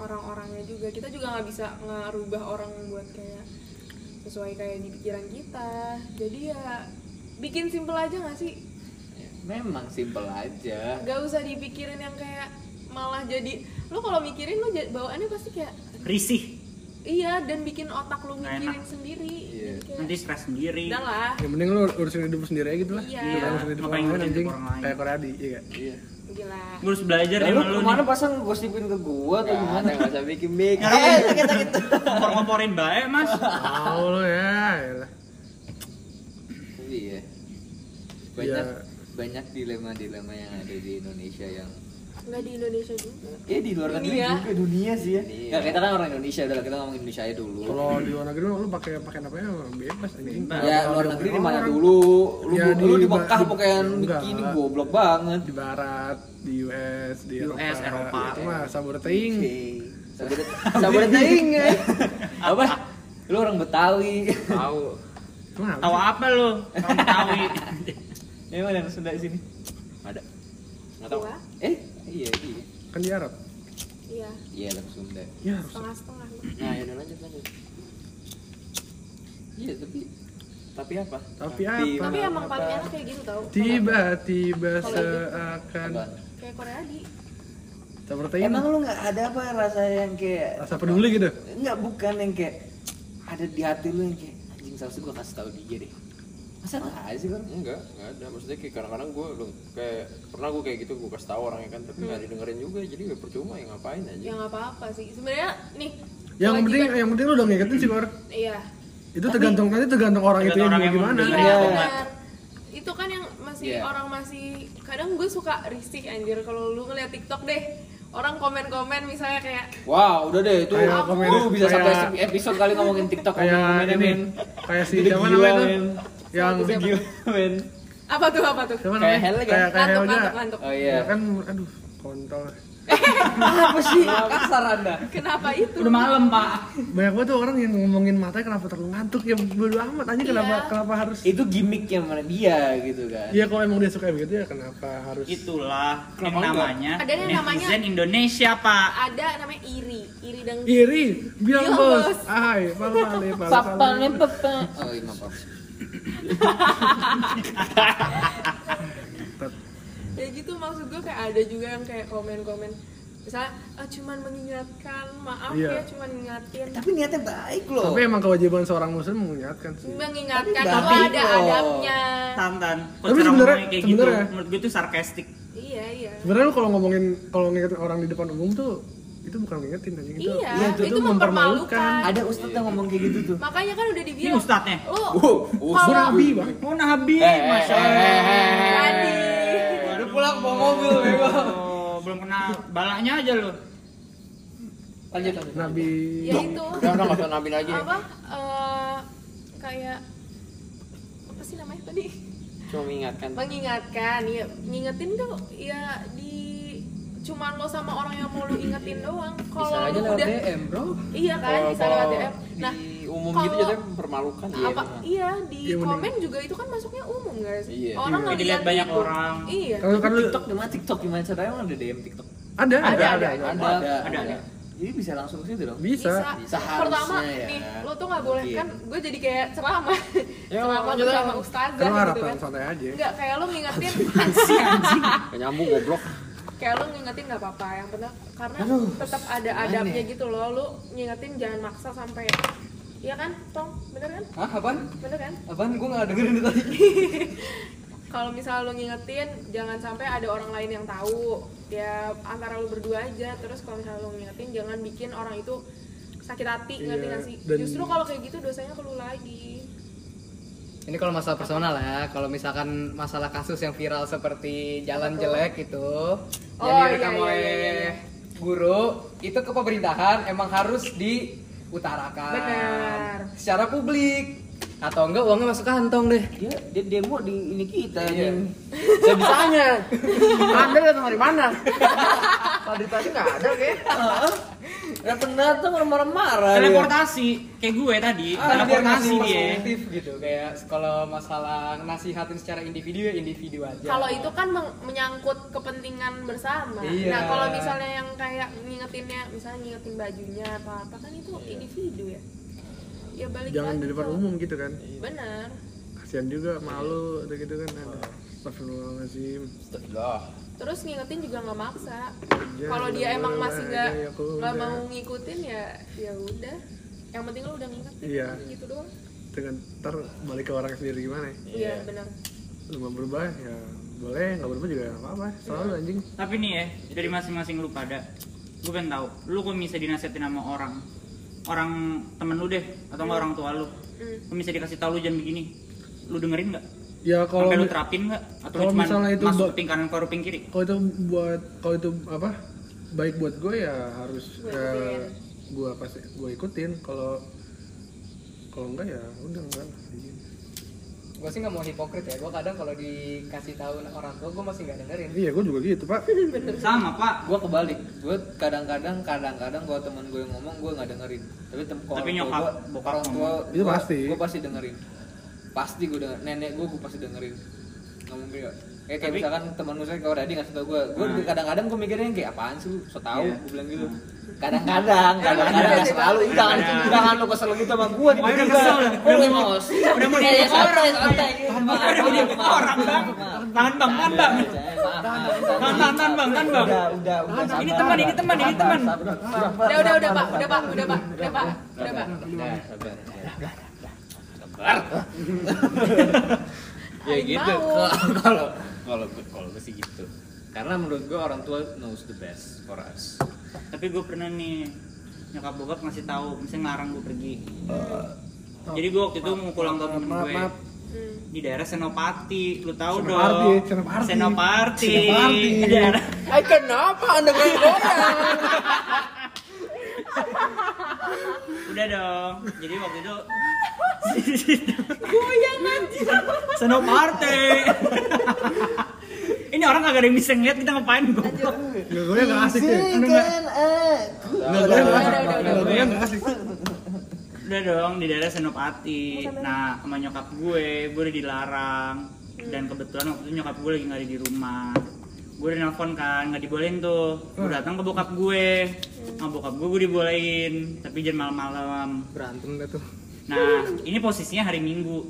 Speaker 6: orang-orangnya juga kita juga nggak bisa ngerubah orang buat kayak sesuai kayak di pikiran kita jadi ya bikin simple aja nggak sih
Speaker 3: Memang simpel aja.
Speaker 6: nggak usah dipikirin yang kayak malah jadi lu kalau mikirin lu ja- bawaannya pasti kayak
Speaker 7: risih
Speaker 6: iya dan bikin otak lu
Speaker 7: Nggak
Speaker 6: mikirin
Speaker 7: enak.
Speaker 6: sendiri
Speaker 3: Iya.
Speaker 6: Jadi kayak,
Speaker 7: nanti stres sendiri
Speaker 6: udah lah
Speaker 2: yang penting ya lu urusin hidup lu sendiri aja gitu lah.
Speaker 6: Iya.
Speaker 2: Daripada urusin hidup
Speaker 7: Ngapain
Speaker 2: orang lain
Speaker 7: ngurusin
Speaker 2: anjing.
Speaker 7: hidup orang lain.
Speaker 2: Kayak Koradi, iya nggak?
Speaker 4: Iya.
Speaker 6: gila
Speaker 7: gue harus belajar
Speaker 3: Ya,
Speaker 7: dari
Speaker 3: lu
Speaker 7: Iya, lu
Speaker 3: kemana
Speaker 7: nih
Speaker 3: pasang gosipin ke gua atau
Speaker 4: Gak
Speaker 3: gimana?
Speaker 4: ada, gak usah bikin-bikin.
Speaker 3: Eh,
Speaker 7: kompor-komporin baik mas
Speaker 2: Tahu lu ya, elah.
Speaker 3: Iya. Banyak
Speaker 2: Iya.
Speaker 3: banyak dilema-dilema yang ada di Indonesia yang
Speaker 6: nggak di Indonesia juga
Speaker 3: ya di luar negeri
Speaker 6: Dunia.
Speaker 3: juga dunia sih ya. Nggak, kita kan orang Indonesia, udah lah, kita ngomong Indonesia aja dulu.
Speaker 2: Kalau di luar negeri lu pakai pakaian apa ya bebas anjing.
Speaker 7: Bebas.
Speaker 3: ya
Speaker 2: Kalau
Speaker 3: luar
Speaker 2: di
Speaker 3: negeri di
Speaker 2: orang,
Speaker 3: mana dulu? Lu,
Speaker 2: Ya,
Speaker 3: lu
Speaker 2: di
Speaker 3: di
Speaker 2: ba-
Speaker 3: Mekah
Speaker 2: di-
Speaker 3: pakaian
Speaker 2: enggak.
Speaker 3: bikini goblok banget.
Speaker 2: Di barat, di US, di
Speaker 7: US, Eropa.
Speaker 2: Itu
Speaker 3: Iya,
Speaker 2: mah sabur teing.
Speaker 3: Sabar teing. eh. Apa? Lu orang Betawi.
Speaker 4: Tahu.
Speaker 2: Itu mah apa
Speaker 7: tahu
Speaker 2: sih?
Speaker 7: apa lu Orang Betawi
Speaker 3: Memang yang Sunda di sini.
Speaker 4: Ada. Nggak tahu.
Speaker 6: gua
Speaker 3: Eh, iya iya.
Speaker 2: Kan di Arab.
Speaker 6: iya
Speaker 3: Iya, orang Sunda.
Speaker 2: Ya harus.
Speaker 6: setengah-setengah
Speaker 4: Nah, ya udah lanjut lanjut.
Speaker 3: Iya, tapi
Speaker 4: Tapi apa?
Speaker 2: Tapi
Speaker 6: tapi
Speaker 2: apa?
Speaker 6: emang paling enak kayak gitu tau
Speaker 2: Tiba-tiba
Speaker 6: Kalau gitu.
Speaker 2: seakan
Speaker 3: apaan?
Speaker 6: kayak Korea di
Speaker 2: sabur teing.
Speaker 3: Emang lu nggak ada apa rasa yang kayak
Speaker 2: Rasa peduli gitu.
Speaker 3: Enggak, bukan yang kayak ada di hati lu yang kayak anjing seharusnya gua kasih tahu dia deh. Masa nggak ada sih kan?
Speaker 4: Enggak, enggak ada. Maksudnya kayak kadang-kadang gue belum kayak pernah gue kayak gitu gue kasih tahu orangnya kan, tapi
Speaker 3: Hmm.
Speaker 4: nggak didengerin juga, jadi gak percuma ya ngapain aja.
Speaker 6: ya nggak apa-apa sih sebenarnya
Speaker 2: Yang
Speaker 6: nih kewajiban-
Speaker 2: penting yang penting lu udah ngingetin sih, Kor.
Speaker 6: iya
Speaker 2: Itu tergantung nanti tergantung orang itu yang
Speaker 7: Tergantung orang
Speaker 2: mau
Speaker 7: yang
Speaker 2: gimana.
Speaker 7: membeli.
Speaker 6: iya
Speaker 3: Iya.
Speaker 6: benar itu kan yang masih
Speaker 3: Iya.
Speaker 6: orang masih kadang gue suka risih anjir kalau lu ngeliat TikTok deh orang komen-komen misalnya kayak
Speaker 3: Wah, udah deh itu.
Speaker 2: Kayak komen-
Speaker 3: Lu bisa sampai
Speaker 2: kayak-
Speaker 3: se- episode kali ngomongin TikTok
Speaker 2: Kayak
Speaker 3: ngomongin
Speaker 2: ini,
Speaker 3: men.
Speaker 2: kayak si
Speaker 3: Itu
Speaker 2: siapa
Speaker 3: gila,
Speaker 2: namanya tuh?
Speaker 3: men.
Speaker 2: Yang
Speaker 3: Itu gila, men.
Speaker 6: apa tuh apa tuh
Speaker 2: siapa
Speaker 3: Kayak
Speaker 2: namanya?
Speaker 3: Hel kan?
Speaker 2: Kayak kayak
Speaker 6: ngantuk
Speaker 2: Helga.
Speaker 6: ngantuk ngantuk
Speaker 3: Oh
Speaker 2: Ya
Speaker 3: iya.
Speaker 2: kan aduh, kontol.
Speaker 3: Apa sih kasar Anda?
Speaker 6: kenapa itu
Speaker 7: udah malam pak
Speaker 2: Banyak banget tuh orang yang ngomongin mata kenapa terlalu ngantuk ya bodo amat aja kenapa
Speaker 6: Iya.
Speaker 2: kenapa harus
Speaker 3: Itu gimmicknya mana dia gitu kan.
Speaker 2: Iya kalau emang dia suka begitu ya kenapa harus
Speaker 7: Gitu. itulah yang
Speaker 4: enggak?
Speaker 7: namanya
Speaker 6: Ada yang namanya-
Speaker 7: netizen Indonesia pak
Speaker 6: ada namanya iri iri dan
Speaker 2: iri bilang
Speaker 6: Iya,
Speaker 2: bos.
Speaker 6: bos.
Speaker 2: Ahai, palu palu palu. palu.
Speaker 3: Oh, iya maaf.
Speaker 6: ya gitu maksud gue kayak ada juga yang kayak komen-komen misalnya "Ah, cuman mengingatkan maaf
Speaker 2: Iya.
Speaker 6: ya cuman ngingatin
Speaker 3: Tapi niatnya baik loh.
Speaker 2: Tapi emang kewajiban seorang muslim mengingatkan sih.
Speaker 6: mengingatkan
Speaker 3: Tapi
Speaker 6: bahwa
Speaker 3: baik
Speaker 6: ada
Speaker 3: loh.
Speaker 6: adabnya
Speaker 7: tantan kok
Speaker 2: Tapi
Speaker 7: cara
Speaker 2: sebenarnya-
Speaker 7: ngomongnya kayak gitu
Speaker 2: sebenarnya-
Speaker 7: menurut gue itu sarkastik
Speaker 6: iya iya
Speaker 2: Sebenarnya lu kalau ngomongin kalau ngingetin orang di depan umum tuh itu bukan ngingetin anjing itu. ya,
Speaker 6: Iya,
Speaker 2: itu,
Speaker 6: itu
Speaker 2: tuh mempermalukan.
Speaker 6: mempermalukan.
Speaker 3: Ada ustadz yang ngomong kayak gitu tuh.
Speaker 6: makanya kan udah
Speaker 7: ini
Speaker 6: dibilang "Oh,
Speaker 7: ustadznya
Speaker 6: lu
Speaker 2: Gua nabi, Bang.
Speaker 7: oh nabi masya
Speaker 4: Eh,
Speaker 6: tadi
Speaker 3: Baru pulang bawa mobil Ah, iya. memang.
Speaker 7: Allah Oh, eh. belum kenal balaknya aja lo
Speaker 3: Lanjut lanjut.
Speaker 2: Nabi.
Speaker 6: ya itu
Speaker 4: Udah udah nggak usah nampil lagi.
Speaker 6: apa eh, kayak apa sih namanya tadi
Speaker 4: Cuma mengingatkan.
Speaker 6: mengingatkan ya ngingetin tuh ya di cuman lo sama orang yang mau lo ingetin doang
Speaker 3: Bisa
Speaker 6: kalau
Speaker 3: aja
Speaker 6: lo
Speaker 3: lewat
Speaker 6: udah
Speaker 3: DM, Bro.
Speaker 6: iya kan bisa lewat DM nah
Speaker 4: di umum
Speaker 6: kalau-
Speaker 4: gitu jadinya mempermalukan ya.
Speaker 6: apa iya di
Speaker 2: Iya, bener.
Speaker 6: komen juga itu kan masuknya umum guys
Speaker 4: Iya.
Speaker 6: orang
Speaker 7: Iya.
Speaker 6: ngeliat
Speaker 7: Dilihat banyak
Speaker 6: gitu.
Speaker 7: orang.
Speaker 6: iya
Speaker 2: Kalau kan lu
Speaker 3: TikTok gimana TikTok gimana caranya emang ada DM TikTok?
Speaker 2: ada ada ada.
Speaker 3: Ada,
Speaker 7: Ada, ada.
Speaker 3: Jadi bisa langsung ke situ dong.
Speaker 2: Bisa.
Speaker 3: Bisa.
Speaker 6: pertama
Speaker 3: Seharusnya ya.
Speaker 6: nih lo tuh nggak boleh
Speaker 3: Iya.
Speaker 6: kan gue jadi kayak ceramah ceramah
Speaker 4: lanjut,
Speaker 6: bersama
Speaker 4: lanjut.
Speaker 2: Kan
Speaker 6: ustazah
Speaker 2: lu
Speaker 6: gitu
Speaker 2: harapan
Speaker 6: kan
Speaker 2: santai aja.
Speaker 6: Enggak, kayak lo ngingetin
Speaker 4: Gak nyambung goblok.
Speaker 6: kayak lo ngingetin nggak apa-apa yang penting karena tetap ada adabnya gitu loh lo ngingetin jangan maksa sampai Iya kan, Tong? Bener kan?
Speaker 1: Hah, apaan?
Speaker 6: Bener kan?
Speaker 1: Apaan? Gue gak dengerin itu tadi
Speaker 6: Kalau misalnya lo ngingetin, jangan sampai ada orang lain yang tahu. Ya antara lo berdua aja. Terus kalau misalnya lo ngingetin, jangan bikin orang itu sakit hati, ngerti
Speaker 2: Iya,
Speaker 6: nggak sih?
Speaker 2: dan-
Speaker 6: Justru kalau kayak gitu dosanya ke lo lagi.
Speaker 13: Ini kalau masalah personal ya, kalau misalkan masalah kasus yang viral seperti jalan jelek itu,
Speaker 6: Oh,
Speaker 13: yang
Speaker 6: iya,
Speaker 13: direkam
Speaker 6: iya,
Speaker 13: oleh
Speaker 6: iya, iya.
Speaker 13: guru, itu ke pemerintahan emang harus diutarakan
Speaker 6: Benar.
Speaker 13: secara publik atau enggak uangnya masuk kantong deh.
Speaker 1: Dia, dia demo di ini kita
Speaker 13: Iya.
Speaker 1: anjing.
Speaker 2: Sebisanya. Anda datang dari mana? Tadi tadi nggak ada, oke?
Speaker 1: Dateng-dateng orang marah-marah dia.
Speaker 7: Teleportasi kayak gue tadi,
Speaker 13: Ah, biar
Speaker 7: teleportasi
Speaker 13: ngasih
Speaker 7: dia.
Speaker 13: perspektif gitu kayak kalau masalah nasihatin secara individu ya individu aja.
Speaker 6: Kalau itu kan meng- menyangkut kepentingan bersama.
Speaker 13: Iya.
Speaker 6: Nah, kalau misalnya yang kayak ngingetinnya, misalnya ngingetin bajunya atau apa kan itu individu ya. Ya balik
Speaker 2: Iya. Jangan
Speaker 6: lagi
Speaker 2: di depan
Speaker 6: ke-
Speaker 2: umum gitu kan.
Speaker 6: Benar.
Speaker 2: Kasihan juga malu atau gitu kan ada. Astagfirullahaladzim.
Speaker 6: Terus ngingetin juga nggak maksa.
Speaker 2: Ya,
Speaker 6: kalau dia
Speaker 2: boleh,
Speaker 6: emang
Speaker 2: boleh
Speaker 6: masih
Speaker 2: aja,
Speaker 6: nggak
Speaker 2: ya aku
Speaker 6: nggak
Speaker 2: udah.
Speaker 6: mau ngikutin ya ya udah. Yang penting lo udah ngingetin.
Speaker 2: Iya.
Speaker 6: Gitu doang.
Speaker 2: Dengan ntar balik ke orang sendiri gimana ya?
Speaker 6: Iya, benar.
Speaker 2: Lu mau berubah ya boleh, nggak berubah juga nggak apa-apa. Selalu anjing.
Speaker 7: Tapi nih ya, dari masing-masing lu pada, gue pengen tahu, lu kok bisa dinasihatin sama orang, orang temen lu deh, atau nggak orang tua lu,
Speaker 6: Hmm.
Speaker 7: kok bisa dikasih tahu lu jangan begini, lu dengerin nggak?
Speaker 2: Ya kalau
Speaker 7: Sampai lu terapin nggak? Atau lu
Speaker 2: kalau
Speaker 7: cuma
Speaker 2: misalnya itu
Speaker 7: masuk
Speaker 2: ba-
Speaker 7: kuping kanan keluar kuping kiri?
Speaker 2: kalau itu buat kalau itu apa baik buat gue ya harus
Speaker 6: Gue
Speaker 2: ya,
Speaker 6: ikutin.
Speaker 2: gue pasti gue ikutin kalau kalau enggak ya udah enggak lah.
Speaker 13: Gue sih nggak mau hipokrit ya. Gue kadang kalau dikasih tahu orang tua gue masih nggak dengerin.
Speaker 2: iya gue juga gitu pak
Speaker 7: Sama pak,
Speaker 1: Gue kebalik, gue kadang-kadang kadang-kadang kalau temen gue ngomong gue nggak dengerin. Tapi tem kalau
Speaker 7: Tapi
Speaker 1: orang tua
Speaker 7: nyokap,
Speaker 1: gua-
Speaker 7: bokap
Speaker 1: orang tua
Speaker 7: ngomong.
Speaker 2: Itu pasti.
Speaker 1: Gue pasti dengerin. Pasti gue denger, nenek gue gue pasti dengerin. Nggak mungkin ya. Kayak, kayak
Speaker 7: Tapi-
Speaker 1: misalkan temen gue saya kalau tadi ngasih tau gue, gue
Speaker 7: Nah.
Speaker 1: kadang-kadang gue mikirnya kayak apaan sih lu, so tau,
Speaker 7: Iya.
Speaker 1: gue bilang gitu. Kadang-kadang, kadang-kadang nggak selalu. Ih, Jangan,
Speaker 7: Kadang-kadang.
Speaker 1: jangan lu kesel gitu sama gue.
Speaker 7: Pokoknya udah kesel dah.
Speaker 1: Gue
Speaker 7: Udah mau-
Speaker 1: emosi.
Speaker 7: udah mau dibunuh orang, udah mau dibunuh orang bang, tahan bang, tahan bang, tahan tahan tahan bang, tahan bang.
Speaker 1: Udah, udah, udah.
Speaker 7: Ini
Speaker 1: sabar,
Speaker 7: teman, ini
Speaker 1: Bang.
Speaker 7: teman, ini teman.
Speaker 6: Udah, udah, udah, Pak. Udah, Pak. Udah, Pak. Udah, Pak. Udah, Pak.
Speaker 3: ya
Speaker 6: Paling
Speaker 3: gitu
Speaker 6: mau.
Speaker 3: kalau kalau kalau gue- kalau gue sih gitu karena menurut gue orang tua knows the best for us
Speaker 7: Tapi gue pernah nih nyokap bokap ngasih tahu, misalnya ngarang gue pergi. Jadi gue waktu itu mau pulang ke temen
Speaker 2: Eh, maaf,
Speaker 7: gue
Speaker 2: maaf.
Speaker 6: Hmm.
Speaker 7: di daerah Senopati, lu tahu
Speaker 2: Senopati,
Speaker 7: dong.
Speaker 2: Senopati.
Speaker 7: Senopati.
Speaker 2: Senopati.
Speaker 7: Di daerah-
Speaker 2: eh kenapa anda kayak
Speaker 7: Udah dong. Jadi waktu itu Senopati. Ini orang kagak ada yang bisa ngeliat kita ngapain goblok.
Speaker 2: nggak gue nggak asik ya nggak nggak gue nggak asik
Speaker 6: udah,
Speaker 2: nggak gue nggak asik
Speaker 7: Udah dong di daerah Senopati. Nah, sama nyokap gue, gue udah dilarang. Dan kebetulan waktu itu nyokap gue lagi nggak ada di rumah. Gue udah nelfon kan, nggak dibolehin tuh. Gue datang ke bokap gue. Sama bokap gue gue dibolehin, tapi jangan malam-malam.
Speaker 2: berantem deh tuh
Speaker 7: Nah, ini posisinya hari Minggu.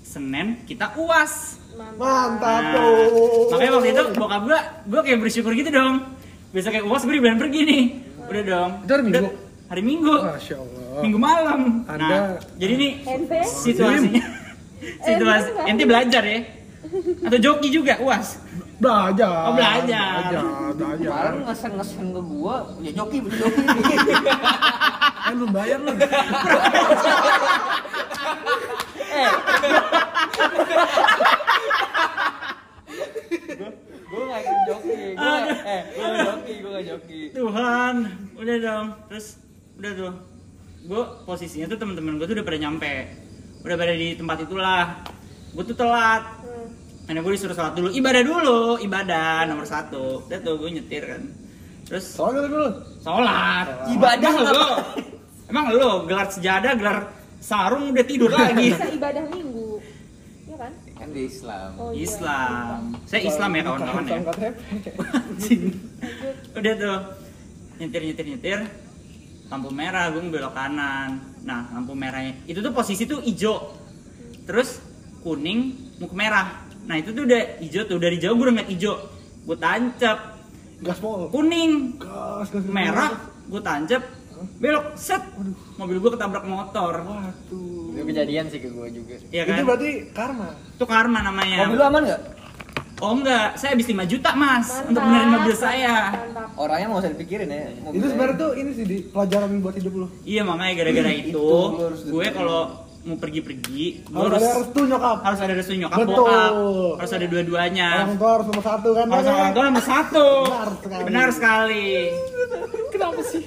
Speaker 7: Senin kita UAS.
Speaker 2: mantap
Speaker 7: Nah,
Speaker 2: tuh
Speaker 7: makanya waktu itu bokap gua, gua kayak bersyukur gitu dong. Biasa kayak uas gue bulan pergi nih. Udah dong.
Speaker 2: Itu hari Minggu?
Speaker 7: Udah, hari Minggu.
Speaker 2: masya allah
Speaker 7: Minggu malam. Nah,
Speaker 2: Anda-
Speaker 7: jadi nih situasinya. situasi ente belajar ya. Atau joki juga uas.
Speaker 2: belajar
Speaker 7: Oh, belajar.
Speaker 2: belajar belajar
Speaker 1: Kemarin ngesen-ngesen ke gua, ya joki, joki.
Speaker 2: kan belum bayar lu
Speaker 1: gua nggak ikut joki, gua eh, gua nggak joki, gua nggak joki.
Speaker 7: Tuhan, udah dong. Terus udah tuh. Gue posisinya tuh teman-teman gue tuh udah pada nyampe. Udah pada di tempat itulah. Gue tuh telat. Karena gue disuruh sholat dulu, ibadah dulu, ibadah nomor satu. Udah tuh gue nyetir kan. Terus
Speaker 2: soalnya dulu
Speaker 7: sholat, ibadah lo. Emang lo gelar sejadah, gelar sarung udah tidur lagi.
Speaker 6: Bisa Eh, ibadah minggu. Iya kan?
Speaker 1: Kan di Islam.
Speaker 6: Oh, iya.
Speaker 7: Islam. Saya Islam ya kawan-kawan ya. Anjing. Udah tuh nyetir nyetir nyetir lampu merah gue belok kanan nah lampu merahnya itu tuh posisi tuh hijau terus kuning mau ke merah nah itu tuh udah hijau tuh dari jauh gue udah ngeliat hijau gue tancap
Speaker 2: gaspol
Speaker 7: kuning
Speaker 2: gas gas gas.
Speaker 7: merah gue tancap belok set mobil gua ketabrak motor
Speaker 13: Itu kejadian sih ke gue juga.
Speaker 7: ya
Speaker 2: Itu
Speaker 7: kan
Speaker 2: berarti karma.
Speaker 7: itu karma namanya
Speaker 13: Mobil lu aman nggak?
Speaker 7: oh enggak saya habis 5 juta mas
Speaker 6: Mantap.
Speaker 7: untuk benerin mobil saya
Speaker 6: Mantap.
Speaker 13: Orangnya mau usah dipikirin
Speaker 1: Iya.
Speaker 13: ya.
Speaker 2: Itu sebenarnya tuh ini sih di pelajaran buat hidup lu.
Speaker 7: iya makanya gara-gara itu
Speaker 13: lu harus
Speaker 7: gue kalau mau pergi-pergi gue
Speaker 2: Oh, Harus ada
Speaker 7: harus
Speaker 2: restu nyokap.
Speaker 7: harus ada restu nyokap
Speaker 2: Betul.
Speaker 7: bokap harus ada dua-duanya
Speaker 2: Orang tua harus nomor satu kan.
Speaker 7: harus
Speaker 2: Bang,
Speaker 7: orang
Speaker 2: ya?
Speaker 7: tua nomor satu
Speaker 2: Benar sekali.
Speaker 7: benar sekali
Speaker 6: Kenapa sih?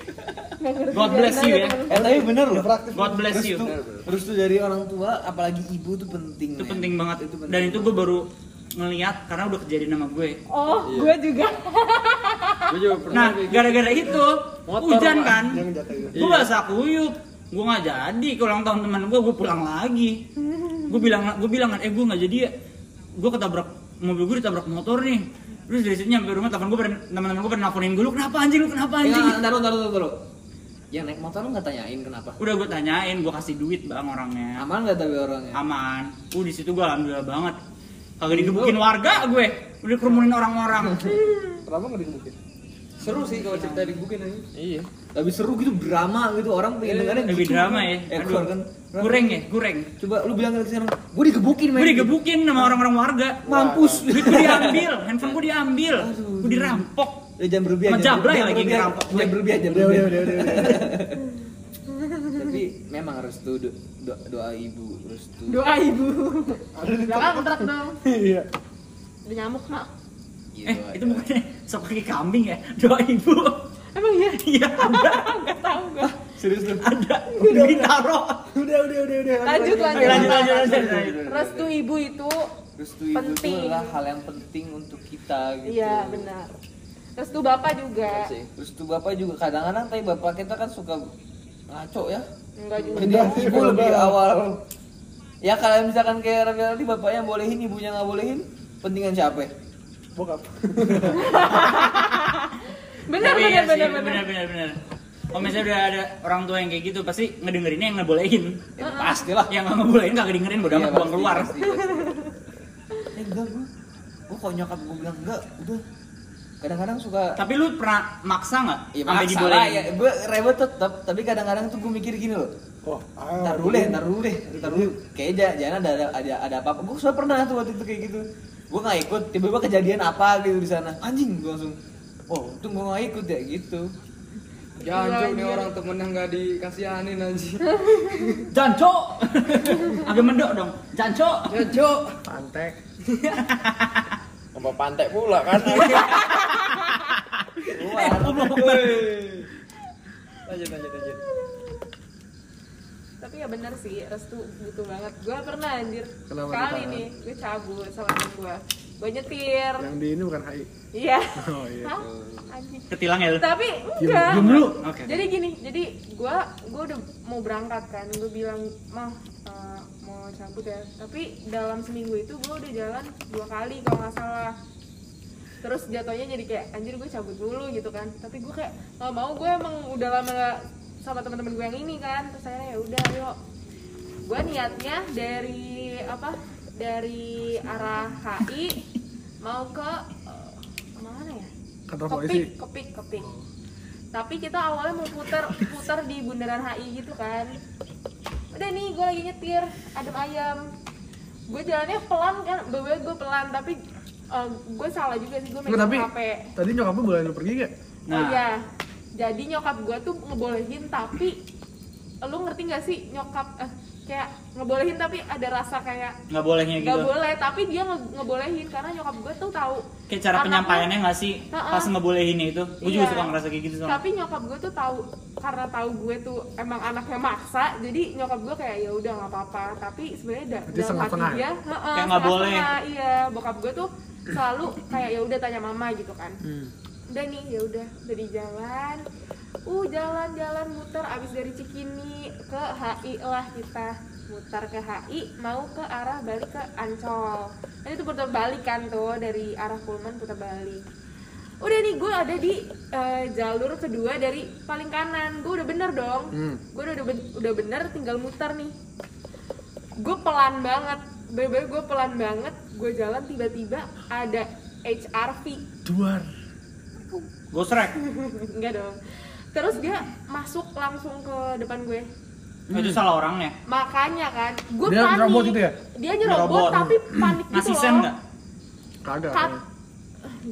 Speaker 6: Nggak ngerti
Speaker 7: God bless you ya
Speaker 1: Eh tapi bener loh.
Speaker 2: Praktis.
Speaker 7: God bless you
Speaker 1: Terus tuh dari orang tua, apalagi ibu tuh penting.
Speaker 7: itu
Speaker 1: men.
Speaker 7: penting banget
Speaker 1: Itu penting.
Speaker 7: dan itu gue baru ngeliat karena udah kejadian sama gue
Speaker 6: Oh, gue juga.
Speaker 4: Gue juga pernah gitu.
Speaker 7: nah
Speaker 13: gitu.
Speaker 7: gara-gara itu hujan kan
Speaker 2: Jangan jatuh.
Speaker 7: gue
Speaker 13: Iya.
Speaker 7: basah kuyup gue nggak jadi ke ulang tahun teman gue gue pulang lagi gue bilang gue bilang kan eh gue nggak jadi ya gue ketabrak mobil gue ditabrak motor nih terus dari situ nyampe rumah teman gue pada- teman-teman gue pada nelfonin gue lu kenapa anjing lu kenapa anjing
Speaker 13: Ya, ntar lu, ntar lu, ntar lu. Yang naik motor lu nggak tanyain kenapa?
Speaker 7: udah gue tanyain gue kasih duit bang orangnya
Speaker 13: Aman nggak tapi orangnya?
Speaker 7: aman uh di situ gue alhamdulillah banget kagak
Speaker 13: Iya.
Speaker 7: digebukin warga gue udah kerumunin orang-orang
Speaker 2: Kenapa nggak digebukin?
Speaker 1: Seru sih kalau cerita di Google ini.
Speaker 4: Iya.
Speaker 13: Lebih seru gitu drama gitu orang pengen dengerin
Speaker 7: Iya, lebih
Speaker 13: gitu.
Speaker 7: drama ya
Speaker 13: Eh,
Speaker 7: Aduh.
Speaker 13: keluar kan.
Speaker 7: goreng ya goreng
Speaker 13: Coba lu bilang ke sekarang, gue digebukin
Speaker 7: gue
Speaker 13: men.
Speaker 7: digebukin sama orang-orang warga
Speaker 13: Mampus.
Speaker 7: duit gue diambil handphone gue diambil gue dirampok
Speaker 13: Ya, jangan berlebihan.
Speaker 7: Sama
Speaker 13: jangan
Speaker 7: Jablay
Speaker 13: berlebihan,
Speaker 7: lagi
Speaker 13: jangan
Speaker 7: ngerampok.
Speaker 13: berlebihan, Jangan berlebihan, jangan
Speaker 2: Udah, udah,
Speaker 13: berlebihan.
Speaker 2: udah, udah. udah.
Speaker 13: Tapi memang harus tuh do- do- doa ibu, restu.
Speaker 6: Doa ibu. Jangan kontrak dong.
Speaker 2: Iya.
Speaker 6: Udah nyamuk mak.
Speaker 13: iya,
Speaker 7: eh itu
Speaker 6: ya.
Speaker 7: bukannya sok kaki kambing ya doa ibu
Speaker 6: Emang iya?
Speaker 7: iya ada
Speaker 6: Nggak tahu gue.
Speaker 7: serius lu ada di taro
Speaker 2: Udah, udah, udah, udah.
Speaker 6: Lanjut, lanjut,
Speaker 7: lanjut lanjut lanjut
Speaker 6: Restu ibu itu
Speaker 1: Restu ibu tuh
Speaker 6: Penting.
Speaker 1: adalah hal yang penting untuk kita gitu.
Speaker 6: Iya benar. Restu bapak
Speaker 1: Bener
Speaker 6: juga.
Speaker 1: sih. Restu bapak juga kadang-kadang tapi bapak kita kan suka ngaco ya.
Speaker 6: Enggak juga.
Speaker 1: Jadi ibu lebih awal. Ya kalau misalkan kayak Raffi Aldi bapaknya bolehin, ibunya nggak bolehin, pentingan siapa? ya?
Speaker 2: Bokap.
Speaker 6: Benar
Speaker 7: Tapi
Speaker 6: benar
Speaker 7: iya sih,
Speaker 6: benar
Speaker 7: benar
Speaker 6: benar.
Speaker 7: benar benar kalau misalnya udah ada orang tua yang kayak gitu pasti ngedengerinnya yang ngebolehin
Speaker 1: Ya, pastilah.
Speaker 7: yang nggak ngebolehin nggak dengerin
Speaker 6: Iya,
Speaker 7: bodo amat buang keluar
Speaker 1: Iya, Eh, enggak gue. Gue kalau nyokap gue bilang enggak, udah. Kadang-kadang suka
Speaker 7: tapi lu pernah maksa nggak
Speaker 1: Iya
Speaker 7: sampai
Speaker 1: maksa lah
Speaker 7: dibolehin
Speaker 1: ya, gue rewel tetep, tapi kadang-kadang tuh gue mikir gini loh
Speaker 2: Oh, ayo.
Speaker 1: Ntar dulu deh, ntar dulu deh, ntar dulu Kayaknya ja- jangan ada, ada, ada, ada apa-apa, gue sudah pernah tuh waktu itu kayak gitu Gue gak ikut, tiba-tiba kejadian apa gitu di sana Anjing, gue langsung Oh, untung gue gak ikut ya gitu
Speaker 6: Jangan,
Speaker 3: Jangan nih
Speaker 6: Cuk.
Speaker 3: orang temennya nggak dikasihanin anjing.
Speaker 7: janco agak mendok dong janco
Speaker 3: Jojo.
Speaker 2: Pantek.
Speaker 4: Sama pantai pula kan.
Speaker 7: eh Allah Akbar.
Speaker 4: lanjut lanjut lanjut.
Speaker 6: Tapi ya benar sih, restu butuh banget. Gue pernah anjir
Speaker 2: Kenapa
Speaker 6: sekali
Speaker 2: ditahan?
Speaker 6: nih, gue cabut sama temen gue. Gue nyetir.
Speaker 2: Yang di ini bukan HI.
Speaker 6: Iya.
Speaker 2: Oh iya.
Speaker 6: Hah? Anjing.
Speaker 7: ketilang ya lu
Speaker 6: Tapi
Speaker 2: Diem
Speaker 6: enggak.
Speaker 2: diem dulu.
Speaker 7: Oke.
Speaker 6: Jadi gini, jadi gua gua udah mau berangkat kan, gua bilang mah eh, mau cabut ya. Tapi dalam seminggu itu gua udah jalan dua kali kalau nggak salah. Terus jatuhnya jadi kayak anjir gue cabut dulu gitu kan. Tapi gua kayak nggak mau gue emang udah lama nggak sama teman-teman gue yang ini kan. Terus saya ya udah yuk. Gua niatnya dari apa? Dari arah HI mau ke eh, mana ya?
Speaker 2: Kantor polisi.
Speaker 6: kepik kepik kepik tapi kita awalnya mau putar putar di bundaran HI gitu kan udah nih gue lagi nyetir adem ayam gue jalannya pelan kan beberapa gue pelan tapi gue salah juga sih gue
Speaker 2: Nggak,
Speaker 6: megang
Speaker 2: tapi
Speaker 6: HP
Speaker 2: tadi nyokap lu bolehin lu pergi gak?
Speaker 6: oh
Speaker 7: Nah.
Speaker 6: iya jadi nyokap gue tuh ngebolehin tapi lu ngerti gak sih nyokap eh, kayak ngebolehin tapi ada rasa kayak
Speaker 7: nggak bolehnya
Speaker 6: nggak
Speaker 7: gitu
Speaker 6: boleh tapi dia nge- ngebolehin karena nyokap gue tuh tahu
Speaker 7: kayak cara
Speaker 6: anaknya-
Speaker 7: penyampaiannya nggak sih
Speaker 6: Ha-ha.
Speaker 7: pas ngebolehinnya itu gue juga
Speaker 6: Iya.
Speaker 7: suka ngerasa kayak gitu soalnya
Speaker 6: tapi nyokap gue tuh tahu karena tahu gue tuh emang anaknya maksa jadi nyokap gue kayak ya udah nggak apa-apa tapi sebenarnya da-
Speaker 2: Berarti
Speaker 6: dalam hati
Speaker 2: setengah-setengah ya?
Speaker 6: dia "Heeh,
Speaker 7: Kayak nggak boleh."
Speaker 6: setengah-setengah." iya bokap gue tuh selalu kayak ya udah tanya mama gitu kan
Speaker 7: Hmm.
Speaker 6: udah nih ya udah udah di jalan uh jalan-jalan muter abis dari Cikini ke HI lah kita muter ke HI mau ke arah balik ke Ancol Nah, itu putar balik kan tuh dari arah Pullman putar balik udah nih gue ada di eh, jalur kedua dari paling kanan gue udah bener dong
Speaker 7: Hmm.
Speaker 6: gue udah ben- udah bener tinggal muter nih gue pelan banget bener gue pelan banget gue jalan tiba-tiba ada HRV
Speaker 2: Duar.
Speaker 7: gue srek
Speaker 6: enggak dong terus dia masuk langsung ke depan gue Hmm.
Speaker 7: Oh, itu salah orangnya
Speaker 6: makanya kan gue
Speaker 2: Dia
Speaker 6: panik
Speaker 2: nyerobot gitu ya?
Speaker 6: dia nyerobot,
Speaker 7: Nyerobot.
Speaker 6: tapi panik gitu
Speaker 7: ngasih
Speaker 6: loh
Speaker 7: sen nggak
Speaker 2: kagak
Speaker 6: Kat,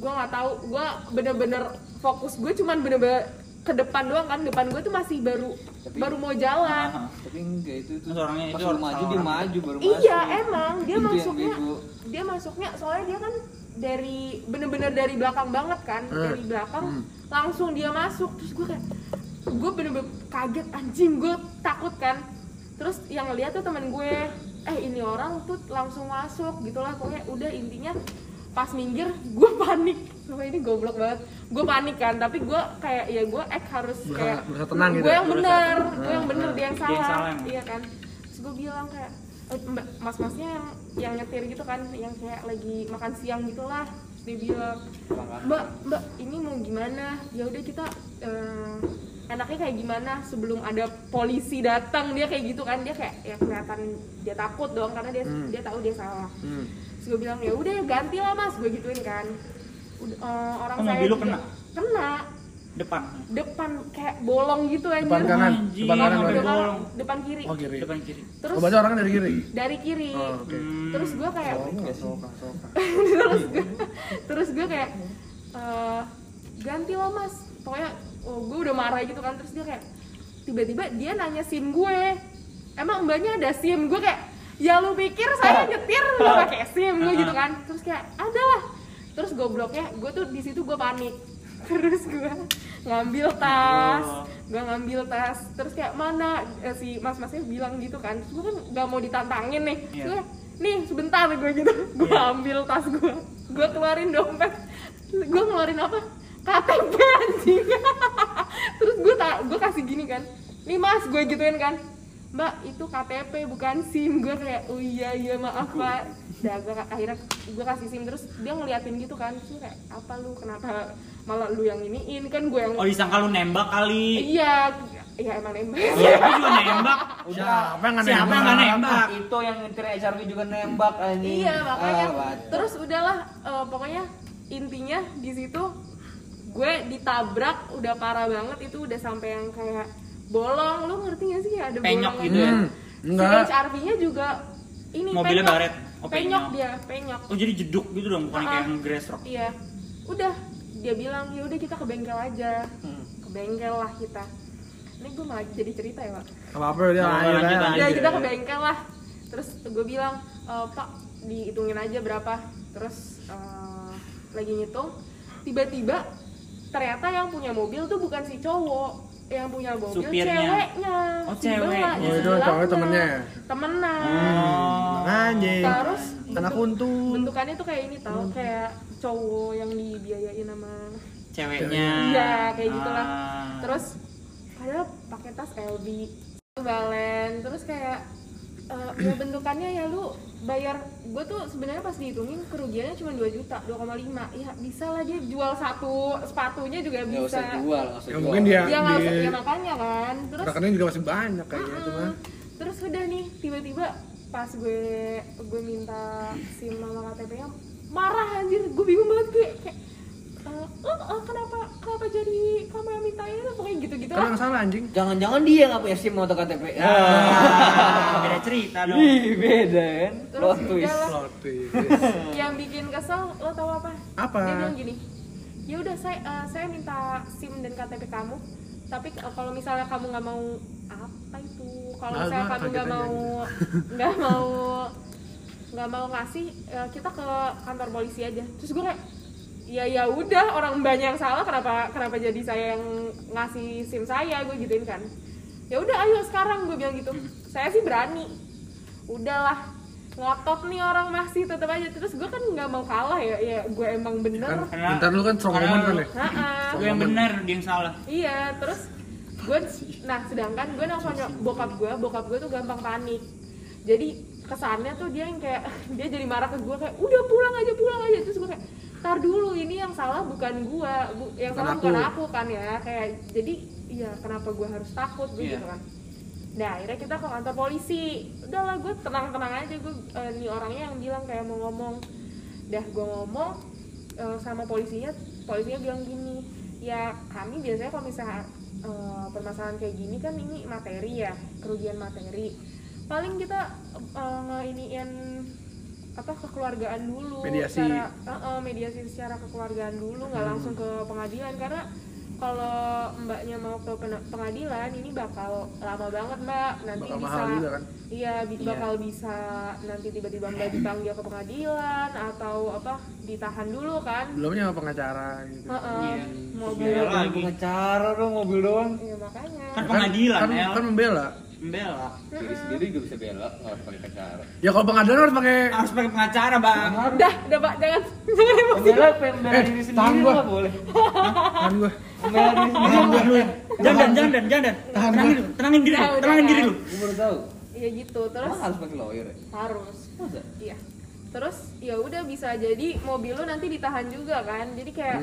Speaker 6: gue nggak tahu gue bener-bener fokus gue cuman bener-bener ke depan doang kan depan gue tuh masih baru baru mau jalan
Speaker 7: Ah,
Speaker 1: tapi enggak itu itu
Speaker 7: Terus orangnya
Speaker 1: pas lu
Speaker 7: itu orang-
Speaker 1: maju
Speaker 7: orang.
Speaker 1: dia maju baru
Speaker 6: iya
Speaker 1: masuk.
Speaker 6: emang
Speaker 1: Itu
Speaker 6: dia
Speaker 1: yang
Speaker 6: masuknya
Speaker 1: bego.
Speaker 6: dia masuknya soalnya dia kan dari bener-bener dari belakang banget kan dari belakang langsung dia masuk terus gue kayak gue bener-bener kaget anjing gue takut kan terus yang ngeliat tuh temen gue eh ini orang tuh langsung masuk gitulah pokoknya udah intinya pas minggir gue panik Sumpah ini goblok banget gue panik kan tapi gue kayak ya gue act harus
Speaker 2: Berusaha-
Speaker 6: kayak
Speaker 2: berusaha tenang gitu
Speaker 6: gue
Speaker 2: ya?
Speaker 6: yang bener gue yang bener dia yang
Speaker 7: Nah, Dia yang salah
Speaker 6: salah
Speaker 7: emang.
Speaker 6: iya kan terus gue bilang kayak "Eh, mbak- mas-masnya yang yang nyetir gitu kan yang kayak lagi makan siang gitulah terus dia bilang mbak mbak ini mau gimana ya udah kita eh, enaknya kayak gimana sebelum ada polisi datang dia kayak gitu kan dia kayak ya kelihatan dia takut dong karena dia
Speaker 7: Hmm.
Speaker 6: dia tahu dia salah terus gue bilang ya udah ganti lah mas gue gituin kan Udah, eh, orang
Speaker 7: Oh,
Speaker 6: saya
Speaker 7: mobil lu
Speaker 6: juga-
Speaker 7: kena?
Speaker 6: kena
Speaker 7: depan
Speaker 6: depan kayak bolong gitu anjir
Speaker 2: depan kanan
Speaker 7: Anjing,
Speaker 2: depan kanan
Speaker 7: sampai
Speaker 2: berarti.
Speaker 6: depan,
Speaker 7: bolong.
Speaker 6: depan kiri
Speaker 2: oh kiri
Speaker 7: depan kiri
Speaker 6: terus
Speaker 2: oh berarti orangnya dari kiri
Speaker 6: dari kiri
Speaker 2: oh oke
Speaker 7: Hmm.
Speaker 6: terus gue kayak
Speaker 2: Soka, soka, soka.
Speaker 6: terus gue terus gue kayak "Eh, ganti lo mas pokoknya oh, gue udah marah gitu kan terus dia kayak tiba-tiba dia nanya sim gue emang mbaknya ada sim gue kayak ya lu pikir saya nyetir lu pakai sim gue gitu kan terus kayak ada lah terus gobloknya gue tuh di situ gue panik terus gue ngambil tas gue ngambil tas terus kayak mana eh, si mas-masnya bilang gitu kan terus gue kan gak mau ditantangin nih
Speaker 7: Iya.
Speaker 6: Terus gue, nih sebentar gue gitu gue ambil tas gue gue keluarin dompet gue ngeluarin apa KTP anjing terus gue tak gue kasih gini kan nih mas gue gituin kan mbak itu KTP bukan SIM gue kayak oh iya iya maaf pak dah gue akhirnya gue kasih SIM terus dia ngeliatin gitu kan terus gue kayak apa lu kenapa malah lu yang iniin kan gue yang
Speaker 7: oh disangka lu nembak kali
Speaker 6: iya iya emang nembak
Speaker 7: Iya, gue juga nembak
Speaker 2: siapa yang nggak
Speaker 7: siapa yang nggak nembak
Speaker 1: itu yang nyetir HRV juga nembak anjing
Speaker 6: Iya makanya
Speaker 1: Ah, bacot.
Speaker 6: terus udahlah eh, pokoknya intinya di situ gue ditabrak udah parah banget itu udah sampai yang kayak bolong lu ngerti gak sih kayak ada
Speaker 7: Penyok
Speaker 6: bolongan
Speaker 7: gitu ya?
Speaker 6: gitu.
Speaker 2: enggak
Speaker 6: Si HRV-nya juga ini
Speaker 7: Mobilnya
Speaker 6: penyok.
Speaker 7: baret. Oh,
Speaker 6: penyok.
Speaker 7: penyok.
Speaker 6: dia penyok
Speaker 7: oh jadi jeduk gitu dong bukan kayak yang grass rock
Speaker 6: iya udah dia bilang ya udah kita ke bengkel aja ke bengkel lah kita ini gue malah jadi cerita ya pak
Speaker 2: apa-apa udah
Speaker 7: Nah,
Speaker 2: lanjut
Speaker 7: lanjut,
Speaker 2: aja.
Speaker 7: lanjut.
Speaker 6: Udah
Speaker 7: Aja.
Speaker 6: Iya, kita ke bengkel lah. Terus gue bilang, "E, Pak dihitungin aja berapa. Terus eh, lagi ngitung, tiba-tiba ternyata yang punya mobil tuh bukan si cowok yang punya mobil
Speaker 7: Supirnya.
Speaker 6: ceweknya
Speaker 7: Oh, Hmm.
Speaker 6: si Bella,
Speaker 7: ceweknya.
Speaker 6: si
Speaker 2: Oh, itu
Speaker 6: Bellanya.
Speaker 2: cowoknya temennya.
Speaker 6: temenan
Speaker 2: anjing Hmm.
Speaker 6: terus
Speaker 2: anak
Speaker 6: bentuk-
Speaker 2: untung
Speaker 6: bentukannya tuh kayak ini tau kayak cowok yang dibiayain sama
Speaker 7: ceweknya
Speaker 6: Iya, kayak gitulah.
Speaker 7: Ah.
Speaker 6: Terus padahal pakai tas LV, balen, terus kayak eh, ya bentukannya ya lu bayar gue tuh sebenarnya pas dihitungin kerugiannya cuma 2 juta 2,5 ya bisa lah dia jual satu sepatunya juga
Speaker 1: nggak
Speaker 6: bisa
Speaker 1: Ya, usah jual nggak usah
Speaker 2: ya
Speaker 1: jual
Speaker 2: mungkin dia
Speaker 6: ya nggak usah
Speaker 2: di
Speaker 6: ya makanya kan terus Ah,
Speaker 2: rekeningnya juga masih banyak kayaknya kan itu mah
Speaker 6: Mm-mm. terus udah nih tiba-tiba pas gue gue minta sim nama KTP-nya marah anjir gue bingung banget gue kayak "Eh, lo eh, kenapa kenapa jadi kamu yang minta itu pokoknya gitu-gitu
Speaker 2: karena
Speaker 6: lah
Speaker 2: nggak salah anjing
Speaker 1: jangan-jangan dia nggak punya SIM atau KTP
Speaker 7: Ah, beda cerita dong
Speaker 1: Ih, beda kan
Speaker 6: terus
Speaker 1: plot
Speaker 6: udah
Speaker 1: twist
Speaker 6: lah
Speaker 2: Plot twist.
Speaker 6: yang bikin kesel lo tau apa
Speaker 2: Apa?
Speaker 6: dia bilang gini ya udah saya eh, saya minta sim dan KTP kamu tapi eh, kalau misalnya kamu nggak mau apa itu kalau
Speaker 2: Nah,
Speaker 6: misalnya
Speaker 2: gua
Speaker 6: kamu nggak
Speaker 2: kaget aja
Speaker 6: mau nggak mau nggak mau ngasih eh, kita ke kantor polisi aja terus gue kayak ya ya udah orang banyak yang salah kenapa kenapa jadi saya yang ngasih sim saya gue gituin kan ya udah ayo sekarang gue bilang gitu saya sih berani udahlah ngotot nih orang masih tetap aja terus gue kan nggak mau kalah ya ya gue
Speaker 2: kan
Speaker 6: emang bener
Speaker 7: Karena-
Speaker 2: bentar dulu kan strong
Speaker 7: karena
Speaker 2: woman kan
Speaker 7: lu-
Speaker 2: ya
Speaker 6: Ha-ha.
Speaker 7: gue yang benar dia yang salah
Speaker 6: iya terus gue nah sedangkan gue nelfon nyok- bokap gue bokap gue tuh gampang panik jadi kesannya tuh dia yang kayak dia jadi marah ke gue kayak udah pulang aja pulang aja terus gue kayak tar dulu ini yang salah bukan gue bu- yang
Speaker 2: Bukan
Speaker 6: salah
Speaker 2: aku."
Speaker 6: bukan aku kan ya kayak jadi ya kenapa gue harus takut
Speaker 2: Iya.
Speaker 6: gue gitu kan Nah, akhirnya kita ke kantor polisi. Udahlah, gue tenang-tenang aja. Gue eh, nih orangnya yang bilang kayak mau ngomong. Dah, gue ngomong eh, sama polisinya. Polisinya bilang gini, ya ya kami biasanya kalau misalnya eh, permasalahan kayak gini kan ini materi ya kerugian materi paling kita eh, ngeiniin apa kekeluargaan dulu
Speaker 2: Mediasi.
Speaker 6: secara eh, eh, mediasi secara kekeluargaan dulu nggak langsung ke pengadilan karena kalau mbaknya mau ke pen- pengadilan ini bakal lama banget mbak nanti
Speaker 2: Bakal
Speaker 6: bisa
Speaker 2: mahal juga kan?
Speaker 6: Iya, bi- bakal bisa nanti tiba-tiba mbak dipanggil ke pengadilan atau apa ditahan dulu kan?
Speaker 2: belumnya sama pengacara gitu
Speaker 6: Heeh,
Speaker 2: Iya.
Speaker 6: mobil.
Speaker 7: Pembela lagi.
Speaker 1: pengacara dong mobil doang
Speaker 6: Iya makanya.
Speaker 7: Kan
Speaker 2: Ya
Speaker 7: pengadilan,
Speaker 2: kan,
Speaker 7: El.
Speaker 2: kan membela
Speaker 7: Membela.
Speaker 4: Diri sendiri juga bisa bela, nggak harus pakai pengacara.
Speaker 2: ya kalau pengadilan harus pakai
Speaker 7: Harus pakai pengacara, Bang.
Speaker 6: Dah, udah pak jangan jangan emosi.
Speaker 1: pembela pembela
Speaker 2: Eh,
Speaker 1: diri
Speaker 2: tahan
Speaker 1: sendiri
Speaker 2: gua.
Speaker 1: nggak boleh
Speaker 2: kan gue
Speaker 1: pembela diri sendiri nggak boleh
Speaker 7: Jangan, jangan, jangan. Tenangin dulu, tenangin diri,
Speaker 6: Udah,
Speaker 7: lu,
Speaker 6: udah,
Speaker 7: tenangin diri
Speaker 6: ya.
Speaker 7: lu.
Speaker 1: gue baru tahu
Speaker 6: Iya gitu terus
Speaker 1: emang harus pakai lawyer ya?
Speaker 6: harus.
Speaker 1: Masa?
Speaker 6: Iya. Terus ya udah bisa jadi mobil lu nanti ditahan juga kan. Jadi kayak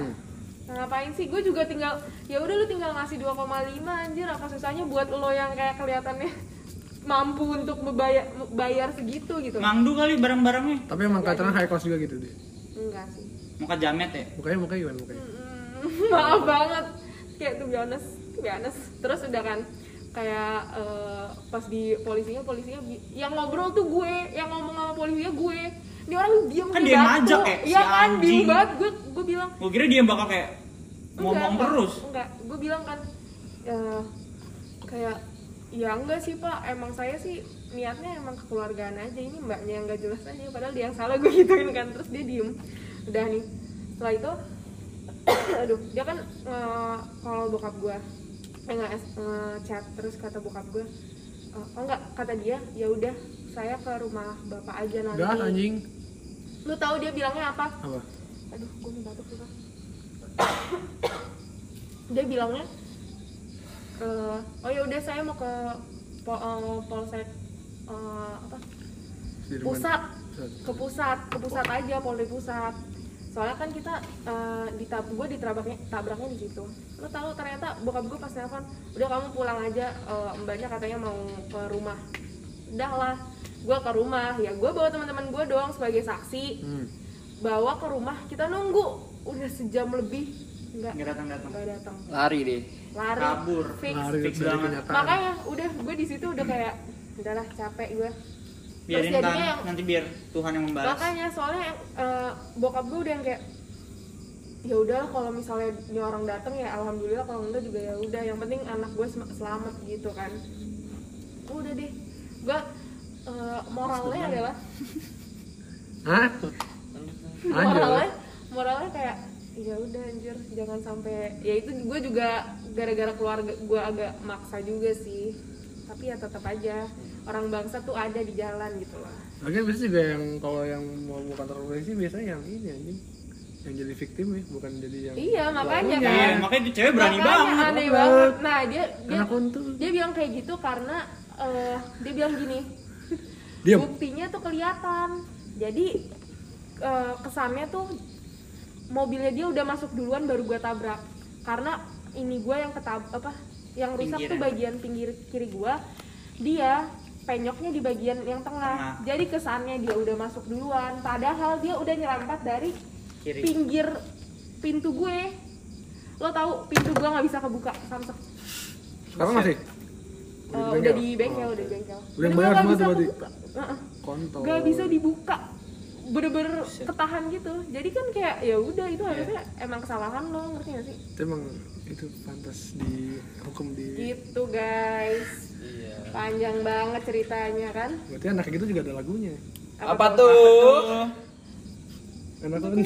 Speaker 6: "Nah, ngapain sih? Gue juga tinggal ya udah lu tinggal ngasih 2,5 anjir apa susahnya buat lo yang kayak kelihatannya mampu untuk membayar bayar segitu gitu.
Speaker 7: Mangdu kali barang-barangnya.
Speaker 2: tapi emang kelihatannya high cost juga gitu deh
Speaker 6: Enggak sih.
Speaker 7: Muka jamet ya.
Speaker 2: mukanya mukanya gimana mukanya
Speaker 6: Mm, maaf banget kayak tuh be honest, to be honest. terus udah kan kayak eh, pas di polisinya polisinya bi- yang ngobrol tuh gue yang ngomong sama polisinya gue ini orang diam
Speaker 7: Kan
Speaker 6: di
Speaker 7: dia yang
Speaker 6: batu.
Speaker 7: ngajak ya, si
Speaker 6: iya kan
Speaker 7: anjing.
Speaker 6: bingung banget gue gue bilang
Speaker 7: Gua kira dia bakal kayak
Speaker 6: Enggak,
Speaker 7: ngomong
Speaker 6: enggak,
Speaker 7: terus.
Speaker 6: enggak gue bilang kan eh, kayak ya enggak sih pak emang saya sih niatnya emang kekeluargaan aja ini mbaknya yang gak jelas aja padahal dia yang salah gue gituin kan terus dia diem udah nih setelah itu aduh dia kan eh, kalau bokap gue eh nggak chat terus kata bokap gue eh, oh enggak kata dia ya udah saya ke rumah bapak aja nanti
Speaker 2: gas anjing
Speaker 6: lu tahu dia bilangnya apa
Speaker 2: apa
Speaker 6: aduh gue mau batuk juga ya, dia bilangnya eh, oh ya udah saya mau ke po- eh, polsek eh, apa
Speaker 2: Sudirman.
Speaker 6: pusat
Speaker 2: Pusat.
Speaker 6: ke pusat ke pusat aja polri pusat soalnya kan kita eh, ditab gue ditabraknya tabraknya di situ lo tahu ternyata bokap gue pas nelfon udah kamu pulang aja eh, mbaknya katanya mau ke rumah udah lah gue ke rumah ya gue bawa teman-teman gue doang sebagai saksi
Speaker 2: Hmm.
Speaker 6: bawa ke rumah kita nunggu udah sejam lebih nggak
Speaker 7: Enggak datang-datang.
Speaker 6: nggak datang
Speaker 3: lari deh
Speaker 6: lari
Speaker 7: Kabur.
Speaker 6: fix
Speaker 2: lari
Speaker 7: fix
Speaker 2: dari
Speaker 7: banget.
Speaker 2: kenyataan
Speaker 6: makanya udah gue di situ udah kayak udahlah capek gue
Speaker 7: Biarin
Speaker 6: Terus
Speaker 7: kan
Speaker 6: jadinya yang-
Speaker 7: nanti biar Tuhan yang membalas.
Speaker 6: makanya soalnya yang, eh, bokap gue udah yang kayak ya udahlah kalau misalnya ini orang datang ya alhamdulillah kalau enggak juga ya udah yang penting anak gue sem- selamat gitu kan udah deh gue eh, moralnya adalah
Speaker 2: hah
Speaker 6: moralnya moralnya kayak ya udah anjir jangan sampai ya itu gue juga gara-gara keluarga gue agak maksa juga sih tapi ya tetap aja orang bangsa tuh ada di jalan gitu lah
Speaker 2: Lagian biasanya juga yang kalau yang mau buka kantor polisi biasanya yang ini anjing yang jadi viktim ya, bukan jadi yang
Speaker 6: iya makanya kan
Speaker 7: Iya, makanya itu cewek berani
Speaker 6: Makanya
Speaker 7: banget.
Speaker 6: kan? aneh banget nah dia dia,
Speaker 2: Anak untung.
Speaker 6: dia bilang kayak gitu karena eh, dia bilang gini
Speaker 2: Diam.
Speaker 6: buktinya tuh kelihatan jadi eh, kesannya tuh mobilnya dia udah masuk duluan baru gua tabrak karena ini gua yang ketab apa yang rusak tuh
Speaker 7: Pinggiran.
Speaker 6: bagian pinggir ya? kiri gua dia penyoknya di bagian yang tengah.
Speaker 7: Tengah.
Speaker 6: jadi kesannya dia udah masuk duluan padahal dia udah nyerempet dari
Speaker 7: Kiri.
Speaker 6: pinggir pintu gue lo tahu pintu gue nggak bisa kebuka Samsung
Speaker 2: sekarang masih
Speaker 6: Eh, udah di bengkel udah di bengkel
Speaker 2: Udah
Speaker 6: Pintu
Speaker 2: bayar
Speaker 6: gua nggak
Speaker 2: semua
Speaker 6: bisa
Speaker 2: tuh berarti?
Speaker 6: kebuka Heeh.
Speaker 2: kontol
Speaker 6: nggak bisa dibuka bener-bener ketahan gitu jadi kan kayak ya udah
Speaker 5: Iya.
Speaker 6: itu harusnya emang kesalahan lo ngerti gak sih
Speaker 2: itu emang itu pantas di hukum di
Speaker 6: gitu guys
Speaker 5: Iya.
Speaker 6: panjang banget ceritanya kan
Speaker 2: berarti anak kayak gitu juga ada lagunya
Speaker 3: apa tuh
Speaker 2: anak tuh kan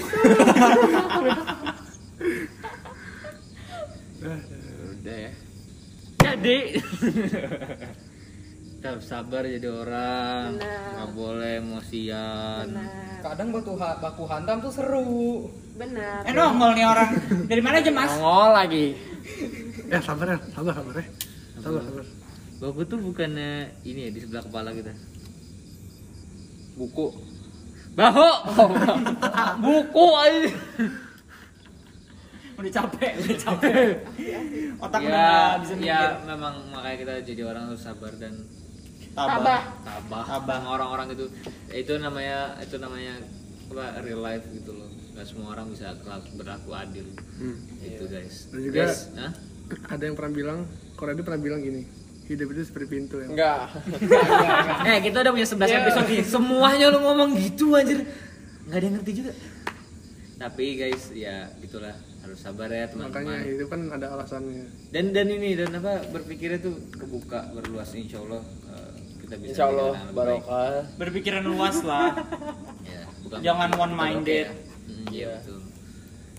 Speaker 4: Udah ya.
Speaker 5: jadi tetap sabar jadi orang
Speaker 6: Benar.
Speaker 5: Ah, nggak boleh emosian
Speaker 6: benar
Speaker 13: kadang batu ha- baku hantam tuh seru
Speaker 6: benar
Speaker 7: Eh nongol nih orang. Dari mana aja, Mas?
Speaker 3: nongol lagi
Speaker 2: ya sabar ya sabar sabar ya sabar sabar
Speaker 5: Baku tuh bukannya ini ya di sebelah kepala kita.
Speaker 4: Buku.
Speaker 5: Bahu. Buku aja.
Speaker 7: Udah capek, udah capek.
Speaker 3: Iya,
Speaker 7: Otak udah
Speaker 5: ya,
Speaker 7: nggak bisa
Speaker 5: ya
Speaker 7: mikir.
Speaker 5: memang makanya kita jadi orang harus sabar dan
Speaker 6: Tabah.
Speaker 5: tabah
Speaker 7: Tabah.
Speaker 5: sama orang-orang itu. Itu namanya itu namanya apa real life gitu loh.
Speaker 3: nggak semua orang bisa berlaku- berlaku adil itu guys
Speaker 2: Dan juga-
Speaker 3: Guys, hah?
Speaker 2: ada yang pernah bilang Koradi pernah bilang gini hidup itu seperti pintu ya
Speaker 4: Enggak.
Speaker 5: Eh kita udah punya 11 episode nih. Semuanya lu ngomong gitu anjir. Nggak ada yang ngerti juga.
Speaker 3: tapi guys ya gitulah harus sabar ya
Speaker 2: makanya
Speaker 4: iya.
Speaker 3: teman-teman
Speaker 2: hidup kan ada alasannya
Speaker 3: dan dan ini dan apa berpikirnya tuh kebuka berluas insya Allah eh, kita bisa
Speaker 4: Insya
Speaker 3: bikin
Speaker 4: Allah
Speaker 3: hal lebih baik.
Speaker 4: barokah.
Speaker 7: berpikiran luas lah
Speaker 3: Ya, bukan
Speaker 7: Jangan
Speaker 3: bukan
Speaker 7: one-minded.
Speaker 3: oke ya. Hmm, iya betul.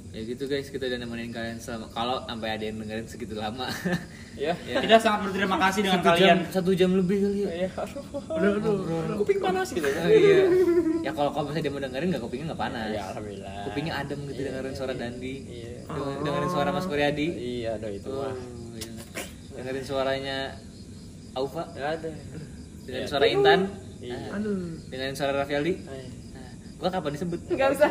Speaker 3: Ya gitu guys, kita udah nemenin kalian selama kalau sampai ada yang dengerin segitu lama.
Speaker 4: Ya.
Speaker 7: kita sangat berterima kasih dengan
Speaker 3: Satu
Speaker 7: kalian
Speaker 3: Jam, satu jam lebih kali ya.
Speaker 4: Iya. Aduh, aduh. Kuping panas gitu.
Speaker 3: Oh, iya. Ya kalau kalau misalnya dia mau dengerin nggak kupingnya nggak panas.
Speaker 4: Ya alhamdulillah.
Speaker 3: Kupingnya adem gitu dengerin suara Dandi.
Speaker 4: Iya.
Speaker 3: Dengerin, dengerin suara Mas Koryadi.
Speaker 4: Iya, ada itu
Speaker 3: Oh,
Speaker 4: mah.
Speaker 3: iya. Dengerin suaranya Aufa,
Speaker 4: Nggak ada.
Speaker 3: dengerin suara Intan, Ah.
Speaker 4: Iya.
Speaker 2: aduh
Speaker 3: dengerin suara Raffialdi.
Speaker 4: Ay.
Speaker 3: Nah, Gua kapan disebut?
Speaker 6: Nggak usah.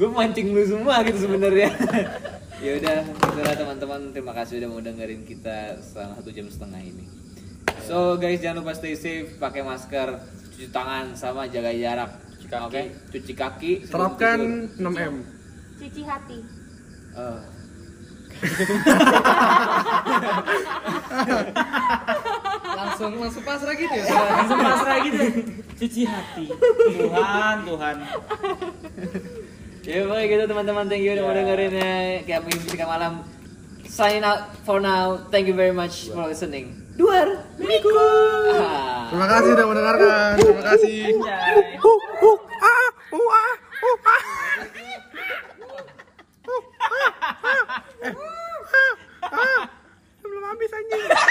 Speaker 3: gue mancing lu semua gitu sebenarnya ya udah itulah teman-teman terima kasih udah mau dengerin kita selama satu jam setengah ini so guys jangan lupa stay safe pakai masker cuci tangan sama jaga jarak
Speaker 4: Cuci kaki.
Speaker 3: Oke, cuci kaki sebelum
Speaker 2: terapkan
Speaker 3: tidur.
Speaker 2: 6 m
Speaker 6: Cuci hati.
Speaker 3: Eh,
Speaker 13: langsung langsung pasrah gitu ya
Speaker 7: langsung pasrah gitu cuci hati Tuhan Tuhan
Speaker 3: ya pokoknya gitu teman-teman thank you udah mau dengerin ya kayak mungkin ketika malam sign out for now thank you very much for listening duar minggu Ah.
Speaker 2: terima kasih udah mendengarkan terima kasih eh belum habis anjing